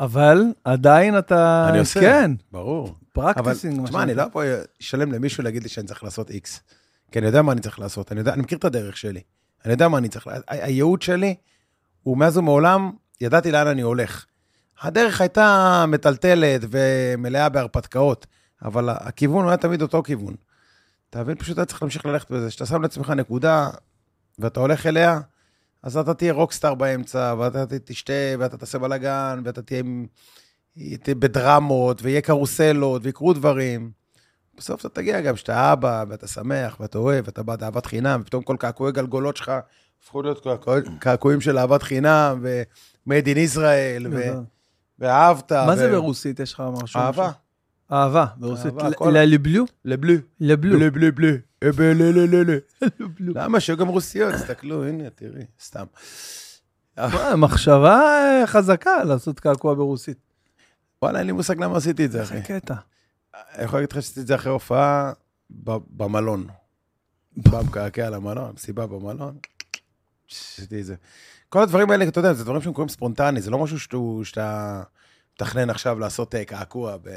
אבל עדיין אתה...
אני עושה.
כן,
ברור. אבל,
פרקטיסינג.
תשמע, אני לא פה אשלם למישהו להגיד לי שאני צריך לעשות איקס. כי אני יודע מה אני צריך לעשות, אני, יודע, אני מכיר את הדרך שלי. אני יודע מה אני צריך, לה- ה- הייעוד שלי הוא מאז ומעולם, ידעתי לאן אני הולך. הדרך הייתה מטלטלת ומלאה בהרפתקאות, אבל ה- הכיוון הוא היה תמיד אותו כיוון. אתה מבין? פשוט היה צריך להמשיך ללכת בזה. כשאתה שם לעצמך נקודה ואתה הולך אליה, אז אתה תהיה רוקסטאר באמצע, ואתה ת- תשתה, ואתה תעשה בלאגן, ואתה תהיה עם- תהיה בדרמות, ויהיה קרוסלות, ויקרו דברים. בסוף אתה תגיע גם שאתה אבא, ואתה שמח, ואתה אוהב, ואתה בא באהבת חינם, ופתאום כל קעקועי גלגולות שלך הפכו להיות קעקוע- קעקועים של אהבת חינם, ו-Made in Israel, ו- ואהבת.
לא, נכון. מה זה
ו-
ברוסית? יש לך משהו?
אהבה.
אהבה, ברוסית.
אהבה, כל-
ללבלו?
לבלו.
לבלו.
בלי בלי בלי. אה, בלי, לא, לא, לא, לא.
לבלו.
למה? שהיו גם רוסיות, תסתכלו, הנה, תראי, סתם.
מה, מחשבה אה, חזקה לעשות קעקוע ברוסית.
וואלה, אין לי מושג למה עשיתי את זה, אחי.
איזה קטע.
אני יכול להגיד לך שעשיתי את זה אחרי הופעה ב- במלון. בא מקעקע על המלון, מסיבה במלון. עשיתי את זה. כל הדברים האלה, אתה יודע, זה דברים שהם קורים ספונטני, זה לא משהו שאתה- שאתה מתכנן עכשיו לעשות אה, קעקוע. ב...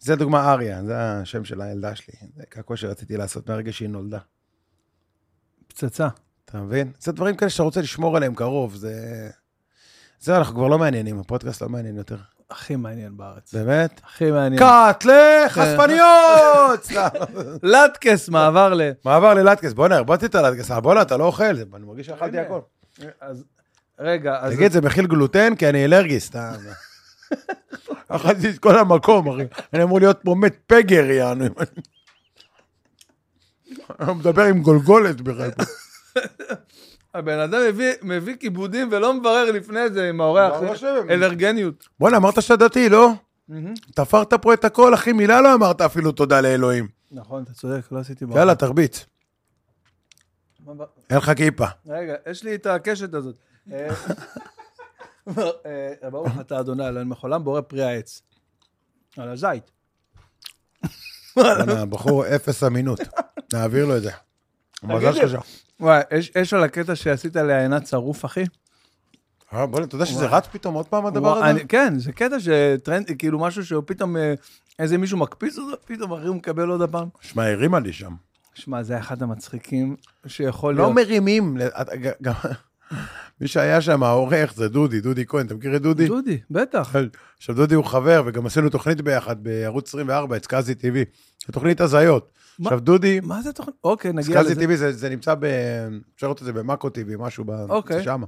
זה דוגמה אריה, זה השם של הילדה שלי. זה קעקוע שרציתי לעשות מהרגע שהיא נולדה.
פצצה.
אתה מבין? זה דברים כאלה שאתה רוצה לשמור עליהם קרוב, זה... זהו, אנחנו כבר לא מעניינים, הפודקאסט לא מעניין יותר.
הכי מעניין בארץ.
באמת?
הכי מעניין.
קאטלה חשפניות! סתם.
לטקס, מעבר ל...
כן. מעבר ללטקס, בוא'נה, הרבדתי את הלטקס, אבל בוא'נה, אתה לא אוכל, זה- אני מרגיש שאכלתי
הנה.
הכל.
אז- רגע, אז...
תגיד, זה מכיל גלוטן? כי אני אלרגי, סתם. אכלתי את כל המקום, אחי. אני אמור להיות פה מת פגר, יענו. אני מדבר עם גולגולת בכלל.
הבן אדם מביא- מביא כיבודים ולא מברר לפני זה עם האורח.
לא, לא שומעים.
אלרגניות.
בוא'נה, אמרת שאתה דתי, לא? תפרת פה את הכל, אחי, מילה לא אמרת אפילו תודה לאלוהים.
נכון, אתה צודק, לא עשיתי
יאללה, תרביץ.
מה ב-
אין לך כיפה.
רגע, יש לי את הקשת הזאת. אה, אה, ברוך אתה אדוני אלוהים מחולם בורא פרי העץ. על הזית.
בוא'נה, הבחור אפס אמינות. נעביר לו את זה. מזל
לי.
שלך שם.
וואי, יש- יש על הקטע שעשית עליה עינת שרוף, אחי?
אה, בוא'נה, אתה יודע שזה רץ פתאום עוד פעם הדבר
וואי,
הזה?
אני- כן, זה קטע שטרנד, כאילו משהו שפתאום אה, איזה מישהו מקפיץ אותו, פתאום אחי הוא מקבל עוד הפעם.
שמע, הרימה לי שם.
שמע, זה אחד המצחיקים שיכול
לא
להיות.
מרימים. ל- את- ג- גם- מי שהיה שם, העורך, זה דודי, דודי כהן. אתה מכיר את דודי?
דודי, בטח.
עכשיו, דודי הוא חבר, וגם עשינו תוכנית ביחד בערוץ 24, את סקאזי TV. זו תוכנית הזיות.
מה?
עכשיו, דודי,
מה זה תוכנית? אוקיי, נגיע
סקאזי
לזה.
TV, זה- זה נמצא ב... אפשר לראות את זה במאקו TV, משהו ב...
אוקיי.
זה שמה.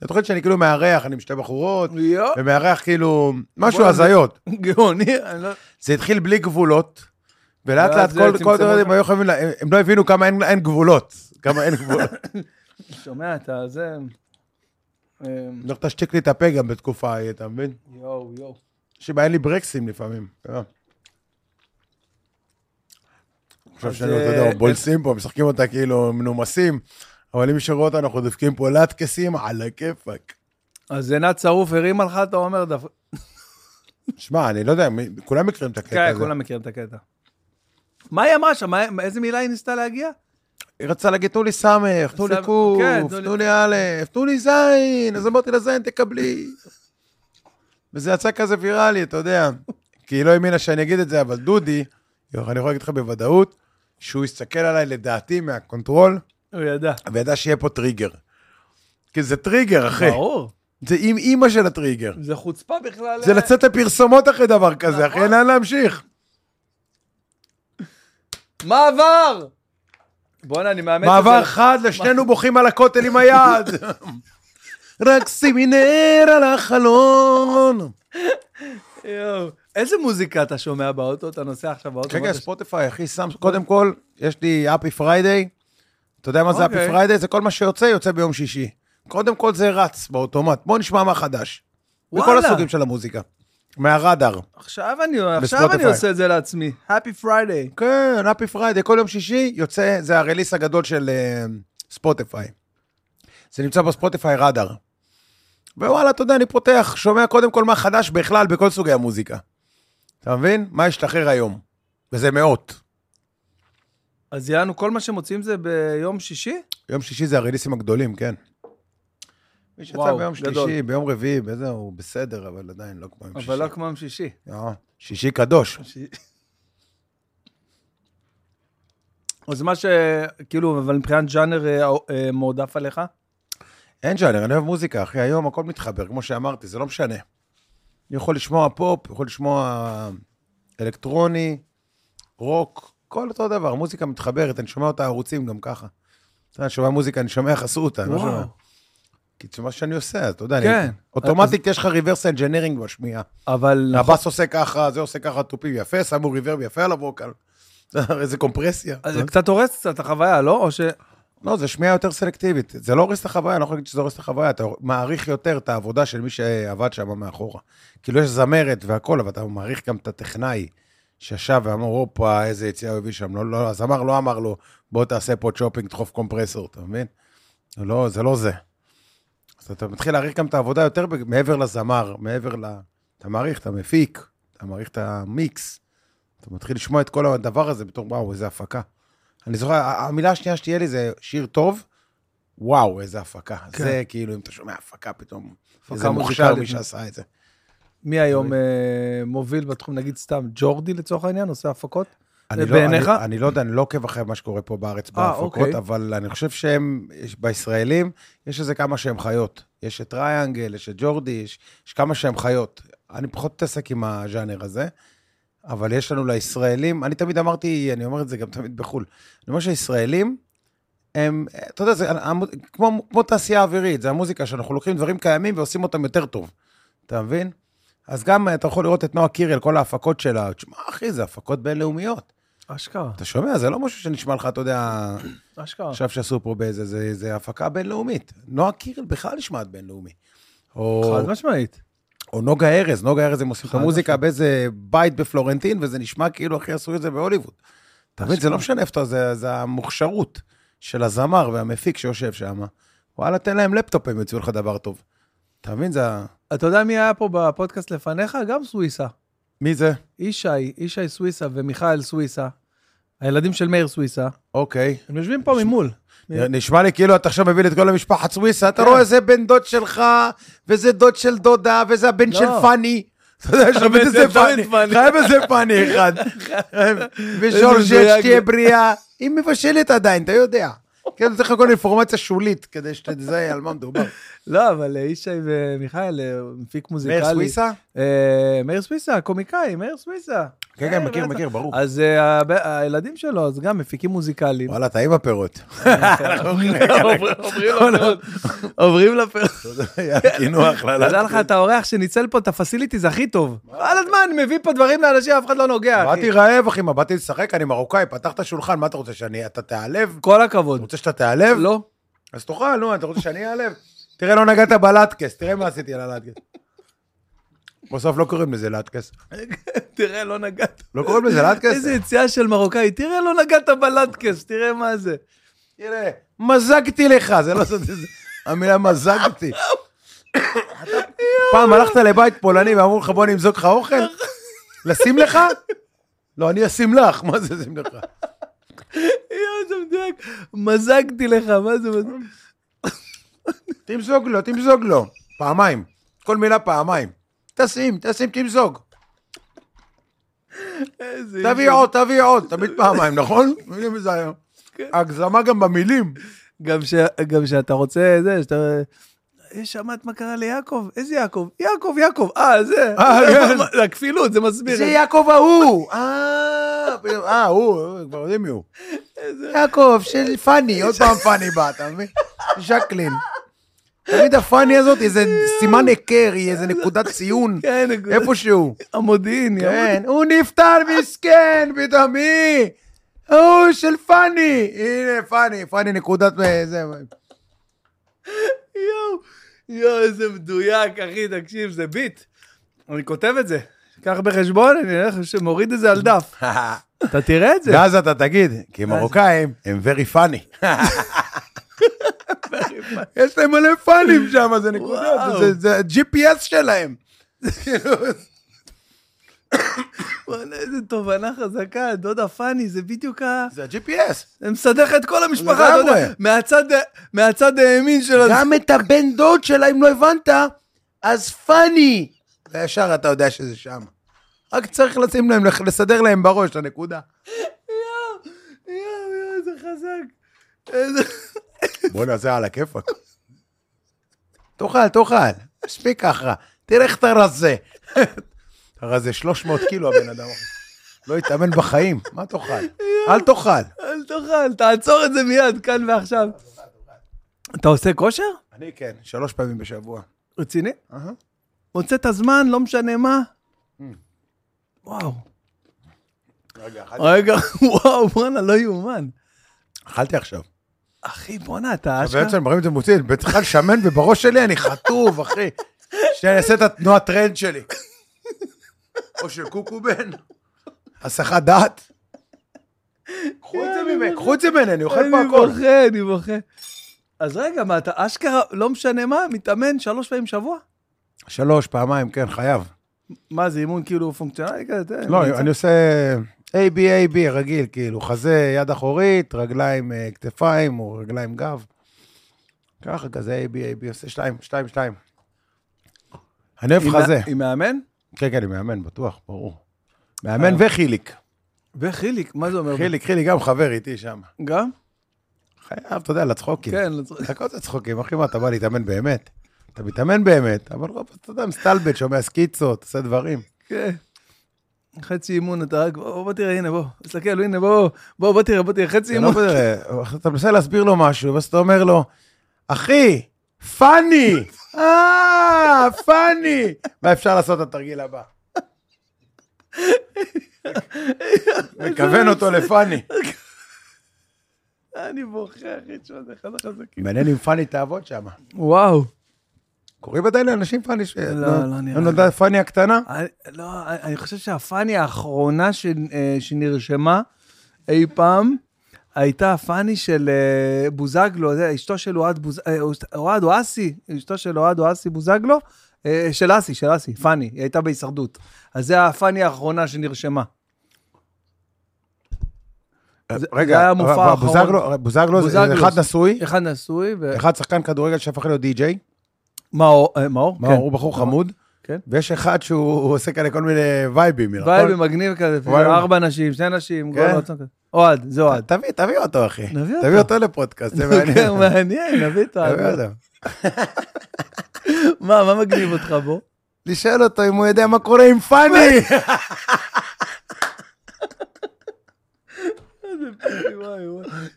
זו תוכנית שאני כאילו מארח, אני עם שתי בחורות,
יואו,
ומארח כאילו משהו
בוא'נה,
הזיות.
גאוני, אני לא...
זה התחיל בלי גבולות, ולאט
ואז
לאט
זה
כל-
צמצמו
כל הדברים
אותך.
היו חייבים, לה- הם- הם לא הבינו כמה אין- אין גבולות. כמה אין גבולות.
שומע, אתה זה... אה,
לך תשתיק לי את הפה גם בתקופה ההיא, אתה מבין?
יואו, יואו.
שבה אין לי ברקסים לפעמים. אה. עכשיו
אז,
שאנחנו, אתה יודע,
אה,
בולסים פה, משחקים אותה כאילו מנומסים, אבל אם מישהו רואה אותנו, אנחנו דופקים פה לטקסים על הכיפאק.
אז עינת שרוף הרימה לך, אתה אומר דף...
שמע, אני לא יודע, מי- כולם מכירים את הקטע
כן,
הזה.
כולם מכירים את הקטע. מה היא אמרה שם? מה- איזה מילה היא ניסתה להגיע?
היא רצתה להגיד, תנו לי סמך, תנו לי
סמך,
קוף,
כן, תנו לי-
תנו לי א', תנו לי זין, אז אמרתי לה, זין, תקבלי. וזה יצא כזה ויראלי, אתה יודע. כי היא לא האמינה שאני אגיד את זה, אבל דודי, אני יכול להגיד לך בוודאות, שהוא הסתכל עליי, לדעתי, מהקונטרול,
הוא ידע.
וידע שיהיה פה טריגר. כי זה טריגר, אחי.
ברור.
זה עם אימא של הטריגר.
זה חוצפה בכלל.
זה לצאת לפרסומות אחרי דבר כזה, אחי,
נכון.
אין לאן להמשיך.
מעבר! בואנה, אני מאמץ את זה.
מעבר חד, לשנינו בוכים על הכותל עם היד. רק שימי נר על החלון.
יואו. איזה מוזיקה אתה שומע באוטו? אתה נוסע עכשיו באוטו?
רגע,
ואתה-
ספוטיפיי, אחי, שם, קודם כל, יש לי אפי פריידיי. אתה יודע מה זה אפי
אוקיי.
פריידיי? זה כל מה שיוצא, יוצא ביום שישי. קודם כל זה רץ באוטומט. בואו נשמע מה חדש. מכל
וואלה.
הסוגים של המוזיקה. מהרדאר.
עכשיו אני, עכשיו אני
בספוטיפיי.
עושה את זה לעצמי. Happy Friday.
כן, האפי פריידי, כל יום שישי יוצא, זה הרליס הגדול של אה, ספוטיפיי. זה נמצא בספוטיפיי רדאר. ווואלה, אתה יודע, אני פותח, שומע קודם כל מה חדש בכלל בכל סוגי המוזיקה. אתה מבין? מה השתחרר היום? וזה מאות.
אז יענו, כל מה שמוצאים זה ביום שישי?
יום שישי זה הרליסים הגדולים, כן. מי שיצא
וואו,
ביום
גדול.
שלישי, ביום רביעי, בזה הוא בסדר, אבל עדיין לא כמו יום שישי.
אבל לא כמו יום שישי.
אה, שישי קדוש.
אז מה ש... כאילו, אבל מבחינת ז'אנר אה, אה, מועדף עליך?
אין ז'אנר, אני אוהב מוזיקה, אחי, היום הכל מתחבר, כמו שאמרתי, זה לא משנה. אני יכול לשמוע פופ, יכול לשמוע אלקטרוני, רוק, כל אותו דבר, מוזיקה מתחברת, אני שומע אותה ערוצים גם ככה. אתה יודע, אני שומע מוזיקה, אני שומע חסותה, אני לא שומע. כי זה מה שאני עושה, אתה יודע,
כן.
אני... אוטומטית יש לך ריברס אנג'ינרינג בשמיעה.
אבל נכון.
הבאס עושה ככה, זה עושה ככה, תופים יפה, שמו ריברב יפה על הווקל. איזה קומפרסיה.
אז זה קצת הורס קצת החוויה, לא? או ש...
לא, זה שמיעה יותר סלקטיבית. זה לא הורס את החוויה, אני לא יכול להגיד שזה הורס את החוויה, אתה מעריך יותר את העבודה של מי שעבד שם מאחורה. כאילו, יש זמרת והכול, אבל אתה מעריך גם את הטכנאי שישב ואמר, הופה, איזה יציאה הוא הביא שם. לא, לא, הזמר לא אמר לו, בוא תעשה פה צ'ופינג, דחוף קומפרסור, אתה מבין? לא, זה לא זה. אז אתה מתחיל להעריך גם את העבודה יותר בג- מעבר לזמר, מעבר ל... אתה מעריך, אתה מפיק, אתה מעריך את המיקס. אתה מתחיל לשמוע את כל הדבר הזה בתור, וואו, איזה הפקה. אני זוכר, ה- המילה השנייה שתהיה לי זה שיר טוב, וואו, איזה הפקה.
כן.
זה כאילו, אם אתה שומע הפקה פתאום,
הפקה
איזה מוכשר
מוזיקלית.
מי שעשה את זה.
מי היום אה, מוביל בתחום, נגיד סתם ג'ורדי לצורך העניין, עושה הפקות?
אני לא-
בעיניך?
אני- אני לא יודע, אני לא עוקב אחרי מה שקורה פה בארץ בהפקות,
אוקיי.
אבל אני חושב שהם, יש- בישראלים, יש איזה כמה שהם חיות. יש את טריאנגל, יש את ג'ורדי, יש יש כמה שהם חיות. אני פחות מתעסק עם הז'אנר הזה, אבל יש לנו לישראלים, אני תמיד אמרתי, אני אומר את זה גם תמיד בחו"ל, אני אומר שישראלים, הם, אתה יודע, זה המ- כמו, כמו תעשייה אווירית, זה המוזיקה שאנחנו לוקחים דברים קיימים ועושים אותם יותר טוב, אתה מבין? אז גם אתה יכול לראות את נועה קירל, כל ההפקות שלה, תשמע, אחי, זה הפקות בינלאומיות.
אשכרה,
אתה שומע, זה לא משהו שנשמע לך, אתה יודע,
אשכרה.
עכשיו שעשו פה באיזה, זה, זה הפקה בינלאומית. נועה קירל בכלל נשמעת בינלאומי. או,
חד משמעית.
או נוגה ארז, נוגה ארז הם עושים את
חד
המוזיקה
משמעית.
באיזה בית בפלורנטין, וזה נשמע כאילו הכי עשו את זה בהוליווד. אתה מבין, זה לא משנה איפה אתה, זה, זה המוכשרות של הזמר והמפיק שיושב שם. וואלה, תן להם לפטופ, הם יוציאו לך דבר טוב. אתה מבין, זה... ה-
אתה יודע מי היה פה בפודקאסט לפניך? גם סוויסה.
מי זה?
ישי, ישי סוויסה ומיכאל סוויסה, הילדים של מאיר סוויסה,
אוקיי.
הם יושבים פה ממול.
נראה- נשמע לי כאילו אתה עכשיו מבין את כל המשפחת סוויסה, אתה
כן.
רואה זה בן דוד שלך, וזה דוד של דודה, וזה הבן
לא.
של פאני. אתה יודע, יש לו
האמת,
בן איזה
יש לו בן
פאני,
פאני.
חייב איזה פאני אחד.
מדויק
וז'ורג'ט
זה.
שתהיה בריאה, היא מבשלת עדיין, אתה יודע. כן, צריך כל אינפורמציה שולית, כדי שתזהה על מה מדובר.
לא, אבל אה, ישי ומיכאל, אה, מפיק מוזיקלי.
מאיר סוויסה?
אה, מאיר סוויסה, קומיקאי, מאיר סוויסה.
כן, כן, מכיר, מכיר, ברור.
אז אה, הב- הילדים שלו, אז גם מפיקים מוזיקליים.
וואלה, טעים הפירות.
עוברים לפה.
קינו הכללה.
תדע לך, אתה אורח שניצל פה את הפסיליטיז הכי טוב. על הזמן, מביא פה דברים לאנשים, אף אחד לא נוגע. אחי.
באתי רעב, אחי, מה, באתי לשחק, אני מרוקאי, פתח את השולחן, מה אתה רוצה, שאני, אתה תיעלב?
כל
אתה
הכבוד.
רוצה שאתה תיעלב?
לא.
אז תאכל, נו, אתה רוצה שאני אעלב? תראה, לא נגעת בלטקס, תראה מה עשיתי על הלטקס. בסוף לא קוראים לזה לטקס.
תראה, לא נגעת.
לא קוראים לזה לטקס?
איזה יציאה של מרוקאי, תראה, לא נגעת בלטקס, תראה מה זה.
תראה, מזגתי לך, זה לא... זה- זה- המילה מזגתי. פעם הלכת לבית פולני ואמרו לך, בוא נמזוג לך אוכל? לשים לך? לא, אני אשים לך, מה זה שים לך?
יואו, זה מדויק. מזגתי לך, מה זה מזג?
תמזוג לו, תמזוג לו. פעמיים. כל מילה פעמיים. תשים, תשים, תמזוג.
איזה...
תביא
איש.
עוד, תביא עוד. תמיד פעמיים, נכון? מבינים את זה היום. הגזמה גם במילים.
גם ש- גם שאתה רוצה, זה, שאתה... אה, שמעת מה קרה ליעקב? איזה יעקב? יעקב, יעקב. אה, זה.
אה,
זה-
כן.
מה- זה הכפילות, זה מסביר.
זה יעקב ההוא! אה, פתאום, אה, הוא, כבר יודעים מי הוא. יעקב, של פאני, עוד פעם פאני בא, אתה מבין? ז'קלין. תמיד הפאני הזאת, איזה סימן היכר, היא איזה נקודת ציון,
כן, נקודה.
איפשהו.
המודיעין, יא
כן, הוא נפטר מסכן, פתאום היא! הוא של פאני! הנה, פאני, פאני נקודת... אה, זה...
מודיעין. יואו, יואו, איזה מדויק, אחי, תקשיב, זה ביט. אני כותב את זה. קח בחשבון, אני הולך, מוריד את זה על דף. אתה תראה את זה.
ואז אתה תגיד, כי מרוקאים הם very funny. יש להם מלא פאנים שם, זה נקודות,
וואו.
זה- זה ה-GPS שלהם.
וואלה, איזה תובנה חזקה, דודה פאני, זה בדיוק ה...
זה ה-GPS.
זה מסדר לך את כל המשפחה, אתה יודע,
לגמרי.
מהצד ה- מהצד הימין של... הז-
גם את הבן דוד שלה, אם לא הבנת, אז פאני. וישר אתה יודע שזה שם. רק צריך לשים להם, לסדר להם בראש את הנקודה.
יואו, יואו, יואו, איזה חזק. איזה...
בואנה, זה על הכיפאק. תאכל, תאכל, מספיק ככה. תראה איך אתה רזה. אתה רזה 300 קילו הבן אדם. אחי. לא יתאמן בחיים, מה תאכל? אל תאכל.
אל תאכל, תעצור את זה מיד, כאן ועכשיו. אתה עושה כושר?
אני כן, שלוש פעמים בשבוע.
רציני?
אהה. Mm.
מוצא את הזמן, לא משנה מה. וואו.
רגע, אכלתי-
רגע, וואו, בואנה, לא יאומן.
אכלתי עכשיו.
אחי, בואנה, אתה אשכרה...
בעצם מראים את זה מוציא, בכלל שמן ובראש שלי אני חטוב, אחי. שנייה, אני אעשה את התנועת טרנד שלי. או של קוקובן. הסחת דעת. קחו את זה ממני, קחו את זה ממני, אני אוכל פה
אני
הכל.
בוכה, אני בוכה. אז רגע, מה, אתה אשכרה, לא משנה מה, מתאמן שלוש פעמים בשבוע?
שלוש, פעמיים, כן, חייב.
מה, זה אימון כאילו פונקציונלי כזה? אתה יודע,
לא,
אני-
אני עושה AB, AB רגיל, כאילו, חזה, יד אחורית, רגליים, אה, כתפיים, או רגליים גב. ככה, כזה AB, AB, עושה שתיים, שתיים, שתיים. אני אוהב
עם-
חזה.
עם מאמן?
כן, כן, אני מאמן, בטוח, ברור. מאמן וחיליק.
וחיליק, מה זה אומר?
חיליק, חיליק גם חבר איתי שם.
גם?
חייב, אתה יודע, לצחוקים.
כן, לא צריך-
הכל זה צחוקים, אחי, מה, אתה בא להתאמן באמת? אתה מתאמן באמת, אבל לא, אתה יודע, מסתלבט, שומע סקיצות, עושה דברים.
כן. חצי אימון, אתה רק, בוא בוא תראה, הנה, בוא, תסתכל, הנה, בוא, בוא, בוא תראה, בוא תראה, חצי
זה לא
אימון.
בסדר, אתה מנסה להסביר לו משהו, ואז אתה אומר לו, אחי, פאני! אה, פאני! מה אפשר לעשות את התרגיל הבא? מכוון אותו לפאני.
אני בוכה, אחי, תשמע, זה אחד החזקים.
מעניין אם פאני תעבוד שם.
וואו.
קוראים עדיין לאנשים פאני ש...
לא, לא
לא
נראה
נודע פאני הקטנה?
אני- לא, אני- אני חושב שהפאני האחרונה ש- אה, שנרשמה אי פעם, הייתה הפאני של אה, בוזגלו, זה, אשתו של אוהד בוז- אה, אוהד או אסי, אשתו של אוהד או אסי בוזגלו, אה, של אסי, של אסי, פאני, היא הייתה בהישרדות. אז זה הפאני האחרונה שנרשמה. זה-
רגע,
זה היה המופע
אבל- אבל
האחרון.
בוזגלו- בוזגלו זה- זה
בוזגלו.
אחד נשוי,
אחד נשוי, ו...
אחד שחקן כדורגל שהפך להיות די-ג'יי,
מאור, אה, מאור?
מאור, הוא בחור חמוד,
כן.
ויש אחד שהוא הוא עושה כאלה כל מיני וייבים. נכון?
וייב מגניב כזה, כאילו,
וואי,
ארבע נשים, שני נשים,
כן.
גולות, כזה. אוהד, זה אוהד.
נכון, תביא, תביא אותו, אחי.
נביא
תביא
אותו.
אותו לפודקאסט, זה מעניין.
כן, מעניין, נביא את
תביא
האדון.
אותו.
מה, מה מגניב אותך בו?
לשאול אותו אם הוא יודע מה קורה עם פאני.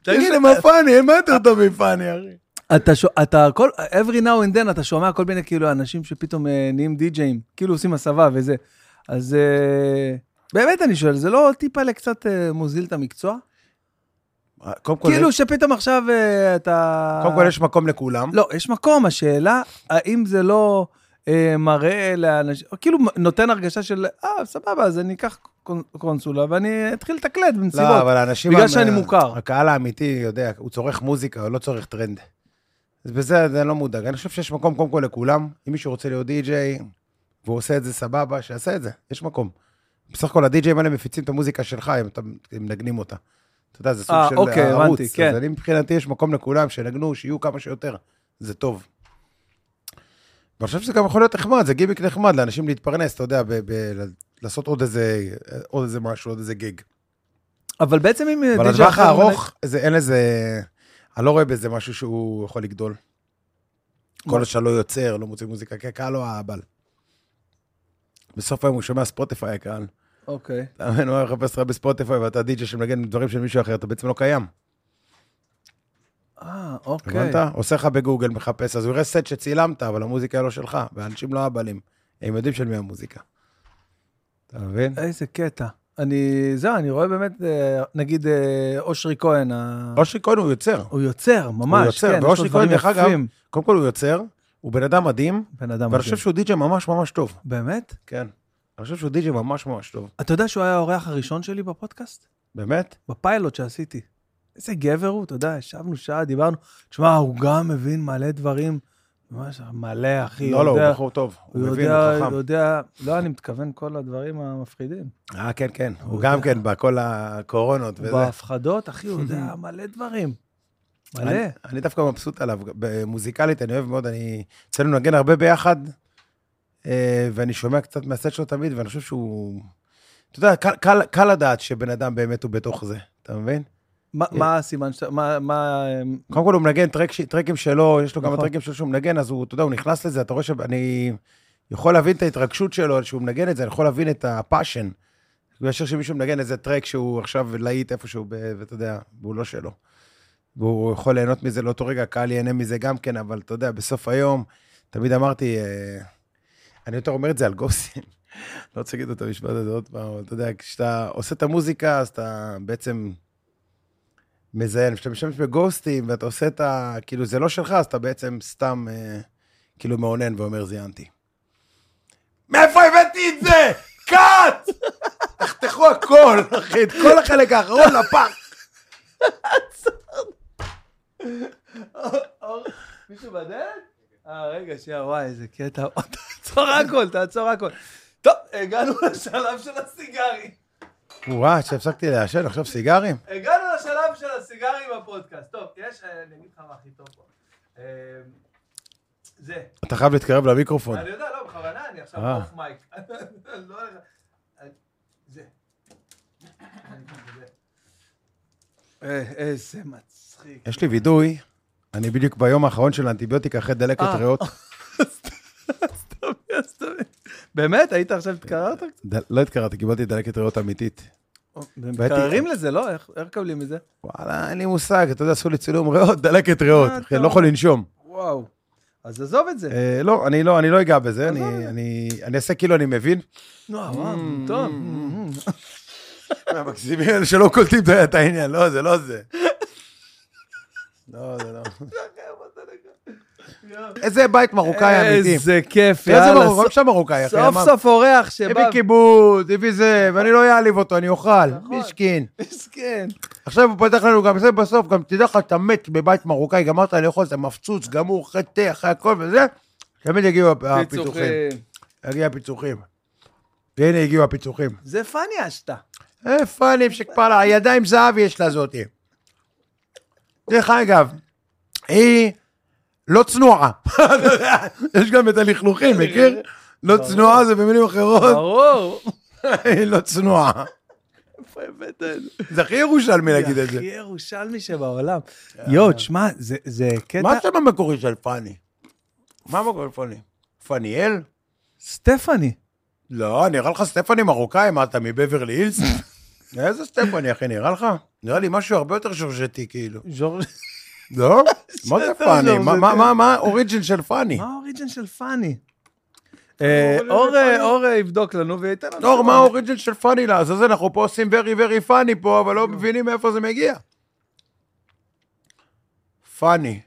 תגיד, אה, עם הפאני, אין מה יותר לא טוב מפאני, אחי.
אתה שומע, אתה כל, every now and then אתה שומע כל מיני כאילו אנשים שפתאום אה, נהיים די-ג'אים, כאילו עושים הסבה וזה. אז אה, באמת אני שואל, זה לא טיפה לקצת אה, מוזיל את המקצוע?
קודם כל,
כאילו שפתאום עכשיו אה, אתה...
קודם כל יש מקום לכולם.
לא, יש מקום, השאלה, האם זה לא אה, מראה לאנשים, או כאילו נותן הרגשה של, אה, סבבה, אז אני אקח קונ- קונסולה ואני אתחיל לתקלט במסיבות.
לא, אבל האנשים...
בגלל
המ-
שאני מוכר.
הקהל האמיתי יודע, הוא צורך מוזיקה, הוא לא צורך טרנד. אז בזה אני לא מודאג. אני חושב שיש מקום קודם כל לכולם. אם מישהו רוצה להיות די-ג'יי, והוא עושה את זה סבבה, שיעשה את זה, יש מקום. בסך הכל הדי-ג'יים האלה מפיצים את המוזיקה שלך, הם הם מנגנים אותה. אתה יודע, זה סוג
אה,
של
אוקיי,
ערוץ.
הבנתי, כן.
אז אני מבחינתי, יש מקום לכולם, שינגנו, שיהיו כמה שיותר. זה טוב. ואני חושב שזה גם יכול להיות נחמד, זה גימיק נחמד לאנשים להתפרנס, אתה יודע, ב- ב- לעשות עוד איזה, עוד איזה משהו, עוד איזה גיג.
אבל בעצם אם...
אבל
די-ג'יי
לטווח
אחר מנ-
הארוך, זה- אין לזה... אני לא רואה בזה משהו שהוא יכול לגדול. כל עוד שאתה לא יוצר, לא מוציא מוזיקה, כי הקהל לא האבל. בסוף היום הוא שומע ספוטיפיי, הקהל.
אוקיי.
אתה מבין, הוא היה מחפש לך בספוטיפיי, ואתה די.ג'י שמנגן דברים של מישהו אחר, אתה בעצם לא קיים.
אה, אוקיי.
הבנת? עושה לך בגוגל, מחפש, אז הוא יראה סט שצילמת, אבל המוזיקה היא לא שלך,
אה.
ואנשים לא אהבלים. הם יודעים של מי המוזיקה. אתה מבין?
איזה קטע. אני, זהו, אני רואה באמת, אה, נגיד, אה, אושרי כהן, ה-
אושרי כהן לא הוא יוצר.
הוא יוצר, ממש,
יוצר,
כן, יש לו
ואושרי
דברים
כהן, דרך אגב,
יפים.
קודם כל הוא יוצר, הוא בן אדם מדהים,
בן אדם
ואני
אה, מדהים.
חושב שהוא די.ג'י ממש ממש טוב.
באמת?
כן. אני חושב שהוא די.ג'י ממש ממש טוב.
אתה יודע שהוא היה האורח הראשון שלי בפודקאסט?
באמת?
בפיילוט שעשיתי. איזה גבר הוא, אתה יודע, ישבנו שעה, דיברנו. תשמע, הוא גם מבין מלא דברים. ממש מלא, אחי.
לא, לא, הוא
יודע-
בחור טוב. הוא
הוא
מבין,
יודע,
הוא
הוא
חכם.
יודע, לא, אני מתכוון כל הדברים המפחידים.
אה, כן, כן. הוא
הוא
גם
יודע.
כן, בכל הקורונות וזה.
בהפחדות, אחי, הוא יודע מלא דברים. מלא.
אני- אני דווקא מבסוט עליו. ב- מוזיקלית, אני אוהב מאוד, אני... אצלנו נגן הרבה ביחד, אה, ואני שומע קצת מהסט שלו תמיד, ואני חושב שהוא... אתה יודע, קל- קל- קל לדעת שבן אדם באמת הוא בתוך זה, אתה מבין?
מה- מה הסימן שאתה, מה, מה, אמ-
קודם כל הוא מנגן טרק, ש- טרקים שלו, יש לו גם
נכון.
הטרקים שלו שהוא מנגן, אז הוא, אתה יודע, הוא נכנס לזה, אתה רואה שאני יכול להבין את ההתרגשות שלו שהוא מנגן את זה, אני יכול להבין את הפאשן. באשר שמישהו מנגן איזה טרק שהוא עכשיו להיט איפשהו, ב- ואתה יודע, והוא לא שלו. והוא יכול ליהנות מזה לאותו רגע, הקהל ייהנה מזה גם כן, אבל אתה יודע, בסוף היום, תמיד אמרתי, אה, אני יותר אומר את זה על גוסין, לא רוצה להגיד את המשפט הזה עוד פעם, אבל אתה יודע, כשאתה עושה את המוזיקה, אז אתה בעצם מזיין, כשאתה משתמש בגוסטים ואתה עושה את ה... כאילו, זה לא שלך, אז אתה בעצם סתם אה, כאילו מאונן ואומר, זיינתי. מאיפה הבאתי את זה? קאט! תחתכו הכל, אחי, את כל החלק האחרון לפח.
אור, מישהו בדלת? אה, רגע, שנייה, וואי, איזה קטע. תעצור הכל, תעצור הכל. טוב, הגענו לשלב של הסיגרים.
וואי, שהפסקתי לעשן, עכשיו סיגרים?
הגענו לשלב של הסיגרים בפודקאסט. טוב, יש, אה, אני אגיד לך מה הכי טוב פה. אה, זה,
אתה חייב להתקרב למיקרופון.
אני יודע, לא, בכוונה, אני עכשיו
אה.
אוף מייק. לא, אה, זה. אה, איזה מצחיק.
יש לי וידוי, אני בדיוק ביום האחרון של האנטיביוטיקה אחרי דלקת
אה.
ריאות.
סתמי, סתמי. באמת? היית עכשיו התקררת?
ד- לא התקררתי, קיבלתי דלקת ריאות אמיתית.
אה, מתקררים לזה, לא? איך איך קבלים מזה?
וואלה, אין לי מושג, אתה יודע, עשו לי צילום ריאות, דלקת ריאות.
אה,
אחי, אני
טוב.
לא יכול לנשום.
וואו. אז עזוב את זה.
אה, לא, אני לא, אני לא אגע בזה, אני-
עזוב.
אני אני אעשה כאילו אני מבין.
נו, וואו,
אה,
טוב. אה,
המקסימים האלה שלא קולטים את העניין, לא, זה לא זה. לא, זה לא. איזה בית מרוקאי אמיתי.
איזה כיף,
איזה
יאללה.
מרוקאי,
סוף-
שם מרוקאי, אחי.
סוף
אמר,
סוף אורח שבא...
הביא כיבוד, הביא זה, ואני לא אעליב אותו, אני אוכל,
נכון.
מישקין.
מסכן.
עכשיו הוא פותח לנו גם זה בסוף, גם תדע לך, אתה מת בבית מרוקאי, גמרת לאכול, אתה מפצוץ, גמור, אחרי תה, אחרי הכל וזה, תמיד יגיעו הפ- הפיצוחים.
פיצוחים.
יגיע הפיצוחים. והנה הגיעו הפיצוחים.
זה פאני אשתה.
אה, פאנים שכבר הידיים זהב יש לה זאתי. דרך אגב, היא לא צנועה. יש גם את הלכלוכים, מכיר? לא צנועה זה במילים אחרות,
ברור.
היא לא צנועה.
איפה הבאת את זה?
זה הכי ירושלמי להגיד את זה. אה.
הכי ירושלמי שבעולם. יואו, תשמע, זה- זה
מה
קטע...
השם המקורי של פאני? מה המקורי של פאני? פניאל?
סטפני.
לא, נראה לך סטפני מרוקאי, מה אתה מבברלי הילס? איזה סטפני, אחי, נראה לך? נראה לי משהו הרבה יותר שורשתי, כאילו.
ז'ורג'-
לא? מה זה
שאתה
פאני?
לא,
מה-
זה-
מה- מה- מה האוריג'ין של פאני?
מה האוריג'ן של פאני? אה,
אבל
אור
זה
אה,
פאני.
אור, אה, יבדוק לנו וייתן לנו...
נור, מה
תשובה.
האוריג'ין של פאני לעזאזל? אנחנו פה עושים ורי ורי פאני פה, אבל לא מבינים מאיפה זה מגיע. פאני.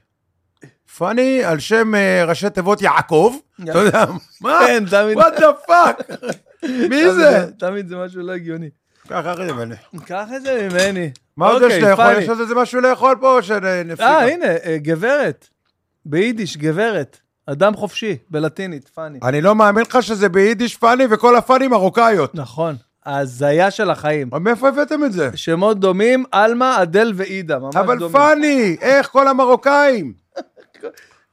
פאני על שם אה, ראשי תיבות יעקב,
יעקב.
אתה יודע, מה?
כן, תמיד.
וואט דה פאק? מי
תמיד
זה?
תמיד זה משהו לא הגיוני.
ככה אחי זה מלא.
קח את זה ממני.
מה עוד יש
אוקיי,
לאכול?
פאני.
יש עוד איזה משהו לאכול פה או שנפסיק?
אה, הנה, אה, גברת. ביידיש, גברת. אדם חופשי, בלטינית, פאני.
אני לא מאמין לך שזה ביידיש פאני וכל הפאני מרוקאיות.
נכון. ההזיה של החיים.
אבל מאיפה הבאתם את זה?
שמות דומים, עלמה, אדל ועידה. ממש דומים.
אבל פאני, איך כל המרוקאים?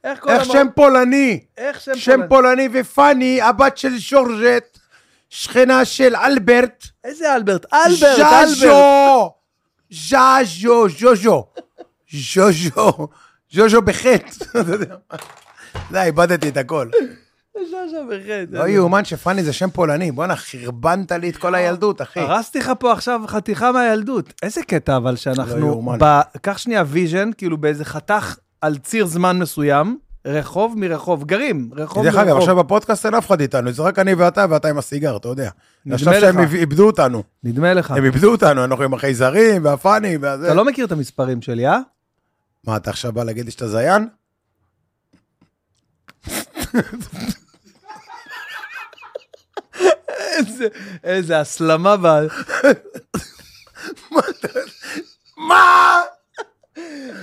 איך כל
איך
המ-
שם פולני?
איך שם
שם
פולני?
פולני ופאני, הבת של שורז'ט, שכנה של אלברט.
איזה אלברט? אלברט, אלברט.
ז'אז'ו! ז'אז'ו, ז'וז'ו. ז'וז'ו, ז'וז'ו בחטא. אתה יודע מה? די, איבדתי את הכל.
ז'וז'ו בחטא.
לא יאומן שפאני זה שם פולני. בואנה, חרבנת לי את כל הילדות, אחי.
הרסתי לך פה עכשיו חתיכה מהילדות. איזה קטע אבל
לא
שאנחנו...
יאומן.
ב- קח שנייה ויז'ן, כאילו באיזה חתך על ציר זמן מסוים, רחוב מרחוב, גרים, רחוב מרחוב.
דרך אגב, עכשיו בפודקאסט אין אף אחד איתנו, זה רק אני ואתה, ואתה עם הסיגר, אתה יודע.
נדמה
עכשיו
לך.
שהם איב- איבדו אותנו.
נדמה לך.
הם איבדו אותנו, אנחנו עם החייזרים והפאנים והזה.
אתה לא מכיר את המספרים שלי, אה?
מה, אתה עכשיו בא להגיד לי שאתה זיין?
איזה- איזה הסלמה ב...
מה?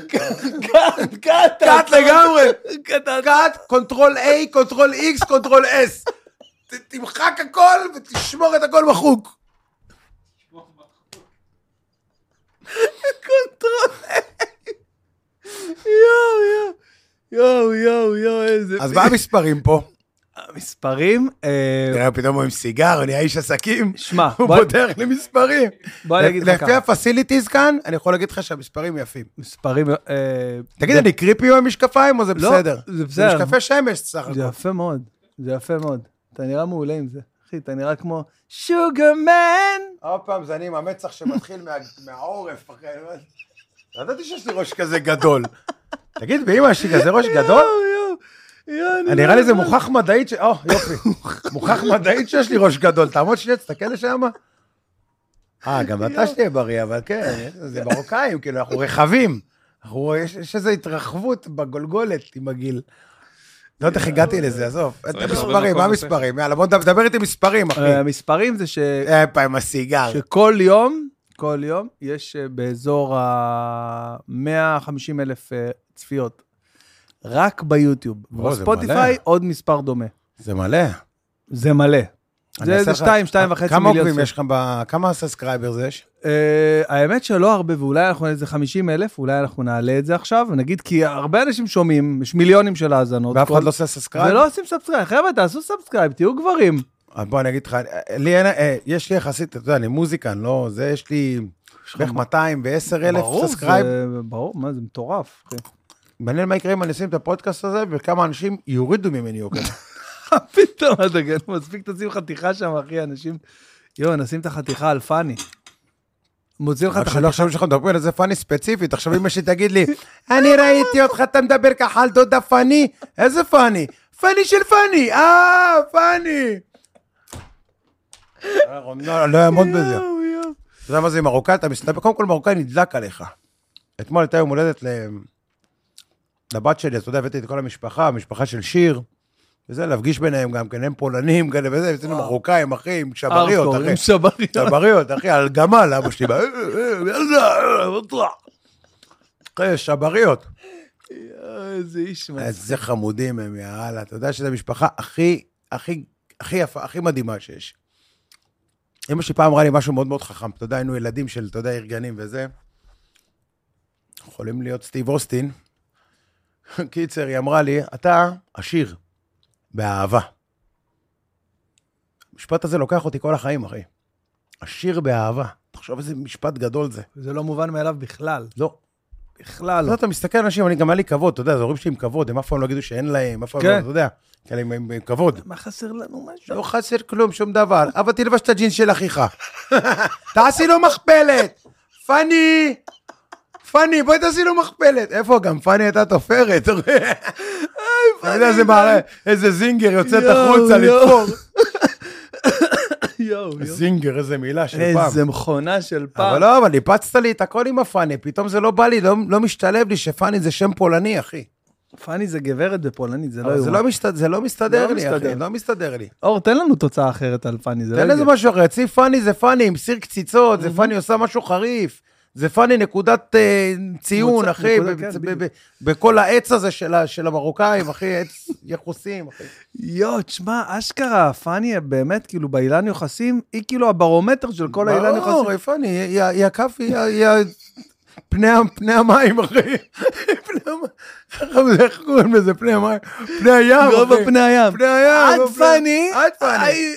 קאט, קאט,
קאט לגמרי. קאט, קונטרול A, קונטרול X, קונטרול S. ת- תמחק הכל ותשמור את הכל מחוק.
קונטרול. יואו, יואו, יואו, יואו, יואו, איזה...
אז מה המספרים פה?
המספרים? אה,
תראה, פתאום הוא עם סיגר, הוא נהיה איש עסקים.
שמע,
הוא
בוא-
בודח למספרים.
בוא אני אגיד לך
לפי
ככה.
הפסיליטיז כאן, אני יכול להגיד לך שהמספרים יפים.
מספרים... אה,
תגיד, אני קריפי עם משקפיים או זה
לא,
בסדר?
זה בסדר.
משקפי שמש סך
זה
הכל.
יפה מאוד, זה יפה מאוד. אתה נראה מעולה עם זה. אחי, אתה נראה כמו שוגרמן.
עוד פעם זה אני עם המצח שמתחיל מה- מהעורף. אחי, אני אומר, לא ידעתי שיש לי ראש כזה גדול. תגיד, באמא, יש לי כזה ראש גדול? אני נראה לי
לא,
זה מוכח מדעית, ש- או, יופי. מוכח מדעית שיש לי ראש גדול. תעמוד שנייה, תסתכל לשם. אה, גם אתה שתהיה בריא, אבל כן, זה מרוקאים, כאילו, אנחנו רחבים. אנחנו- יש- יש איזו התרחבות בגולגולת עם הגיל. לא יודעת איך הגעתי לזה, עזוב.
צריך
מספרים,
לכל
מה
נושא.
מספרים? יאללה, בוא נדבר איתי מספרים, אחי.
אה, המספרים זה ש...
אה, פעם הסיגר.
שכל יום, כל יום, יש אה, באזור ה-150 אלף אה, צפיות. רק ביוטיוב.
בוא, זה
בספוטיפיי
מלא.
עוד מספר דומה.
זה מלא.
זה מלא.
אני
זה
אעשה
זה
לך-
שתיים, שתיים וחצי
כמה
מיליון.
עוקבים
צפיות.
יש לך ב... כמה סאסקרייבר זה יש?
אה, האמת שלא הרבה, ואולי אנחנו איזה 50 אלף, אולי אנחנו נעלה את זה עכשיו, נגיד, כי הרבה אנשים שומעים, יש מיליונים של האזנות.
ואף
כל-
אחד לא עושה סאסקרייב?
ולא עושים סאבסקרייב. חבר'ה, תעשו סאבסקרייב, תהיו גברים.
אז אה, בוא אני אגיד לך, לי אין... אה, יש לי יחסית, אתה יודע, אני מוזיקן, לא... זה יש לי בערך 210 אלף
ברור,
סאסקרייב.
זה- ברור, מה, זה מטורף, אחי.
מעניין מה יקרה אם אני אשים את הפודקאסט הזה וכמה אנשים יורידו ממני אוקיי.
פתאום אתה גדול, מספיק תשים חתיכה שם, אחי, אנשים... יואו, נשים את החתיכה על פאני. מוציא לך את
רק שלא
החתיכה.
עכשיו שאנחנו מדברים על זה פאני ספציפית, עכשיו אמא שלי תגיד לי, אני ראיתי אותך, אתה מדבר ככה על דודה פאני, איזה פאני? פאני של פאני, אה, פאני. לא, לא אעמוד בזה.
יואו, יואו.
אתה יודע מה זה מרוקאי? אתה מסתבר, קודם כל מרוקאי נדלק עליך. אתמול הייתה יום הולדת ל- לבת שלי, אז אתה יודע, הבאתי את כל המשפחה, המשפחה של שיר, וזה, להפגיש ביניהם גם כן, הם פולנים כאלה וזה, עשינו מרוקאים, אחי, עם שבריות,
ארדקור,
אחי.
עם שבריות.
שבריות, אחי, על גמל, אבא שלי, בא, "אה, אה, יאללה, אה, בטוח." אחי, שבריות.
יואו, איזה איש מצחיק.
איזה חמודים הם, יאללה. אתה יודע שזו המשפחה הכי, הכי, הכי יפה, הכי מדהימה שיש. אמא שלי פעם אמרה לי משהו מאוד מאוד חכם. אתה יודע, היינו ילדים של, אתה יודע, ארגנים וזה. יכולים להיות סטיב אוסטין. קיצר, היא אמרה לי, אתה עשיר, באהבה. המשפט הזה לוקח אותי כל החיים, אחי. עשיר באהבה. תחשוב איזה משפט גדול זה.
זה לא מובן מאליו בכלל.
לא,
בכלל
אתה
לא.
יודע, אתה מסתכל על אנשים, אני גם היה לי כבוד, אתה יודע, זה הורים שלי עם כבוד, הם אף פעם לא יגידו שאין להם, אף פעם לא,
כן.
אתה יודע, כאלה עם- עם עם כבוד.
מה חסר לנו משהו?
לא חסר כלום, שום דבר, אבל תלבש את הג'ינס של אחיך. תעשי לו מכפלת! פאני! פאני, בואי תעשי לו מכפלת. איפה גם? פאני הייתה תופרת. אתה רואה? אתה יודע, זה מעלה, איזה זינגר יוצאת
יואו,
החוצה
יואו.
לתפור.
יואו, יואו.
זינגר, איזה מילה של פעם.
איזה מכונה של פעם.
אבל לא, אבל ניפצת לי את הכל עם הפאני, פתאום זה לא בא לי, לא לא משתלב לי שפאני זה שם פולני, אחי.
פאני זה גברת בפולנית, זה לא
אבל זה
יאומן.
לא, משת... זה לא מסתדר
לא
לי, אחי,
מסתדר.
לא מסתדר לי.
אור, תן לנו תוצאה אחרת על פאני, זה לא Mm-hmm.
תן לזה
הגיוני.
משהו אחר, אצלי פאני זה פאני עם סיר קציצות, זה פאני עושה משהו חריף, זה פאני נקודת אה, ציון,
מוצא-
אחי,
נקודה,
ב-
כן,
ב-
בדיוק.
ב- בכל העץ הזה של ה- של המרוקאים, אחי, עץ יחוסים, אחי.
יואו, תשמע, אשכרה, פאני באמת, כאילו, באילן יוחסים, היא כאילו הברומטר של כל האילן יוחסים.
ברור, אה, פאני, היא- היא הכף, היא- היא ה- פני ה- פני המים, אחי. פני המים, איך קוראים לזה? איך קוראים לזה? פני המים, פני הים, אחי.
גובה פני הים.
פני הים.
עד
גובה-
פאני,
עד פאני.
היי,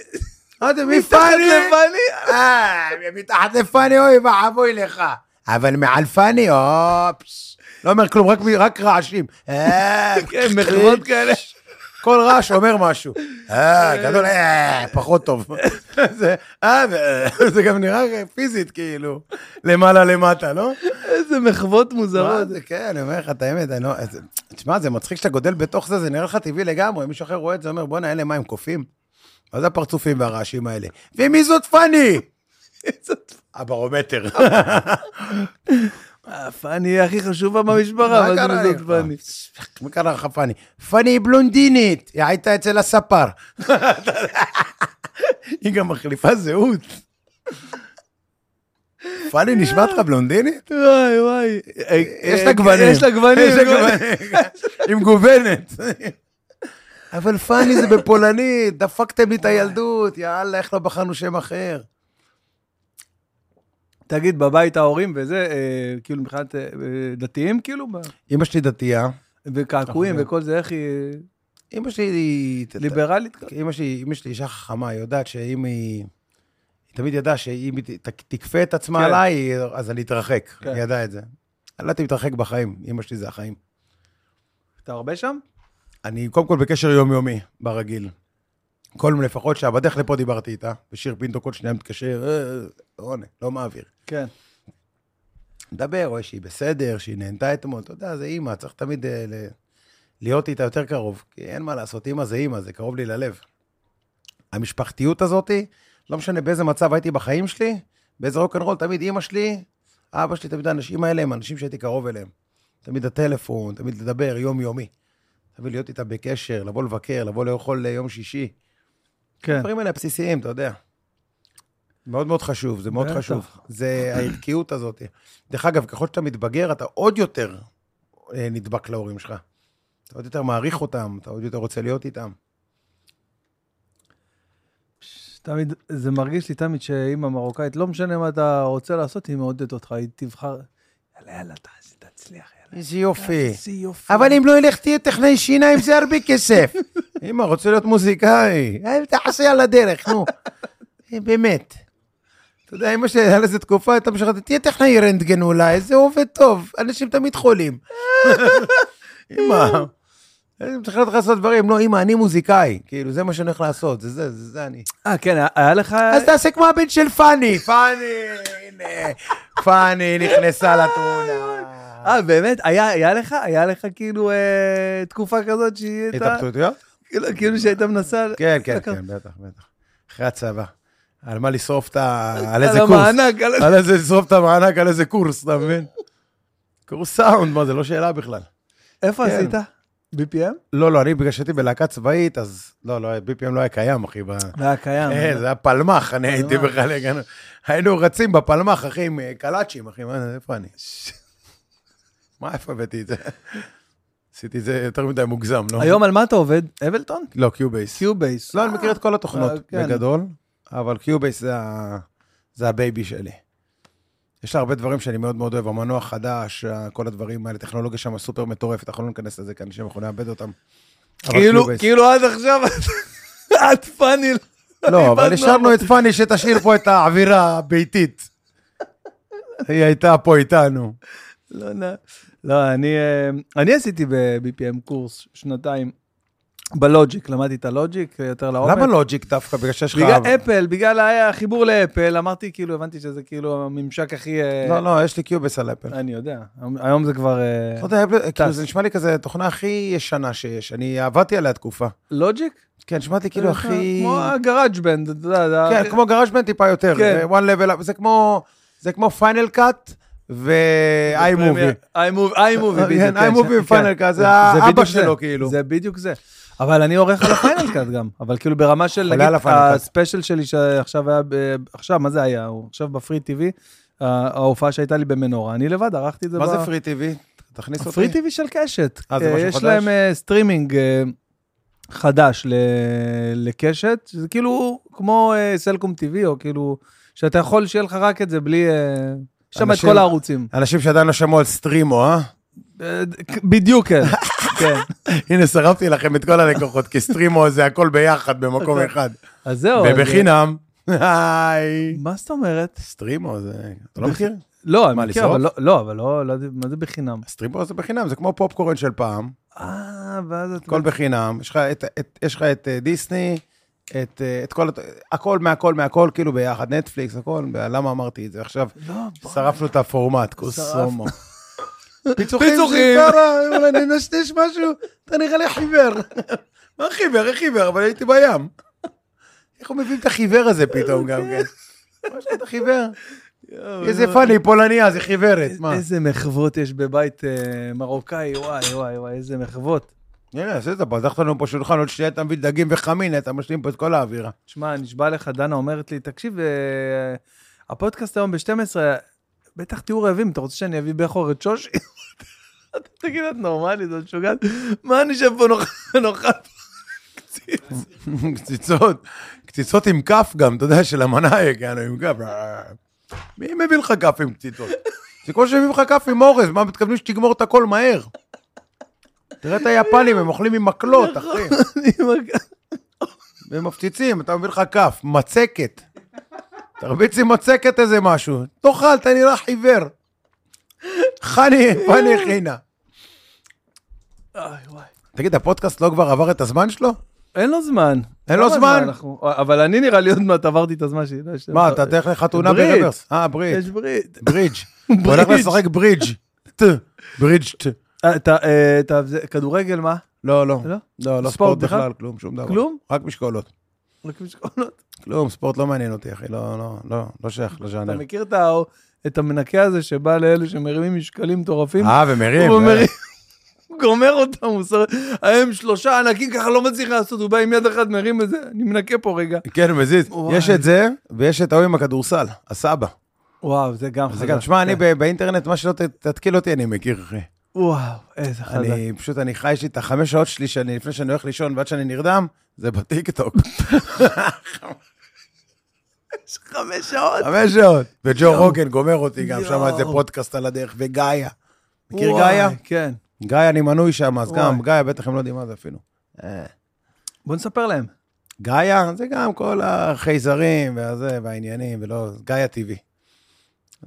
עד
מתחת
מפאני.
לפאני,
אה, מתחת לפאני, אוי ואבוי לך. אבל מעל פאני, אופס. לא אומר כלום, רק- רק רעשים. אה,
כן, מחוות כאלה.
כל רעש אומר משהו. אה, גדול, אה, פחות טוב. זה, אה, ו- זה גם נראה פיזית, כאילו, למעלה למטה, לא?
איזה מחוות
מה
מוזרות.
זה, כן, אני אומר לך את האמת, אני לא... איזה- תשמע, זה מצחיק שאתה גודל בתוך זה, זה נראה לך טבעי לגמרי. מישהו אחר רואה את זה, אומר, בואנה, אלה מה הם קופים? מה זה הפרצופים והרעשים האלה? ומי זאת פאני? הברומטר.
אה, פאני היא הכי חשובה במשפחה, מה זה
לך?
זאת פאני?
מה קרה לך פאני? פאני היא בלונדינית, היא הייתה אצל הספר. היא גם מחליפה זהות. פאני נשמעת לך בלונדינית?
וואי וואי. אה,
יש
אה,
לה גוונים.
יש לה גוונים.
יש לה גוונים. היא מגוונת. אבל פאני זה בפולנית, דפקתם לי את הילדות, יאללה, איך לא בחרנו שם אחר.
תגיד, בבית ההורים וזה, אה, כאילו מבחינת אה, אה, דתיים, כאילו, ב-
אמא שלי דתייה.
וקעקועים
נכון.
וכל זה, איך היא
אמא שלי היא...
ליברלית? כזה?
אמא שלי, אמא שלי אישה חכמה, היא יודעת שאם היא... היא תמיד ידעה שאם היא ת- ת- תכפה את עצמה
כן.
עליי, היא- אז אני אתרחק.
כן.
היא ידעה את זה. אני לא הייתי מתרחק בחיים, אמא שלי זה החיים.
אתה הרבה שם?
אני קודם כל בקשר יומיומי, ברגיל. כל מיני, לפחות שעה, בדרך לפה דיברתי איתה, ושיר פינטו כל שניה מתקשר, "אה, אה, עונה, לא מעביר.
כן.
מדבר, רואה שהיא בסדר, שהיא נהנתה אתמול, אתה יודע, זה אימא, צריך תמיד אה, ל- להיות איתה יותר קרוב, כי אין מה לעשות, אימא זה אימא, זה קרוב לי ללב. המשפחתיות הזאתי, לא משנה באיזה מצב הייתי בחיים שלי, באיזה רוקנרול, תמיד אימא שלי, אבא שלי, תמיד האנשים האלה הם אנשים שהייתי קרוב אליהם. תמיד הטלפון, תמיד לדבר, יום-יומי. תמיד להיות איתה בקשר, לבוא לבקר, לבוא לאכול אה, יום שישי.
כן.
הדברים האלה הבסיסיים, אתה יודע. מאוד מאוד חשוב, זה מאוד
בטח.
חשוב. זה הערכיות הזאת. דרך אגב, ככל שאתה מתבגר, אתה עוד יותר אה, נדבק להורים שלך. אתה עוד יותר מעריך אותם, אתה עוד יותר רוצה להיות איתם.
תמיד, זה מרגיש לי תמיד שאימא מרוקאית, לא משנה מה אתה רוצה לעשות, היא מעודדת אותך, היא תבחר, יאללה, יאללה, תעשי, תצליח, יאללה.
איזה יופי.
איזה יופי.
אבל אם לא אלך תהיה טכנאי שיניים, זה הרבה כסף. אמא, רוצה להיות מוזיקאי. אל תעשה על הדרך, נו. אה, באמת. אתה יודע, אמא שלי, היה לזה תקופה, הייתה משחקת, תהיה טכנאי רנטגן אולי, זה עובד טוב, אנשים תמיד חולים. אמא, אני צריך לדעת לעשות דברים, לא, אמא, אני מוזיקאי, כאילו, זה מה שאני הולך לעשות, זה זה, זה זה אני.
אה, כן, היה- היה לך...
אז תעשה כמו הבן של פאני, פאני, הנה, פאני נכנסה לתמונה.
אה, באמת? היה היה לך? היה לך כאילו אה, תקופה כזאת שהיא הייתה...
התאבטויות?
כאילו- כאילו שהיית מנסה...
כן, כן,
לקחת-
כן, בטח, בטח. אחרי הצבא. על מה לשרוף את ה... על
על
איזה קורס.
המענק, על איזה...
על איזה לשרוף את המענק, על איזה קורס, אתה מבין? קורס סאונד, מה, זה לא שאלה בכלל.
איפה
כן.
עשית? BPM?
לא, לא, אני בגלל שהייתי בלהקה צבאית, אז לא, לא, BPM לא היה קיים, אחי. ב-
זה היה קיים.
אה, זה היה פלמח, אני הייתי
פלמח.
בכלל, הגענו- היינו רצים בפלמח, אחי, עם אה, קלאצ'ים, אחי, מה, איפה אני? מה, איפה הבאתי את זה? עשיתי את זה יותר מדי מוגזם, לא?
היום על מה אתה עובד? אבלטון?
לא, קיובייס.
קיובייס.
לא, אני מכיר את כל
אה,
התוכנות
כן.
בגדול, אבל קיובייס זה ה- זה הבייבי שלי. יש לה הרבה דברים שאני מאוד מאוד אוהב, המנוע חדש, ה- כל הדברים האלה, טכנולוגיה שם סופר מטורפת, אנחנו לא ניכנס לזה, כי אנשים יכולים לאבד אותם. אבל
כאילו,
קיובייס-
כאילו עד עכשיו, את פאני.
לא, אבל
איבדנו
השארנו את פאני שתשאיר פה את האווירה הביתית. היא הייתה פה איתנו.
לא, לא, לא, אני, אה, אני עשיתי ב-BPM קורס שנתיים בלוג'יק, למדתי את הלוג'יק אה, יותר לעומק.
למה לא לוג'יק דווקא? בגלל שיש לך...
בגלל אפל, בגלל היה החיבור לאפל, אמרתי כאילו, הבנתי שזה כאילו הממשק הכי... אה,
לא, לא, יש לי קיובייס על אפל.
אני יודע, היום זה כבר... אה,
אתה יודע, אפל- כאילו,
טס.
זה נשמע לי כזה התוכנה הכי ישנה שיש, אני עבדתי עליה תקופה.
לוג'יק?
כן, נשמעת לי כאילו הכי...
אה, כמו הגראג' בנד, אתה יודע, אה, זה ה-
כן, כמו גראז' בנד טיפה יותר.
כן.
כן. one level up, זה כמו, זה כמו פיינל קאט ו-iMovie.
iMovie, iMovie,
כן,
בדיוק.
iMovie
כן,
ו-Final
כן.
Cut, זה האבא
בדיוק
שלו,
זה.
כאילו.
זה בדיוק זה. אבל אני עורך על הפיינל קאט גם, אבל כאילו ברמה של,
עולה
נגיד,
על ה-Final Cut.
הספיישל שלי שעכשיו היה, ב- עכשיו, מה זה היה? הוא עכשיו בפרי טיווי, ההופעה שהייתה לי במנורה, אני לבד ערכתי את זה.
מה
ב-
זה פרי טיווי? תכניס אותי.
הפרי טיווי של קשת.
אה, זה
אה,
משהו
יש
חדש?
להם אה, סטרימינג אה, חדש ל- לקשת, שזה כאילו כמו אה, סלקום טיווי, או כאילו, שאתה יכול שיהיה לך רק את זה בלי... אה, יש שם את
אנשים-
כל הערוצים.
אנשים שעדיין לא שמעו על סטרימו, אה?
אה, בדיוק כן, כן.
הנה, שרפתי לכם את כל הלקוחות, כי סטרימו זה הכל ביחד במקום
אוקיי.
אחד.
אז זהו. אז,
ובחינם. היי.
אה, מה זאת אומרת?
סטרימו זה... אתה לא מכיר?
לא, אני
מה,
מכיר,
לשרוף?
אבל לא, לא, אבל לא, לא יודע- מה זה בחינם?
סטרימו זה בחינם, זה כמו פופקורן של פעם.
אה, ואז את...
הכל בחינם, יש לך את, את, יש לך את אה, דיסני, את, אה, את כל, הת- הכל מהכל מהכל, כאילו ביחד, נטפליקס, הכל, למה אמרתי את זה עכשיו?
לא, בוא.
שרפנו את הפורמט, קוסומו. פיצוחים,
פיצוחים.
אולי ננשנש משהו, אתה נראה לי חיוור. מה חיוור? איך חיוור? אבל הייתי בים. איך הוא מבין את החיוור הזה פתאום גם כן? מה יש לך את החיוור?
יואו,
איזה
יואו.
פאני, פולניה, זה חיוורת,
איזה-
מה?
אה, איזה מחוות יש בבית אה, מרוקאי, וואי, וואי, וואי, איזה מחוות.
הנה, עשית, פתחת לנו פה שולחן, עוד שנייה אתה מביא דגים וחמין, אתה משלים פה את כל האווירה.
תשמע, נשבע לך, דנה אומרת לי, תקשיב, אה, הפודקאסט היום ב-12, בטח תהיו רעבים, אתה רוצה שאני אביא בכור את שושי? אתה תגיד, את נורמלית, את משוגעת? מה נשב פה נאכל- נאכל פה קציץ?
קציצות, קציצות עם כף גם, אתה יודע, של המנה הגענו עם כף. מי מביא לך כף עם קציצות? זה כמו שמביאים לך כף עם אורז, מה מתכוונים שתגמור את הכל מהר? תראה את היפנים, הם אוכלים עם מקלות, אחי.
אני מרגיש-
והם מפציצים, אתה מביא לך כף, מצקת. תרביץ עם מצקת איזה משהו. תאכל, אתה נראה חיוור. חני, פני חינה.
איי, "אה, וואי.
תגיד, הפודקאסט לא כבר עבר את הזמן שלו?
אין לו זמן.
אין לו
כמה
זמן?
אנחנו- אבל אני נראה לי עוד מעט עברתי את הזמן שלי. לא, יש-
מה, אתה תלך לחתונה
ברית.
ברוורס? אה, ברית.
יש ברית.
ברידג'. הוא הולך
ברידג'.
לשחק ברידג'. ט. ברידג' ט.
אה, אתה- אה, אתה- זה- כדורגל, מה?
לא, לא.
לא?
לא, לא
ספורט
ספורט
בכלל?
בכלל, כלום, שום דבר.
כלום?
רק משקולות.
רק משקולות.
כלום, ספורט לא מעניין אותי, אחי. לא, לא, לא, לא שייך
אתה
לז'אנר.
מכיר את ה- את המנקה הזה שבא לאלה שמרימים משקלים מטורפים?
אה, ומרים.
הוא
אה.
מרים, הוא גומר אותם, הוא שר... הם שלושה ענקים ככה לא מצליח לעשות, הוא בא עם יד אחת מרים את זה, אני מנקה פה רגע.
כן, מזיז.
וואי.
יש את זה, ויש את ההוא עם הכדורסל, הסבא.
וואו, זה גם
זה
חזק.
גם, תשמע, אני
כן.
ב- באינטרנט, מה שלא ת- תתקיל אותי, אני מכיר, אחי.
וואו, איזה חזק.
אני פשוט, אני חי, יש לי את החמש שעות שלי, שאני, לפני שאני הולך לישון ועד שאני נרדם, זה בטיקטוק.
יש חמש שעות.
חמש שעות. וג'ו רוגן גומר אותי גם, שם
יואו.
איזה פודקאסט על הדרך, וגאיה. מכיר
וואי,
גאיה?
כן.
גיא, אני מנוי שם, אז
וואי.
גם, גיא, בטח הם לא יודעים מה זה אפילו.
בוא נספר להם.
גיא, אה, זה גם כל החייזרים והזה והעניינים, ולא, גיא הטבעי.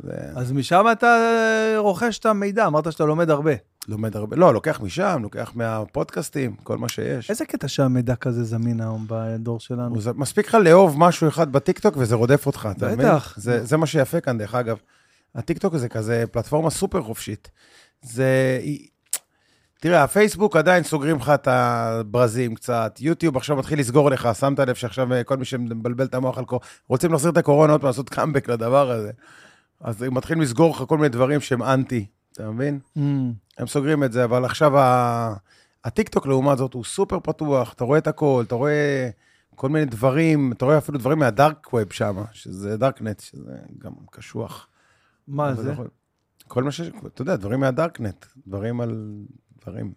זה-
אז משם אתה אה, רוכש את המידע, אמרת שאתה לומד הרבה.
לומד הרבה, לא, לוקח משם, לוקח מהפודקאסטים, כל מה שיש.
איזה קטע שהמידע כזה זמין היום בדור שלנו?
הוא- זה- מספיק לך לאהוב משהו אחד בטיקטוק וזה רודף אותך, אתה מבין?
בטח.
זה, זה מה שיפה כאן, דרך אגב. הטיקטוק זה כזה פלטפורמה סופר חופשית. זה... תראה, הפייסבוק עדיין סוגרים לך את הברזים קצת, יוטיוב עכשיו מתחיל לסגור לך, שמת לב שעכשיו אה, כל מי שמבלבל את המוח על קורונה, רוצים להחזיר את הקורונה עוד פעם, לעשות קאמבק לדבר הזה. אז מתחילים לסגור לך כל מיני דברים שהם אנטי, אתה מבין?
אמ,
הם סוגרים את זה, אבל עכשיו ה... הטיקטוק לעומת זאת הוא סופר פתוח, אתה רואה את הכל, אתה רואה כל מיני דברים, אתה רואה אפילו דברים מהדארק ווב שם, שזה דארקנט, שזה גם קשוח.
מה
אבל לא
זה?
יכול- כל מה שיש, אתה יודע, דברים מהדארקנט, דברים על דברים.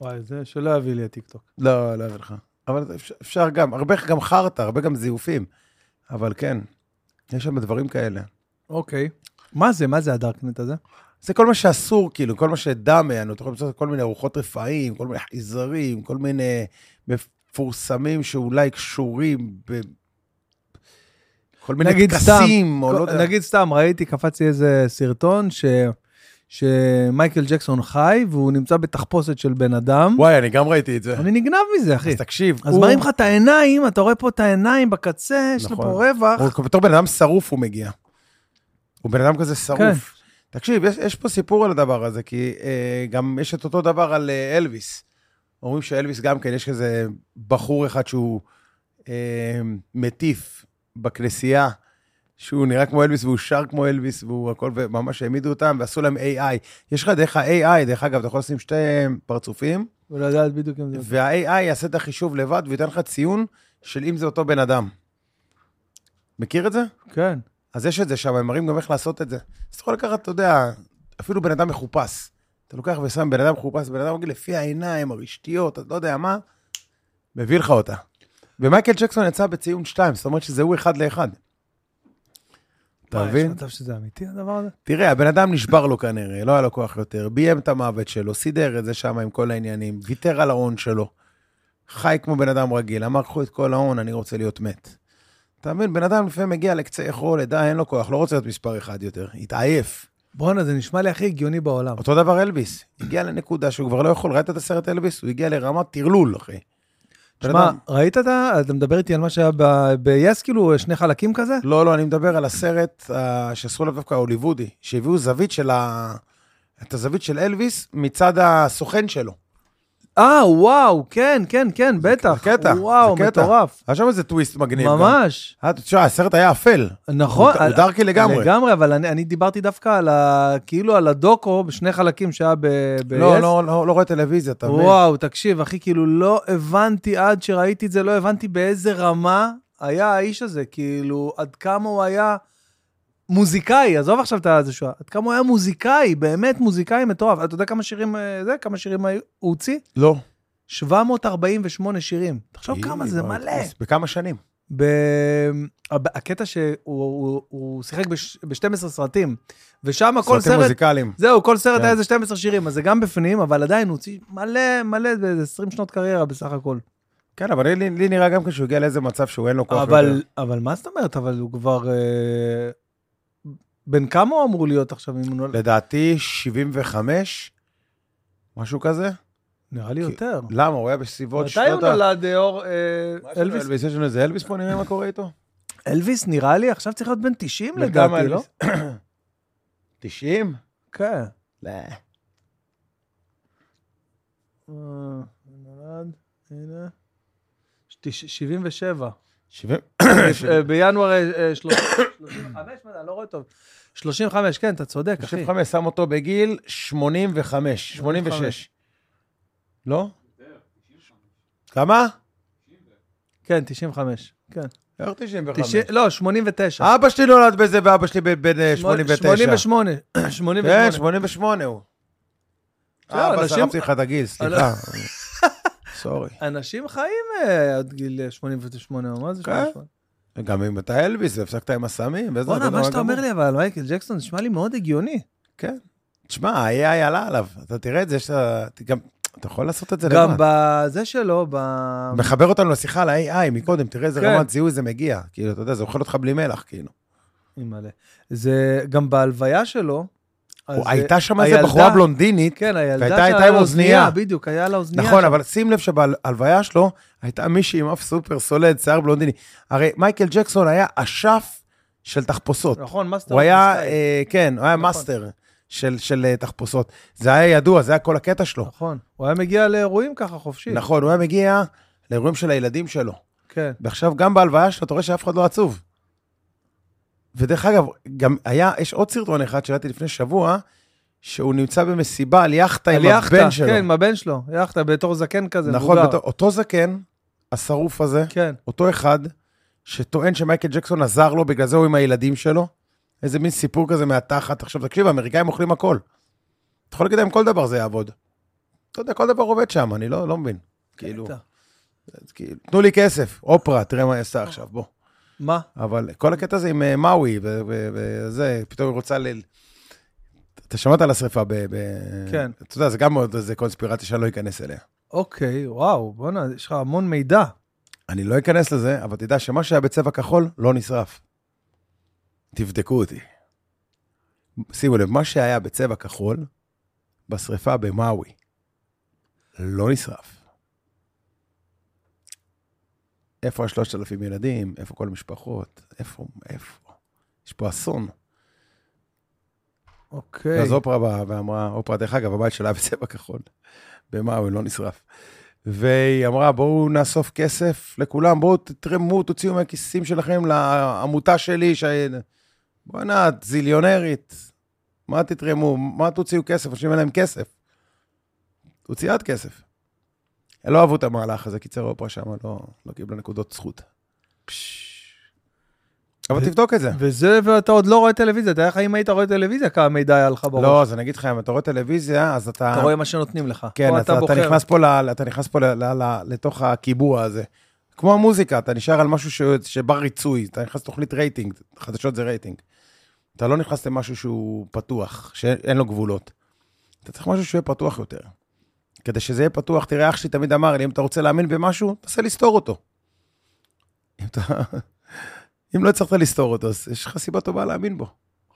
וואי, זה שלא יביא לי הטיקטוק.
לא, לא אביא לך. אבל אפשר, אפשר גם, הרבה גם חרטא, הרבה גם זיופים, אבל כן, יש שם דברים כאלה.
אוקיי. מה זה? מה זה הדארקנט הזה?
זה כל מה שאסור, כאילו, כל מה שדמיין, אתה יכול למצוא כל מיני ארוחות רפאים, כל מיני חייזרים, כל מיני מפורסמים שאולי קשורים ב... כל מיני
נגיד
טקסים, או לא יודע.
נגיד סתם, ראיתי, קפץ לי איזה סרטון ש... שמייקל ג'קסון חי והוא נמצא בתחפושת של בן אדם.
וואי, אני גם ראיתי את זה.
אני נגנב מזה, אחי.
אז תקשיב,
אז מראים לך את העיניים, אתה רואה פה את העיניים בקצה, יש לו
נכון.
פה רווח.
הוא בתור בן אדם שרוף הוא מגיע. הוא בן אדם כזה שרוף.
כן.
תקשיב, יש, יש פה סיפור על הדבר הזה, כי אה, גם יש את אותו דבר על אה, אלוויס. אומרים שאלוויס גם כן, יש כזה בחור אחד שהוא אה, מטיף בכנסייה, שהוא נראה כמו אלוויס והוא שר כמו אלוויס, והוא הכל, וממש העמידו אותם ועשו להם AI. יש לך דרך ה-AI, דרך אגב, אתה יכול לשים שתי פרצופים,
ולדעת בדיוק אם זה...
וה-AI יעשה את החישוב לבד וייתן לך ציון של אם זה אותו בן אדם. מכיר את זה?
כן.
אז יש את זה שם, הם מראים גם איך לעשות את זה. אז אתה יכול לקחת, אתה יודע, אפילו בן אדם מחופש. אתה לוקח ושם בן אדם מחופש, בן אדם מגיד, לפי העיניים, הרשתיות, אתה לא יודע מה, מביא לך אותה. ומייקל ג'קסון יצא בציון 2, זאת אומרת שזה הוא אחד לאחד. אתה
וואי,
מבין?
יש מצב שזה אמיתי הדבר הזה?
תראה, הבן אדם נשבר לו כנראה, לא היה לו כוח יותר, ביים את המוות שלו, סידר את זה שם עם כל העניינים, ויתר על ההון שלו, חי כמו בן אדם רגיל, אמר, קחו את כל ההון, אני רוצה להיות מת. אתה מבין, בן אדם לפעמים מגיע לקצה יכולת, די, אין לו כוח, לא רוצה להיות מספר אחד יותר, התעייף.
בואנה, זה נשמע לי הכי הגיוני בעולם.
אותו דבר אלביס, הגיע לנקודה שהוא כבר לא יכול, ראית את הסרט אלביס? הוא הגיע לרמת טרלול, אחי. בן
שמע,
אדם-
ראית את ה... אתה מדבר איתי על מה שהיה ב- ב-yes, כאילו, שני חלקים כזה?
לא, לא, אני מדבר על הסרט אה, שעשו עליו דווקא ההוליוודי, שהביאו זווית של ה... את הזווית של אלביס מצד הסוכן שלו.
אה, וואו, כן, כן, כן, בטח.
זה קטע,
וואו,
זה קטע.
מטורף.
היה שם איזה טוויסט מגניב. גם.
ממש.
אה, תשמע, הסרט היה אפל.
נכון.
הוא- הוא
על-
דארקי לגמרי.
לגמרי, אבל אני, אני דיברתי דווקא על ה... כאילו על הדוקו בשני חלקים שהיה ב... ב-
לא,
yes.
לא, לא, לא רואה טלוויזיה, אתה מבין?
וואו, תקשיב, אחי, כאילו לא הבנתי עד שראיתי את זה, לא הבנתי באיזה רמה היה האיש הזה, כאילו, עד כמה הוא היה מוזיקאי, עזוב עכשיו את זה שהוא היה, עד כמה הוא היה מוזיקאי, באמת מוזיקאי מטורף. אתה יודע כמה שירים, אה, זה, כמה שירים היו- הוא הוציא?
לא.
748 שירים. תחשוב כמה זה
אוי,
מלא.
אוי, בכמה שנים?
ב... הב- הקטע שהוא הוא, הוא שיחק בש... ב-12 סרטים, ושם כל
סרטים
סרט
מוזיקליים.
זהו, כל סרט
כן.
היה איזה 12 שירים, אז זה גם בפנים, אבל עדיין הוא הוציא מלא מלא, זה איזה 20 שנות קריירה בסך הכל.
כן, אבל לי, לי נראה גם כן שהוא הגיע לאיזה מצב שהוא אין לו כוח
אבל,
יותר.
אבל מה זאת אומרת? אבל הוא כבר... אה, בן כמה הוא אמור להיות עכשיו? אם הוא נולד?
לדעתי, 75, משהו כזה.
נראה לי יותר.
למה? הוא היה בסביבות
מתי הוא
שנות ה...
נולד, אה, אור? אה,
מה יש לנו,
אלוויס?
אלביס? יש לנו איזה אלביס פה, נראה מה קורה איתו.
אלוויס נראה לי עכשיו צריך להיות בן 90
בן כמה
לדעתי, לא?
אלביס? 90?
כן.
לא.
אה, נולד, הנה. תש- 77.
70?
אה, בינואר אה, אה, 35, מה זה, אני לא רואה טוב. 35, כן, אתה צודק, אחי.
95, שם אותו בגיל 85, 86. לא? כמה?
כן, 95. כן.
איך 95?
90, לא, 89.
אבא שלי נולד בזה ואבא שלי ב- בן אה, 89.
88.
כן,
88.
88 הוא.
בסדר,
אבא,
אנשים-
שרפתי לך את הגיל, סליחה. סורי.
אנשים חיים אה, עד גיל 88, או מה זה
כן.
88?
גם אם אתה אלביס והפסקת עם הסמים, וזה...
בואנה,
זה
מה
נורא
שאתה
גמור.
אומר לי אבל על מייקל ג'קסון נשמע לי מאוד הגיוני.
כן. תשמע, ה-AI עלה עליו. אתה תראה את זה, שאתה... גם... אתה יכול לעשות את זה
גם
לבד.
בזה שלו, ב...
מחבר אותנו לשיחה על ה-AI מקודם, תראה איזה
כן.
רמת זיהוי זה מגיע. כאילו, אתה יודע, זה אוכל אותך בלי מלח, כאילו.
אימא'לה. זה גם בהלוויה שלו. אז,
הוא-
אה,
הייתה שם איזה
הילדה-
בחורה בלונדינית,
כן, הילדה
והייתה-
שלה
הייתה
היה
עם
לה
אוזנייה.
בדיוק, היה לה אוזנייה.
נכון,
שם.
אבל שים לב שבהלוויה שלו הייתה מישהי עם אף סופר סולד, שיער בלונדיני. הרי מייקל ג'קסון היה אשף של תחפושות.
נכון, מאסטר.
הוא היה,
סטייל.
אה, כן, הוא היה
נכון.
מאסטר של- של אה, תחפושות. זה היה ידוע, זה היה כל הקטע שלו.
נכון. הוא היה מגיע לאירועים ככה חופשי.
לא. נכון, הוא היה מגיע לאירועים של הילדים שלו.
כן.
ועכשיו גם בהלוויה שלו, אתה רואה שאף אחד לא עצוב. ודרך אגב, גם היה, יש עוד סרטון אחד שראיתי לפני שבוע, שהוא נמצא במסיבה על יאכטה עם
על יאכטה,
הבן שלו.
כן, עם הבן שלו. יאכטה, בתור זקן כזה,
נכון,
מבוגר.
בתור- אותו זקן, השרוף הזה,
כן.
אותו אחד, שטוען שמייקל ג'קסון עזר לו, בגלל זה הוא עם הילדים שלו. איזה מין סיפור כזה מהתחת. עכשיו, תקשיב, האמריקאים אוכלים הכל. אתה יכול להגיד להם כל דבר זה יעבוד. אתה יודע, כל דבר עובד שם, אני לא, לא מבין. כאילו,
קטע.
אז כאילו, תנו לי כסף, אופרה, תראה מה היא עשתה עכשיו, בוא.
מה?
אבל כל הקטע הזה עם אה, מאווי ו- ו- וזה, פתאום היא רוצה ל... אתה שמעת על השרפה ב... ב-
כן.
אתה יודע, זה גם עוד איזה קונספירציה שאני לא אכנס אליה.
אוקיי, וואו, בואנה, יש לך המון מידע.
אני לא אכנס לזה, אבל תדע שמה שהיה בצבע כחול לא נשרף. תבדקו אותי. שימו לב, מה שהיה בצבע כחול, בשריפה במאווי, לא נשרף. איפה השלושת אלפים ילדים? איפה כל המשפחות? איפה? איפה? יש פה אסון.
אוקיי.
אז אופרה באה ואמרה, אופרה, דרך אגב, הבית שלה בצבע כחול. במאווי, לא נשרף. והיא אמרה, בואו נאסוף כסף לכולם, בואו תתרמו, תוציאו מהכיסים שלכם לעמותה שלי, ש... בואנה, את זיליונרית. מה תתרמו? מה תוציאו כסף? אנשים אין להם כסף. תוציאה את כסף. הם לא אהבו את המהלך הזה, קיצר אופרה שם לא, לא קיבלה נקודות זכות. אבל תבדוק את זה.
וזה, ואתה עוד לא רואה טלוויזיה, אתה יודע לך אם היית רואה טלוויזיה, כמה מידע היה לך בראש.
לא, אז אני אגיד לך, אם אתה רואה טלוויזיה, אז אתה...
אתה רואה מה שנותנים לך.
כן,
פה
אתה, אתה,
בוחר.
נכנס פה, ל, אתה נכנס פה ל, ל, ל, לתוך הקיבוע הזה. כמו המוזיקה, אתה נשאר על משהו ש, שבר ריצוי, אתה נכנס לתוכנית רייטינג, חדשות זה רייטינג. אתה לא נכנס למשהו שהוא פתוח, שאין לו גבולות. אתה צריך משהו שיהיה פתוח יותר. כדי שזה יהיה פתוח, תראה, אח שלי תמיד אמר לי, אם אתה רוצה להאמין במשהו, תנסה לסתור אותו. אם, אתה... אם לא הצלחת לסתור אותו, אז יש לך סיבה טובה להאמין בו,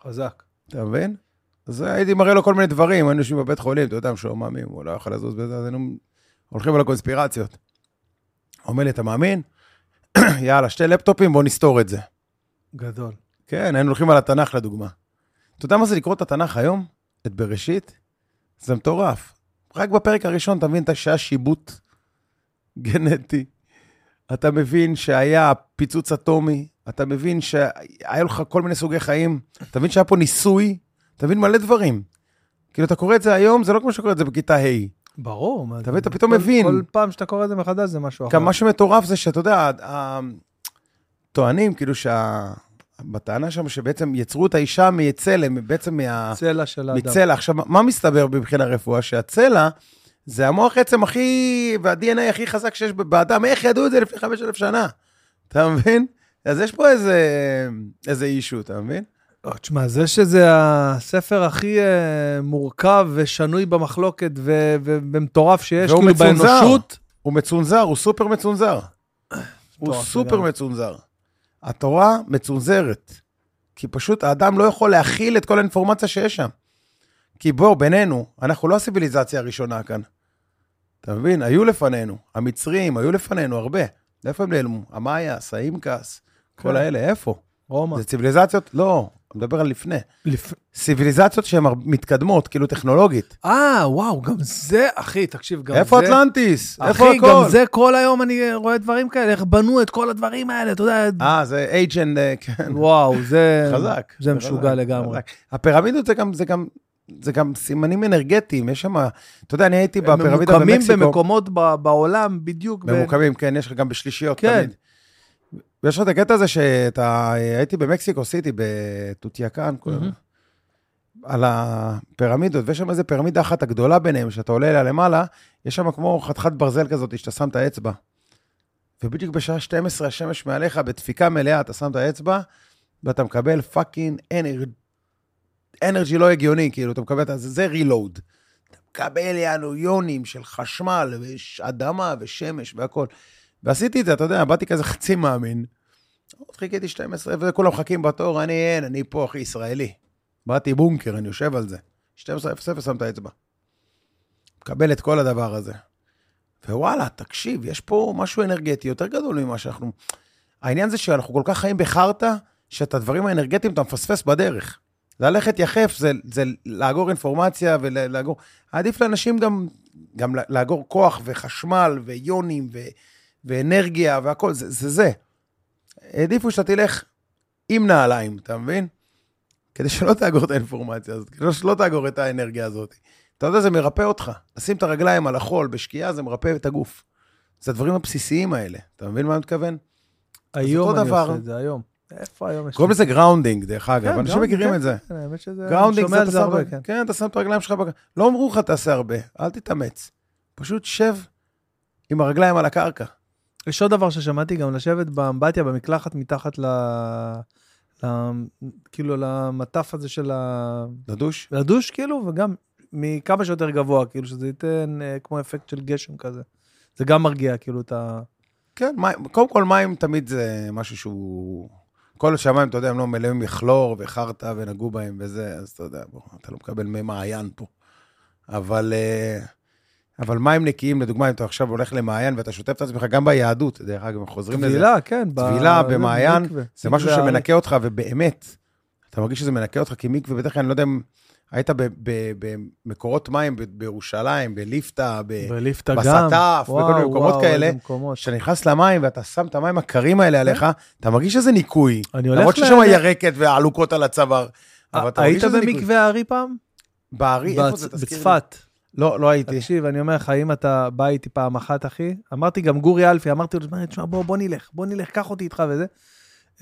חזק.
אתה מבין? אז הייתי מראה לו כל מיני דברים, היינו יושבים בבית חולים, אתה יודע, משועממים, הוא לא יכול לזוז בזה, אז היינו הולכים על הקונספירציות. אומר לי, אתה מאמין? יאללה, שתי לפטופים, בוא נסתור את זה.
גדול.
כן, היינו הולכים על התנ"ך לדוגמה. אתה יודע מה זה לקרוא את התנ"ך היום? את בראשית? זה מטורף. רק בפרק הראשון אתה מבין את השעה שיבוט גנטי. אתה מבין שהיה פיצוץ אטומי, אתה מבין שהיה לך כל מיני סוגי חיים, אתה מבין שהיה פה ניסוי, אתה מבין מלא דברים. כאילו, אתה קורא את זה היום, זה לא כמו שקורא את זה בכיתה ה'.
ברור. מה
אתה
זה-
מבין, אתה פתאום
כל-
מבין.
כל פעם שאתה קורא את זה מחדש זה משהו אחר.
גם מה שמטורף זה שאתה יודע, ה- ה- טוענים כאילו שה... בטענה שם שבעצם יצרו את האישה מצלם, בעצם מה...
צלע של האדם.
מצלע. עכשיו, מה מסתבר מבחינה רפואה? שהצלע זה המוח עצם הכי, וה-DNA הכי חזק שיש באדם. איך ידעו את זה לפני 5,000 שנה? אתה מבין? אז יש פה איזה, איזה אישו, אתה מבין?
לא, תשמע, זה שזה הספר הכי אה, מורכב ושנוי במחלוקת ו- ו- ומטורף שיש,
והוא
כאילו
מצונזר.
באנושות,
הוא מצונזר, הוא סופר מצונזר. הוא
מטורף
סופר
לגמרי.
מצונזר. התורה מצונזרת. כי פשוט האדם לא יכול להכיל את כל האינפורמציה שיש שם. כי בוא, בינינו, אנחנו לא הסיביליזציה הראשונה כאן. אתה מבין? היו לפנינו. המצרים היו לפנינו הרבה. איפה הם נעלמו? המאיה, סאימקס,
כן.
כל האלה, איפה?
רומא.
זה ציוויליזציות? לא, אני מדבר על לפני.
לפ-
ציוויליזציות שהן הר- מתקדמות, כאילו טכנולוגית.
אה, וואו, גם זה, אחי, תקשיב, גם
איפה
זה...
אטלנטיס? איפה
אחי,
הכל?
גם זה כל היום אני רואה דברים כאלה, איך בנו את כל הדברים האלה, אתה יודע...
אה, זה agent, אה, כן.
וואו, זה...
חזק.
זה משוגע
חזק,
לגמרי.
חזק. הפירמידות זה גם, זה גם, זה גם סימנים אנרגטיים, יש שם, אתה יודע, אני הייתי
הם
בפירמידה
ממוקמים
במקסיקו.
במקומות ב- בעולם בדיוק. ב-
ממוקמים, כן, יש לך גם בשלישיות
כן.
תמיד. ויש לך את הקטע הזה שאתה, הייתי במקסיקו סיטי, בטוטיאקן,
מהמם.
על הפירמידות, ויש שם איזה פירמידה אחת הגדולה ביניהם, שאתה עולה אליה למעלה, יש שם כמו חתיכת ברזל כזאת, שאתה שם את האצבע. ובדיוק בשעה 12 השמש מעליך, בדפיקה מלאה, אתה שם את האצבע, ואתה מקבל פאקינג אנרג' אנרג'י לא הגיוני, כאילו, אתה מקבל את זה, זה רילואוד. אתה מקבל יענו יונים של חשמל, ויש אדמה, ושמש, והכול. ועשיתי את זה, אתה יודע, באתי כזה חצי מאמין. עוד חיכיתי 12, וכולם מחכים בתור, אני אין, אני פה, אחי, ישראלי. באתי בונקר, אני יושב על זה. 12:00 שם את האצבע. מקבל את כל הדבר הזה. ווואלה, תקשיב, יש פה משהו אנרגטי יותר גדול ממה שאנחנו... העניין זה שאנחנו כל כך חיים בחרטא, שאת הדברים האנרגטיים אתה מפספס בדרך. ללכת יחף זה, זה לאגור אינפורמציה ולאגור... עדיף לאנשים גם, גם לאגור כוח וחשמל ויונים ו, ואנרגיה והכל, זה, זה זה. העדיפו שאתה תלך עם נעליים, אתה מבין? כדי שלא תאגור את האינפורמציה הזאת, כדי שלא תאגור את האנרגיה הזאת. אתה יודע, זה מרפא אותך. לשים את הרגליים על החול בשקיעה, זה מרפא את הגוף. זה הדברים הבסיסיים האלה. אתה מבין מה אני מתכוון?
היום
אותו
אני
דבר.
עושה את זה, היום. איפה היום יש...
קוראים לזה גראונדינג, דרך אגב.
כן,
אנשים
grounding,
מכירים
כן,
את זה.
כן, האמת שזה...
גראונדינג
שומע
זה
על
אתה שם
הרבה,
הרבה, כן, אתה שם את הרגליים שלך, בג- לא אמרו לך תעשה הרבה, אל תתאמץ. פשוט שב עם הרגליים על הקרקע.
יש עוד דבר ששמעתי, גם לשבת באמבטיה, במקלחת מתחת ל... ל... כאילו למטף הזה של ה...
לדוש?
לדוש, כאילו, וגם מכמה שיותר גבוה, כאילו, שזה ייתן אה, כמו אפקט של גשם כזה. זה גם מרגיע, כאילו, את ה...
כן, מים, קודם כל מים תמיד זה משהו שהוא... כל השמיים, אתה יודע, הם לא מלאים מכלור וחרטא ונגעו בהם וזה, אז אתה יודע, בוא, אתה לא מקבל מי מעיין פה. אבל, אה, אבל מים נקיים, לדוגמה, אם אתה עכשיו הולך למעיין ואתה שוטף את עצמך, גם ביהדות, דרך אגב, הם חוזרים לזה.
טבילה, כן. ב-
טבילה
זה
במעיין,
במקווה.
זה משהו
מקווה
שמנקה אותך, ובאמת, אתה מרגיש שזה מנקה אותך, כי מקווה, בטח אני לא יודע אם היית ב- ב- במקורות מים ב- בירושלים, בליפתא, ב...
הארץ. בליפתא גם.
בסטף, בכל מיני
וואו,
מקומות
וואו,
כאלה.
איזה מקומות.
כשאתה נכנס למים ואתה שם את המים הקרים האלה עליך, אתה מרגיש שזה ניקוי.
אני הולך
למרות
ל-
שיש שם ירקת והעלוקות על הצוואר. אבל אתה מרגיש
היית
שזה ניקוי.
במקווה הארי פעם?
בארי, איפה זה?
בצ-
תזכיר לי.
בצפת.
לא, לא הייתי.
תקשיב, אני אומר לך, אם אתה בא איתי פעם אחת, אחי, אמרתי גם גורי אלפי, אמרתי לו, "תשמע, תשמע, בוא, בוא נלך, בוא נלך, קח אותי איתך וזה.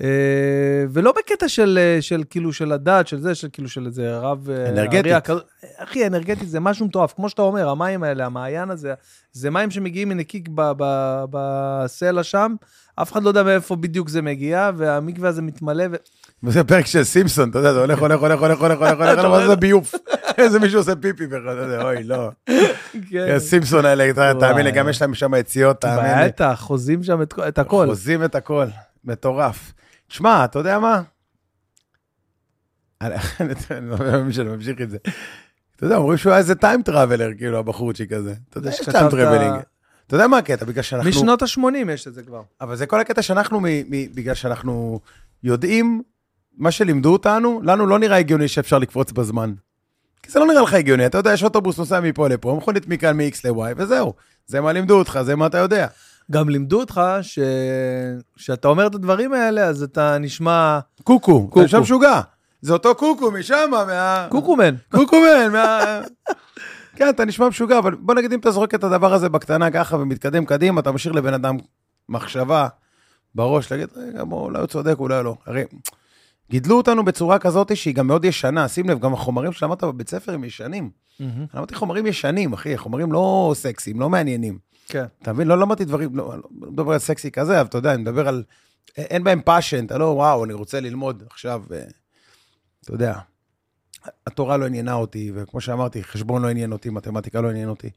אה, ולא בקטע של, אה, של כאילו של הדת, של זה, של כאילו של איזה רב... אה,
אנרגטית.
אריה כזה. אחי, אנרגטית זה משהו מטורף. כמו שאתה אומר, המים האלה, המעיין הזה, זה מים שמגיעים מנקיק ב- ב- בסלע שם, אף אחד לא יודע מאיפה בדיוק זה מגיע, והמקווה הזה מתמלא, ו...
וזה פרק של סימפסון, אתה יודע, זה הולך, הולך, הולך, הולך, הולך, הולך, הולך, הולך, זה ביוף. איזה מישהו עושה פיפי בכלל, אתה יודע, אוי, לא.
כן.
סימפסון האלה, אתה-
וואי.
תאמין לי, גם יש להם שם יציאות, תאמין לי.
בטח, חוזים שם את, את הכל.
חוזים את הכל, מטורף. שמע, אתה יודע מה? אני לא מאמין שאני ממשיך את זה. אתה יודע, אומרים שהוא היה איזה טיים טראבלר, כאילו, הבחורצ'יק הזה. אתה יודע, יש
שכתבת-
טיים טראבלינג. אתה יודע מה הקטע? בגלל שאנחנו...
משנות ה-80 יש את זה כבר.
אבל זה כל הקטע שאנחנו, מ... מ... בגלל שאנחנו יודעים, מה שלימדו אותנו, לנו לא נראה הגיוני שאפשר לקפוץ בזמן. כי זה לא נראה לך הגיוני, אתה יודע, יש אוטובוס נוסע מפה לפה, מכונית מכאן מ-X ל-Y, וזהו. זה מה לימדו אותך, זה מה אתה יודע.
גם לימדו אותך שכשאתה אומר את הדברים האלה, אז אתה נשמע
קוקו, אתה
קוקו.
שם משוגע. זה אותו קוקו משם, מה...
קוקומן.
קוקומן, מה... כן, אתה נשמע משוגע, אבל בוא נגיד, אם אתה זורק את הדבר הזה בקטנה ככה ומתקדם קדימה, אתה משאיר לבן אדם מחשבה בראש, להגיד, רגע, בוא, אולי הוא צודק, אולי לא. הרי גידלו אותנו בצורה כזאת שהיא גם מאוד ישנה, שים לב, גם החומרים שלמדת בבית ספר הם ישנים. אני למדתי חומרים ישנים, אחי, חומרים לא סקסיים, לא מעניינים.
כן.
אתה מבין? לא למדתי דברים, לא, לא מדבר על סקסי כזה, אבל אתה יודע, אני מדבר על... א- אין בהם פאשן, אתה לא, וואו, אני רוצה ללמוד עכשיו, אה, אתה יודע. התורה לא עניינה אותי, וכמו שאמרתי, חשבון לא עניין אותי, מתמטיקה לא עניין אותי.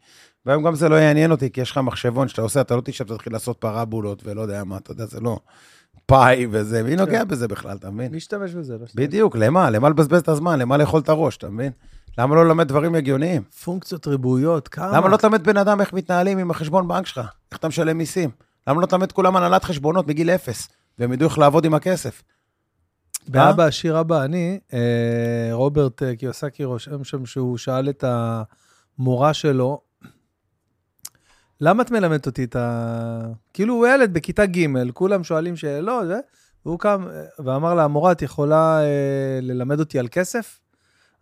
והיום גם זה לא יעניין אותי, כי יש לך מחשבון שאתה עושה, אתה לא תשב, תתחיל לעשות פרבולות ולא יודע מה, אתה יודע, זה לא פאי וזה, מי נוגע בזה בכלל, אתה מבין?
מי ישתמש בזה? לא ישתמש.
בדיוק, למה? למה לבזבז את הזמן? למה לאכול את הראש, אתה מבין? למה לא ללמד דברים הגיוניים?
פונקציות ריבועיות, כמה?
למה לא תלמד בן אדם איך מתנהלים עם החשבון בנק שלך? איך אתה משלם מיסים? למה לא תלמד כולם הנהלת חשבונות מגיל אפס? והם ידעו איך לעבוד עם הכסף.
באבא עשיר אבא אני, אה, רוברט אה, קיוסקי רושם שם שהוא שאל את המורה שלו, למה את מלמדת אותי את ה... כאילו הוא ילד בכיתה ג', כולם שואלים שאלות, ו- והוא קם אה, ואמר לה, המורה, את יכולה אה, ללמד אותי על כסף?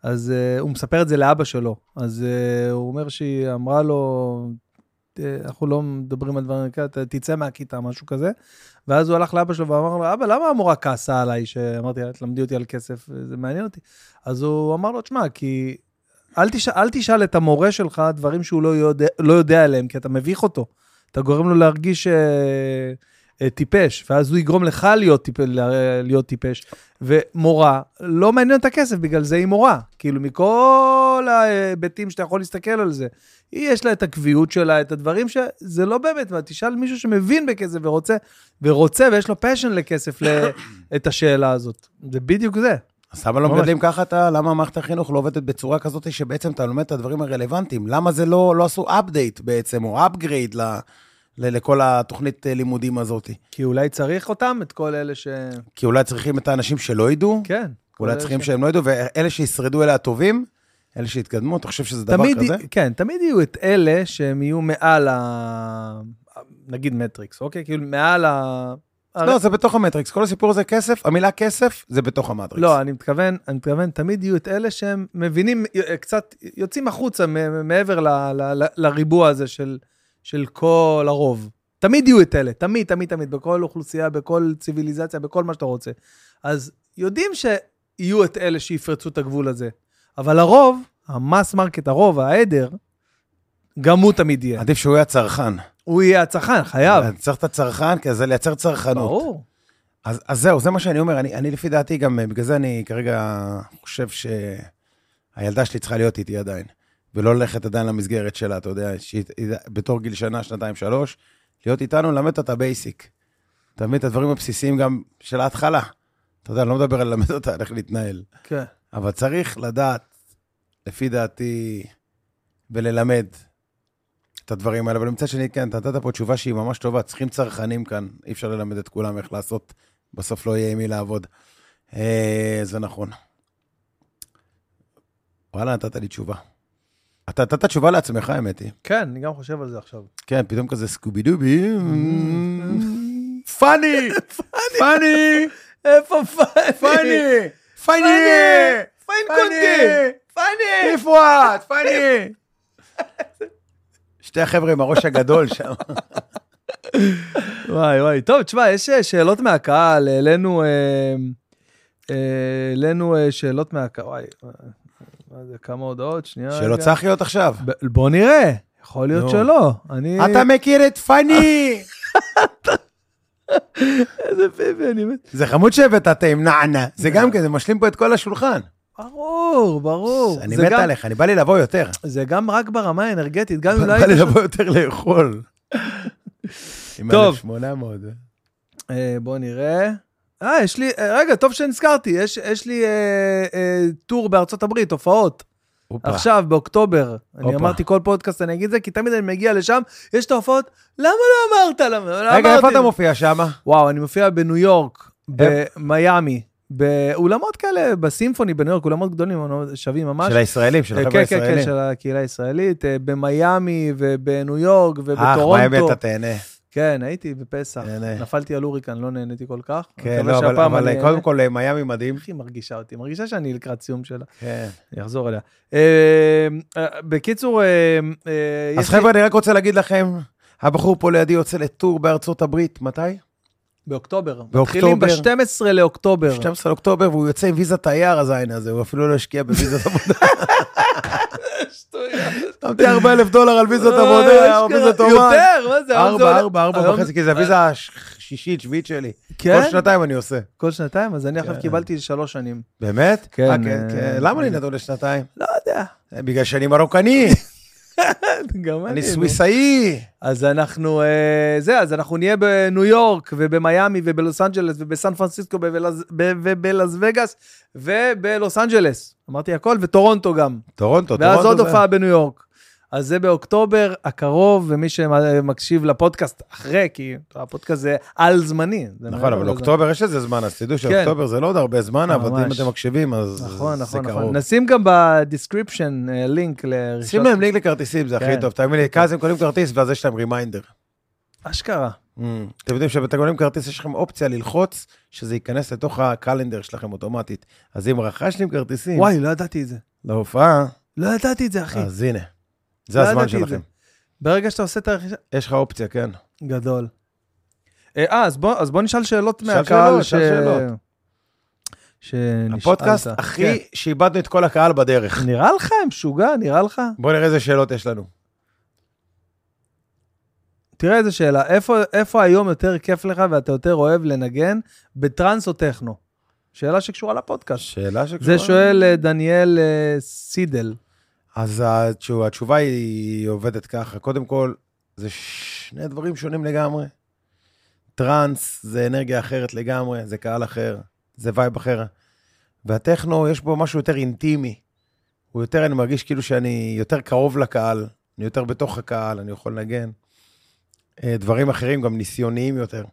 אז אה, הוא מספר את זה לאבא שלו. אז אה, הוא אומר שהיא אמרה לו, "אה, אנחנו לא מדברים על דברים כאלה, ת- תצא מהכיתה, משהו כזה. ואז הוא הלך לאבא שלו ואמר לו, אבא, למה המורה כעסה עליי שאמרתי לה, תלמדי אותי על כסף, זה מעניין אותי? אז הוא אמר לו, תשמע, כי אל תשאל, אל תשאל את המורה שלך דברים שהוא לא יודע, לא יודע עליהם, כי אתה מביך אותו. אתה גורם לו להרגיש אה, אה, טיפש, ואז הוא יגרום לך להיות, טיפ, לה- להיות טיפש. ומורה, לא מעניין את הכסף, בגלל זה היא מורה. כאילו, מכל ההיבטים שאתה יכול להסתכל על זה. היא, יש לה את הקביעות שלה, את הדברים ש... זה לא באמת, מה, תשאל מישהו שמבין בכסף ורוצה, ורוצה ויש לו פשן לכסף, ל... את השאלה הזאת. זה בדיוק זה.
אז למה לא
ממש.
מגדלים ככה את ה... למה מערכת החינוך לא עובדת בצורה כזאת שבעצם אתה לומד את הדברים הרלוונטיים? למה זה לא, לא עשו update בעצם, או upgrade ל, ל, לכל התוכנית אה, לימודים הזאת?
כי אולי צריך אותם, את כל אלה ש...
כי אולי צריכים את האנשים שלא ידעו, כן.
כן. כל
אולי
אלה
צריכים ש... שהם לא ידעו, ואלה שישרדו אלה הטובים, אלה שיתקדמו, אתה חושב שזה דבר
תמיד,
כזה?
י- כן, תמיד יהיו את אלה שהם יהיו מעל ה... נגיד מטריקס, אוקיי? כאילו מעל ה...
לא, זה בתוך המטריקס. כל הסיפור הזה כסף, המילה כסף זה בתוך המטריקס.
לא, אני מתכוון, אני מתכוון, תמיד יהיו את אלה שהם מבינים, אה, קצת יוצאים החוצה מ- מ- מעבר ל, ל, ל, לריבוע הזה של, של כל הרוב. תמיד יהיו את אלה, תמיד, תמיד, תמיד, בכל אוכלוסייה, בכל ציוויליזציה, בכל מה שאתה רוצה. אז יודעים שיהיו את אלה שיפרצו את הגבול הזה, אבל הרוב, המס מרקט, הרוב, העדר, גם הוא תמיד יהיה.
עדיף שהוא יהיה הצרכן.
הוא יהיה הצרכן, חייב.
אתה צריך את הצרכן, כי זה לייצר צרכנות.
ברור.
אז, אז זהו, זה מה שאני אומר. אני, אני לפי דעתי גם, אה, בגלל זה אני כרגע חושב שהילדה שלי צריכה להיות איתי עדיין, ולא ללכת עדיין למסגרת שלה, אתה יודע, שהיא היא- בתור גיל שנה, שנתיים, שלוש, להיות איתנו, ללמד אותה את הבייסיק. אתה מבין את הדברים הבסיסיים גם של ההתחלה. אתה יודע, אני לא מדבר על ללמד אותה איך להתנהל.
כן.
אבל צריך לדעת, לפי דעתי, וללמד את הדברים האלה. אבל מצד שני, כן, אתה נתת פה תשובה שהיא ממש טובה, צריכים צרכנים כאן, אי אפשר ללמד את כולם איך לעשות, בסוף לא יהיה עם מי לעבוד. אה, זה נכון. וואלה, נתת לי תשובה. אתה נתת תשובה לעצמך, האמת היא.
כן, אני גם חושב על זה עכשיו.
כן, פתאום כזה סקובי דובי. פאני! פאני!
איפה פאני?
פאני! פאני!
פיין
פאני!
קונטי! פאני!
איפה את? פאני! שתי החבר'ה עם הראש הגדול שם.
וואי וואי, טוב, תשמע, יש אה, שאלות מהקהל, העלינו אה, אה, העלינו אה, שאלות מהקהל, וואי, אה, מה זה, כמה הודעות, שנייה.
שאלות
רגע.
צחיות עכשיו.
ב- בוא נראה, יכול להיות
נו.
שלא. אני...
אתה מכיר את פאני!
איזה ביבי, אני מת.
זה חמוד שהבאת את עם נענה. זה גם כן, זה משלים פה את כל השולחן.
ברור, ברור.
אני
זה
מת
גם-
עליך, אני בא לי לבוא יותר.
זה גם רק ברמה האנרגטית, גם אם לא
בא
היית...
לי לבוא יותר לאכול. עם
טוב.
1800.
אה, בוא נראה. אה, יש לי, אה, רגע, טוב שנזכרתי, יש, יש לי אה, אה, טור בארצות הברית, הופעות,
הופה.
עכשיו, באוקטובר. אני
הופה.
אמרתי כל פודקאסט, אני אגיד את זה, כי תמיד אני מגיע לשם, יש את ההופעות, למה לא אמרת? למה לא
רגע, איפה
אמרתי?"
אתה מופיע שם?
וואו, אני מופיע בניו יורק, במיאמי, באולמות כאלה, בסימפוני בניו יורק, אולמות גדולים, אולמות שווים ממש.
של הישראלים, של
אה,
החבר'ה
כן, כן, כן,
הישראלים.
של הקהילה הישראלית, אה, במיאמי ובניו יורק
אך, אה, מה האמת,
ובטורונטו.
אתה תהנה.
כן, הייתי בפסח.
נהנה.
נפלתי על הוריקן, לא נהניתי כל כך.
כן,
מקווה
לא, אבל-
שהפעם
אבל
אני
קודם
אהנה.
כל, אה, מיאמי מדהים.
איך היא מרגישה אותי? מרגישה שאני לקראת סיום שלה.
כן.
אני אחזור אליה. אה, אה, בקיצור, אה, אה,
אז
יש לי-
חבר'ה, אני רק רוצה להגיד לכם, הבחור פה לידי יוצא לטור בארצות הברית, מתי?
באוקטובר. מתחילים
באוקטובר.
ב-12 לאוקטובר.
12 לאוקטובר, והוא יוצא עם ויזת תייר, הזין הזה, הוא אפילו לא השקיע בוויזת עבודה. שמתי 4,000 דולר על ויזת עבודה, או
אשכרה.
ויזת אומן.
אה, יותר, מה זה? היום זה
ארבע,
עולה-
ארבע, ארבע
היום-
וחצי, כי זה הוויזה השישית, שביעית שלי.
כן?
כל שנתיים אני עושה.
כל שנתיים? אז אני עכשיו
כן.
קיבלתי שלוש שנים.
באמת?
כן,
אה, כן,
אה,
כן. למה אני נדון לשנתיים?
לא יודע.
אה, בגלל שאני מרוקני,
גם אני.
אני
נו.
סוויסאי.
אז אנחנו, אה, זה, אז אנחנו נהיה בניו יורק, ובמיאמי, ובלוס אנג'לס, ובסן פרנסיסקו, ובלז- ב- ובלאס וגאס, ובלוס אנג'לס. אמרתי הכל, וטורונטו גם.
טורונטו,
ואז עוד
טורונטו זה...
הופעה בניו יורק. אז זה באוקטובר הקרוב, ומי שמקשיב לפודקאסט אחרי, כי הפודקאסט זה על זמני. זה
נכון,
מעבר
אבל
לזמן.
אוקטובר יש לזה זמן, אז תדעו שאוקטובר זה לא עוד הרבה זמן, אבל אם
ממש.
אתם מקשיבים, אז זה קרוב.
נכון, נכון, נכון. נשים גם בדיסקריפשן אה, לינק לרכישות.
שים להם לינק לכרטיסים, זה הכי
כן.
טוב. תאמין לי, כאז הם קונים כרטיס, ואז יש להם רימיינדר.
אשכרה.
Mm. אתם יודעים שאתם קונים כרטיס, יש לכם אופציה ללחוץ, שזה ייכנס לתוך הקלנדר שלכם אוטומטית. אז אם רכשתם כרטיסים
וואי, לא ידעתי את זה.
להופעה,
לא ידעתי את זה, אחי.
אז הנה, זה
לא
הזמן
ידעתי את זה.
שלכם.
ברגע שאתה עושה את הרכישה...
יש לך אופציה, כן.
גדול. אה, אז בוא, אז בוא נשאל שאלות
שאל
מהקהל
שאלות, שאל שאלות.
שנשאלת.
הפודקאסט הכי שאיבדנו את כל הקהל בדרך.
כן. נראה לך, משוגע, נראה לך?
בוא נראה איזה שאלות יש לנו.
תראה איזה שאלה, איפה, איפה היום יותר כיף לך ואתה יותר אוהב לנגן, בטראנס או טכנו? שאלה שקשורה לפודקאסט.
שאלה שקשורה.
זה שואל אה, דניאל אה, סידל.
אז התשוב, התשובה היא עובדת ככה, קודם כל, זה שני דברים שונים לגמרי. טראנס זה אנרגיה אחרת לגמרי, זה קהל אחר, זה וייב אחר. והטכנו, יש בו משהו יותר אינטימי. הוא יותר, אני מרגיש כאילו שאני יותר קרוב לקהל, אני יותר בתוך הקהל, אני יכול לנגן. אה, דברים אחרים, גם ניסיוניים יותר.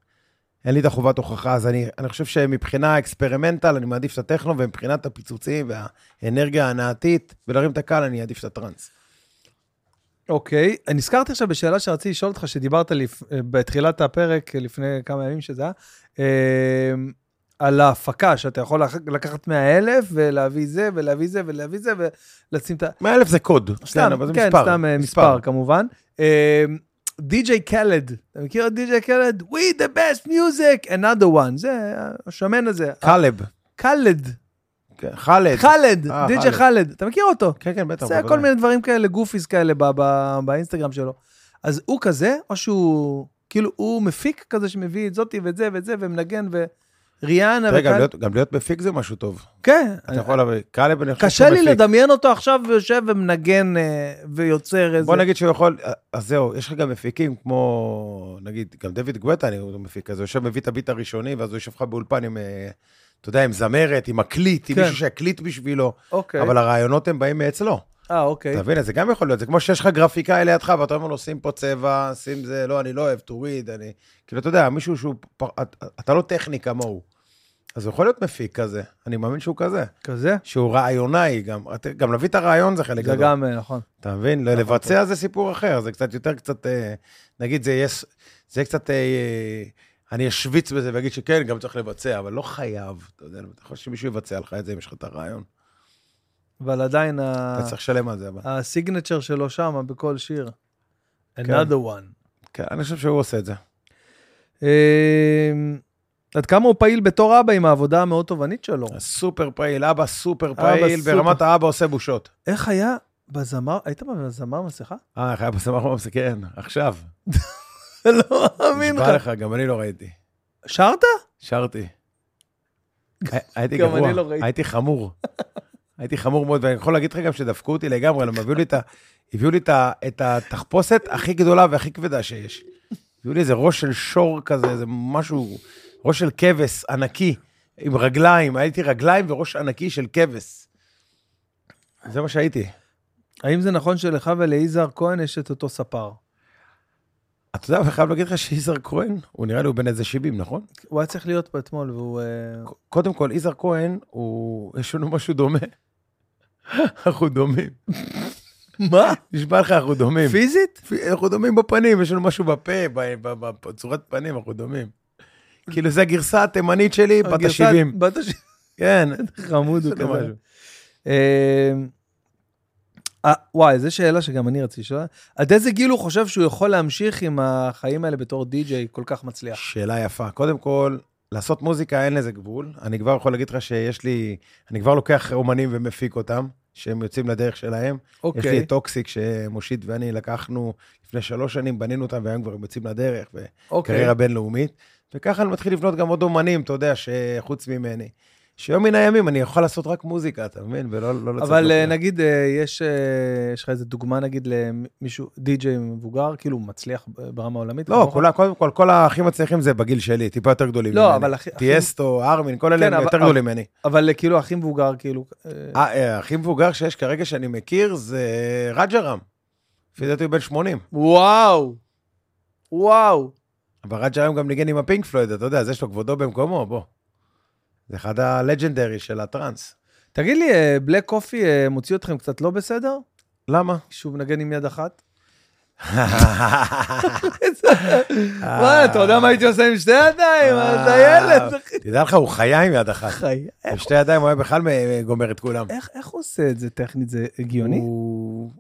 אין לי את החובת הוכחה, אז אני, אני חושב שמבחינה אקספרימנטל, אני מעדיף את הטכנו, ומבחינת הפיצוצים וה... אנרגיה הנעתית, ולהרים את הקהל, אני אעדיף את הטראנס.
אוקיי, נזכרתי עכשיו בשאלה שרציתי לשאול אותך, שדיברת לפ... אה, בתחילת הפרק, אה, לפני כמה ימים שזה היה, אה, על ההפקה, שאתה יכול לח- לקחת 100 אלף ולהביא זה ולהביא זה ולהביא זה ולשים את ה...
100 אלף זה קוד, סתם, אבל זה
כן,
מספר.
סתם אה, מספר כמובן. אה, די.ג'יי קלד, אתה מכיר את די.ג'יי קלד? We the best music, another one, זה השמן הזה.
קלב,
קלד,
כן, חלד.
חלד,
אה, חלד.
די.ג'יי חלד, אתה מכיר אותו?
כן, כן, בטח.
עושה
בוודאי.
כל מיני דברים כאלה, גופיס כאלה ב- ב- באינסטגרם שלו. אז הוא כזה, או שהוא, כאילו, הוא מפיק כזה שמביא את זאתי ואת זה ואת זה, ומנגן וריאנה
תראה, גם
וכאלה.
להיות- גם להיות מפיק זה משהו טוב.
כן,
אתה יכול להביא, קלב, אני חושב
קשה
שהוא
לי
מפיק.
לדמיין אותו עכשיו יושב ומנגן אה, ויוצר איזה...
בוא נגיד שהוא יכול, אה, אז זהו, יש לך גם מפיקים כמו, נגיד, גם דויד גואטה, אני- הוא מפיק, אז הוא יושב, מביא את הביט הראשוני, ואז הוא יושב לך באולפן עם, אה, אתה יודע, עם זמרת, עם מקליט, עם
כן.
מישהו שיקליט בשבילו,
אוקיי.
אבל הרעיונות הם באים מאצלו.
אה, אוקיי.
אתה מבין? אז זה גם יכול להיות, זה כמו שיש לך גרפיקאי לידך, ואתה אומר לו, שים פה צבע, שים זה, לא, אני לא אוהב, תוריד, אני... כאילו, אתה יודע, מישהו שהוא... פ- את- אתה לא טכני כמוהו. אז הוא יכול להיות מפיק כזה, אני מאמין שהוא כזה.
כזה?
שהוא רעיונאי גם, את- גם להביא את הרעיון זה חלק
זה
גדול.
גם, אה, נכון.
אתה מבין? לבצע זה סיפור אחר, זה קצת יותר קצת, אה, נגיד זה יהיה, ס- זה יהיה קצת, אה, אני אשוויץ בזה ואגיד שכן, גם צריך לבצע, אבל לא חייב, אתה יודע, אתה יכול שמישהו יבצע לך את זה אם יש לך את הרעיון.
אבל עדיין ה-
אתה צריך לשלם על זה, אבל.
הסיגנצ'ר שלו שם בכל שיר. another one.
כן, אני חושב שהוא עושה את זה.
אמ, עד כמה הוא פעיל בתור אבא עם העבודה המאוד תובענית שלו?
סופר פעיל, אבא סופר
אבא
פעיל,
סופר.
ברמת האבא עושה בושות.
איך היה בזמר, היית בזמר מסכה?
אה, איך היה בסמך במסק? כן, עכשיו.
לא מאמין
נשבע
לך.
לך, גם אני לא ראיתי.
שרת?
שרתי. הי- הייתי
גם
גרוע,
אני לא ראיתי.
הייתי חמור. הייתי חמור מאוד, ואני יכול להגיד לך גם שדפקו אותי לגמרי, הם הביאו לי את ה- הביאו לי את ה- את התחפושת הכי גדולה והכי כבדה שיש. הביאו לי איזה ראש של שור כזה, איזה משהו, ראש של כבש ענקי, עם רגליים, הייתי רגליים וראש ענקי של כבש. זה מה שהייתי.
האם זה נכון שלך וליזהר כהן יש את אותו ספר?
אתה יודע, אני חייב להגיד לך שיזהר כהן, הוא נראה לי הוא בן איזה 70, נכון?
הוא היה צריך להיות פה אתמול, והוא... אה,
ק- קודם כל, יזהר כהן, הוא... יש לנו משהו דומה. אנחנו דומים.
מה?
נשבע לך, אנחנו דומים.
פיזית?
פי- אנחנו דומים בפנים, יש לנו משהו בפה, ב- ב- ב- בצורת פנים, אנחנו דומים. כאילו, זו הגרסה התימנית שלי, בת
הגרסה-
ה-70.
בת ה-70.
כן.
חמוד הוא
יש לנו
כזה.
משהו.
אה, אה, וואי, זו שאלה שגם אני רציתי לשאול. עד איזה גיל הוא חושב שהוא יכול להמשיך עם החיים האלה בתור די-ג'יי כל כך מצליח?
שאלה יפה. קודם כל, לעשות מוזיקה אין לזה גבול. אני כבר יכול להגיד לך שיש לי... אני כבר לוקח אומנים ומפיק אותם, שהם יוצאים לדרך שלהם. יש לי
אוקיי.
את טוקסיק, שמושיט ואני לקחנו לפני שלוש שנים, בנינו אותם, והיום כבר הם יוצאים לדרך. ו...
אוקיי.
קריירה בינלאומית, וככה אני מתחיל לבנות גם עוד אומנים, אתה יודע, שחוץ ממני. שיום מן הימים אני יכול לעשות רק מוזיקה, אתה מבין? ולא לא לצאת...
אבל אה,
להופיע.
נגיד, אה, יש אה, יש לך איזה דוגמה, נגיד, למישהו, די-ג'יי מבוגר, כאילו, מצליח ברמה עולמית?
לא,
כמוך?
כולה, קודם כל, כל האחים מצליחים זה בגיל שלי, טיפה יותר גדולים
לא,
ממני.
אבל הכי- הכי-
טיאסטו, ארמין, כל אלה
כן,
הם
אבל-
יותר
אבל-
גדולים ממני.
אבל אה, כאילו, הכי מבוגר, כאילו... אה,
אה, אה, הכי מבוגר שיש כרגע שאני מכיר זה רג'רם. לפי דעתי הוא בן 80.
וואו! וואו!
אבל רג'רם גם ניגן עם הפינק פלויד, אתה יודע, אז יש לו כבודו במקומו, בוא. זה אחד הלג'נדרי של הטראנס.
תגיד לי, אה, בלק קופי אה, מוציא אתכם קצת לא בסדר?
למה?
שהוא מנגן עם יד אחת? וואי, אתה יודע מה הייתי עושה עם שתי ידיים?
אה,
אתה ילד, אחי.
תדע לך, הוא חיה עם יד אחת.
חיי.
עם שתי ידיים הוא היה בכלל מ- גומר את כולם.
איך איך הוא עושה את זה טכנית? זה הגיוני?
הוא...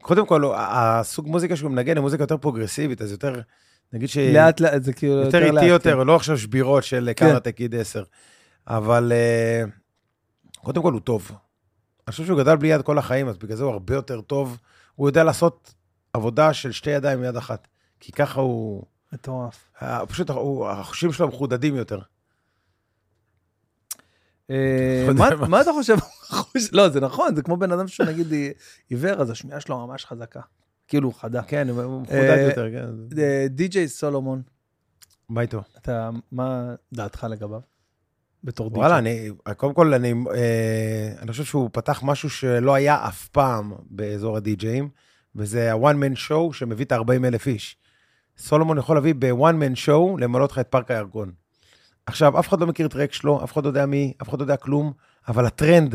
קודם כל, הוא- הסוג מוזיקה שהוא מנגן היא מוזיקה יותר פרוגרסיבית, אז יותר, נגיד ש...
לאט לאט, זה כאילו
יותר
לאט,
איטי יותר,
כן.
לא עכשיו שבירות של
כן.
קראטה קיד 10. אבל אה, קודם כל הוא טוב. אני חושב שהוא גדל בלי יד כל החיים, אז בגלל זה הוא הרבה יותר טוב. הוא יודע לעשות עבודה של שתי ידיים מיד אחת. כי ככה הוא...
כן. מטורף.
ה- פשוט הוא- החושים שלו מחודדים יותר.
אה,
אתה יודע
מה- מה אתה חושב? חוש- לא, זה נכון, זה כמו בן אדם שהוא נגיד אה, עיוור, אז השמיעה שלו ממש חזקה. כאילו, הוא חדה.
כן, הוא הוא מחודד
אה,
יותר, כן.
אה, די.ג'יי סולומון,
מה איתו?
אתה, מה דעתך לגביו? בתור די.ג'יי.
וואלה, אני, קודם כל, אני, אה, אני חושב שהוא פתח משהו שלא היה אף פעם באזור הדי-ג'אים, וזה ה-one man show שמביא את ה-40 אלף איש. סולומון יכול להביא ב-one man show למלא אותך את פארק הירקון. עכשיו, אף אחד לא מכיר טרק שלו, אף אחד לא יודע מי, אף אחד לא יודע כלום, אבל הטרנד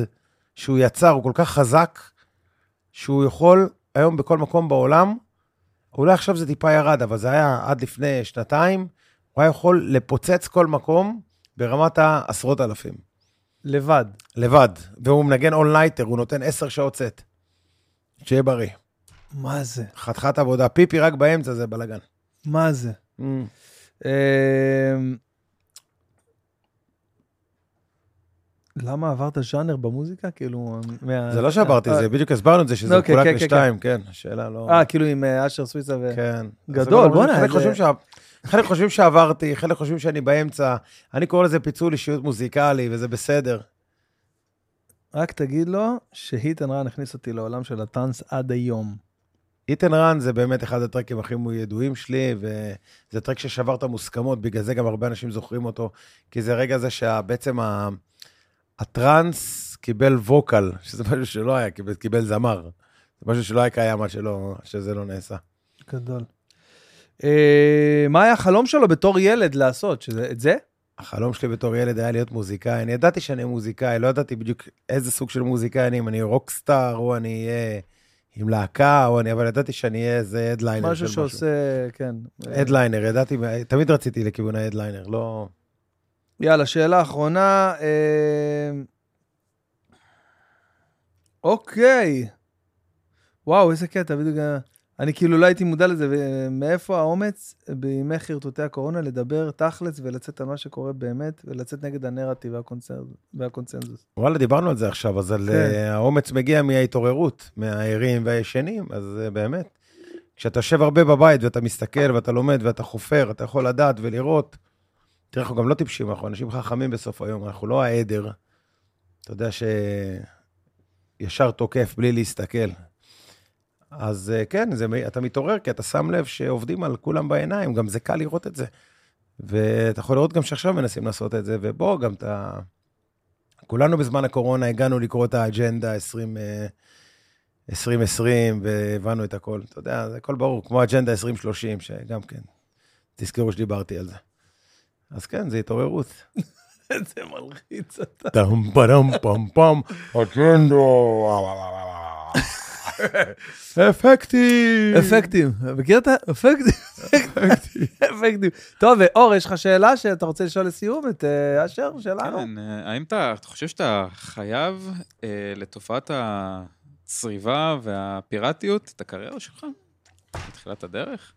שהוא יצר הוא כל כך חזק, שהוא יכול היום בכל מקום בעולם, אולי עכשיו זה טיפה ירד, אבל זה היה עד לפני שנתיים, הוא היה יכול לפוצץ כל מקום ברמת העשרות אלפים.
לבד.
לבד, והוא מנגן אונלייטר, הוא נותן עשר שעות סט. שיהיה בריא.
מה זה?
חתיכת עבודה, פיפי רק באמצע זה בלאגן.
מה זה? אמ, למה עברת ז'אנר במוזיקה? כאילו, מה...
זה לא שעברתי,
אה,
זה בדיוק הסברנו את זה, שזה
אוקיי,
חולק
כן, כן,
לשתיים, כן, השאלה לא...
אה, כאילו עם אה, אשר סוויסה ו...
כן.
גדול,
אז
בואנה,
חלק
זה-
חושבים שה- חלק חושבים שעברתי, חלק חושבים שאני באמצע. אני קורא לזה פיצול אישיות מוזיקלי, וזה בסדר.
רק תגיד לו שהיט אנד רן הכניס אותי לעולם של הטאנס עד היום.
איתן רן זה באמת אחד הטרקים הכי ידועים שלי, וזה טרק ששבר את המוסכמות, בגלל זה גם הרבה אנשים זוכרים אותו, כי זה רגע זה שבעצם ה... הטראנס קיבל ווקל, שזה משהו שלא היה, קיבל, קיבל זמר. זה משהו שלא היה קיים עד שלא, שזה לא נעשה.
גדול. אה, מה היה החלום שלו בתור ילד לעשות? שזה- את זה?
החלום שלי בתור ילד היה להיות מוזיקאי. אני ידעתי שאני מוזיקאי, לא ידעתי בדיוק איזה סוג של מוזיקאי אני, אם אני רוקסטאר, או אני אהיה עם להקה, או אני, אבל ידעתי שאני אהיה איזה הדליינר של משהו.
משהו שעושה, כן.
הדליינר, ידעתי, תמיד רציתי לכיוון ההדליינר, לא...
יאללה, שאלה אחרונה. אה... אוקיי. וואו, איזה קטע, בדיוק... ה- אני כאילו לא הייתי מודע לזה, ומאיפה האומץ בימי חרטוטי הקורונה לדבר תכלס ולצאת על מה שקורה באמת, ולצאת נגד הנרטיב והקונצנזוס. והקונצנזוס.
וואלה, דיברנו על זה עכשיו, אז על
כן.
אה, האומץ מגיע מההתעוררות, מהערים והישנים, אז אה, באמת, כשאתה יושב הרבה בבית ואתה מסתכל ואתה לומד ואתה חופר, אתה יכול לדעת ולראות. תראה, אנחנו גם לא טיפשים, אנחנו אנשים חכמים בסוף היום, אנחנו לא העדר. אתה יודע שישר תוקף בלי להסתכל. אז אה, כן, זה, מ- אתה מתעורר כי אתה שם לב שעובדים על כולם בעיניים, גם זה קל לראות את זה. ואתה יכול לראות גם שעכשיו מנסים לעשות את זה, ובוא, גם אתה... כולנו בזמן הקורונה הגענו לקרוא את האג'נדה 20, אה, 2020, והבנו את הכל. אתה יודע, זה הכל ברור, כמו אג'נדה 2030, שגם כן, תזכרו שדיברתי על זה. אז כן, זה התעוררות.
זה מלחיץ אותה.
טם פרם פם פם, אג'נדה, וואו, וואו, וואו, וואו. אפקטים.
אפקטים, מכיר את ה... אפקטים, אפקטים. טוב, ואור, יש לך שאלה שאתה רוצה לשאול לסיום את אה, אשר שלנו?
כן, אה, האם אתה אתה חושב שאתה חייב אה, לתופעת הצריבה והפיראטיות את הקריירה שלך? בתחילת הדרך?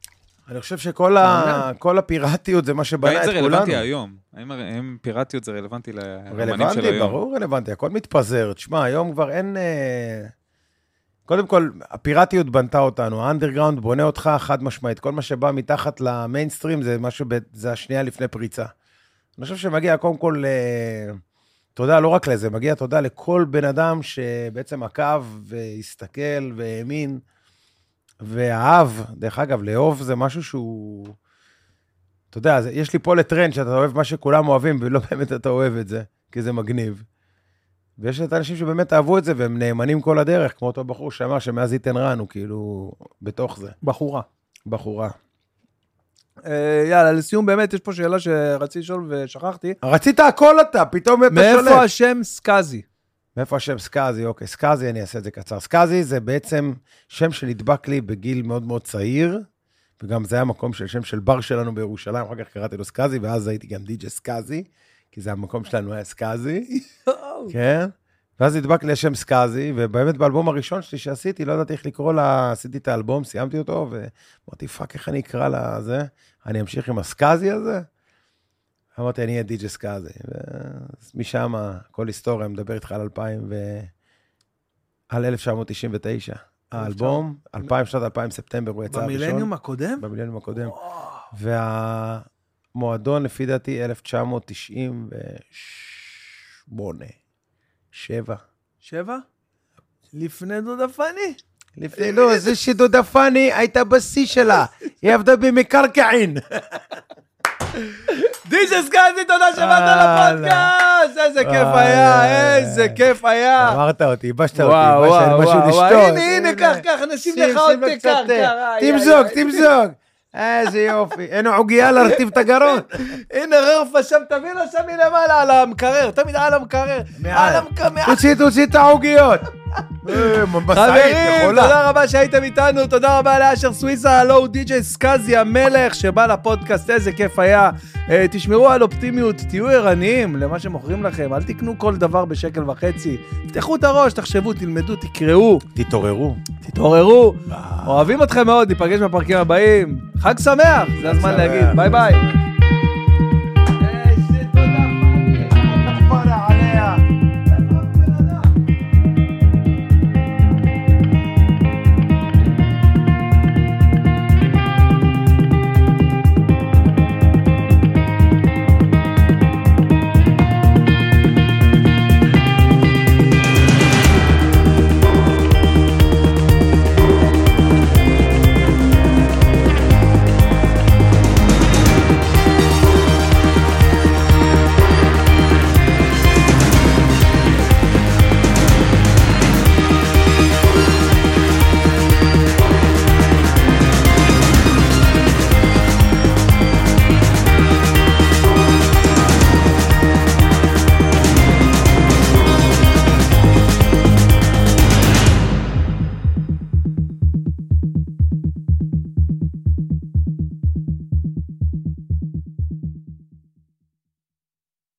אני חושב שכל ה- כל הפיראטיות זה מה שבנה
האם
את
זה
כולנו.
רלוונטי היום? האם הר- האם פיראטיות זה רלוונטי לאמנים של
רלוונטי,
היום?
ברור רלוונטי, הכל מתפזר. תשמע, היום כבר אין... אה, קודם כל, הפיראטיות בנתה אותנו, האנדרגראונד בונה אותך חד משמעית. כל מה שבא מתחת למיינסטרים זה משהו, ב- זה השנייה לפני פריצה. אני חושב שמגיע קודם כל, אה, תודה לא רק לזה, מגיע תודה לכל בן אדם שבעצם עקב והסתכל והאמין ואהב. דרך אגב, לאהוב זה משהו שהוא... אתה יודע, זה- יש לי פה לטרנד שאתה אוהב מה שכולם אוהבים, ולא באמת אתה אוהב את זה, כי זה מגניב. ויש את האנשים שבאמת אהבו את זה, והם נאמנים כל הדרך, כמו אותו בחור שאמר שמאז איתן רן, הוא כאילו בתוך זה,
בחורה.
בחורה.
אה, יאללה, לסיום באמת, יש פה שאלה שרציתי לשאול ושכחתי.
רצית הכל אתה, פתאום אתה שולט.
מאיפה השם סקאזי?
מאיפה השם סקאזי? אוקיי, סקאזי, אני אעשה את זה קצר. סקאזי זה בעצם שם שנדבק לי בגיל מאוד מאוד צעיר, וגם זה היה מקום של שם של בר שלנו בירושלים, אחר כך קראתי לו סקאזי, ואז הייתי גם די.ג'י סקאזי, כי זה המקום שלנו היה סקאזי. כן. ואז נדבק לי השם סקאזי, ובאמת באלבום הראשון שלי שעשיתי, לא ידעתי איך לקרוא לה, עשיתי את האלבום, סיימתי אותו, ואמרתי, פאק, איך אני אקרא לה זה? אני אמשיך עם הסקאזי הזה? אמרתי, אני אהיה די.ג'י סקאזי. ואז משם, כל היסטוריה, מדבר איתך על 2000 ו... על 1999. האלבום, 2000, שנת 2000, ספטמבר, הוא יצא הראשון.
במילניום הקודם?
במילניום הקודם. והמועדון, לפי דעתי, 1998, 7.
שבע? לפני דודה פאני?
לפני, לא, זה שדודה פאני הייתה בשיא שלה, היא עבדה במקרקעין.
דיג'ס גזי, תודה שבאת
אהלן.
לפודקאסט! איזה כיף
וואי,
היה,
וואי,
איזה
וואי.
כיף היה.
אמרת אותי, ייבשת אותי,
וואו,
ייבשת
וואו,
לי משהו
וואו, וואו,
לשתות.
הנה, הנה, קח, קח, נשים לך עוד
שים לו
תיקח,
קצת,
קרה, איי,
תמזוג,
איי.
תמזוג. איזה יופי, אין עוגיה להרטיב את הגרון.
הנה ררפה שם, תביא לו שם מלמעלה על המקרר, תמיד על המקרר.
מעל.
על המקרר.
תוציא, תוציא את העוגיות. אה, משאית,
חברים,
מכולה.
תודה רבה שהייתם איתנו, תודה רבה לאשר סוויסה, הלו הוא די.ג'יי סקאזי המלך שבא לפודקאסט, איזה כיף היה. אה, תשמרו על אופטימיות, תהיו ערניים למה שמוכרים לכם, אל תקנו כל דבר בשקל וחצי. תפתחו את הראש, תחשבו, תלמדו, תקראו,
תתעוררו.
תתעוררו. אוהבים אתכם מאוד, ניפגש בפרקים הבאים. חג שמח, זה הזמן
שמח.
להגיד, ביי ביי.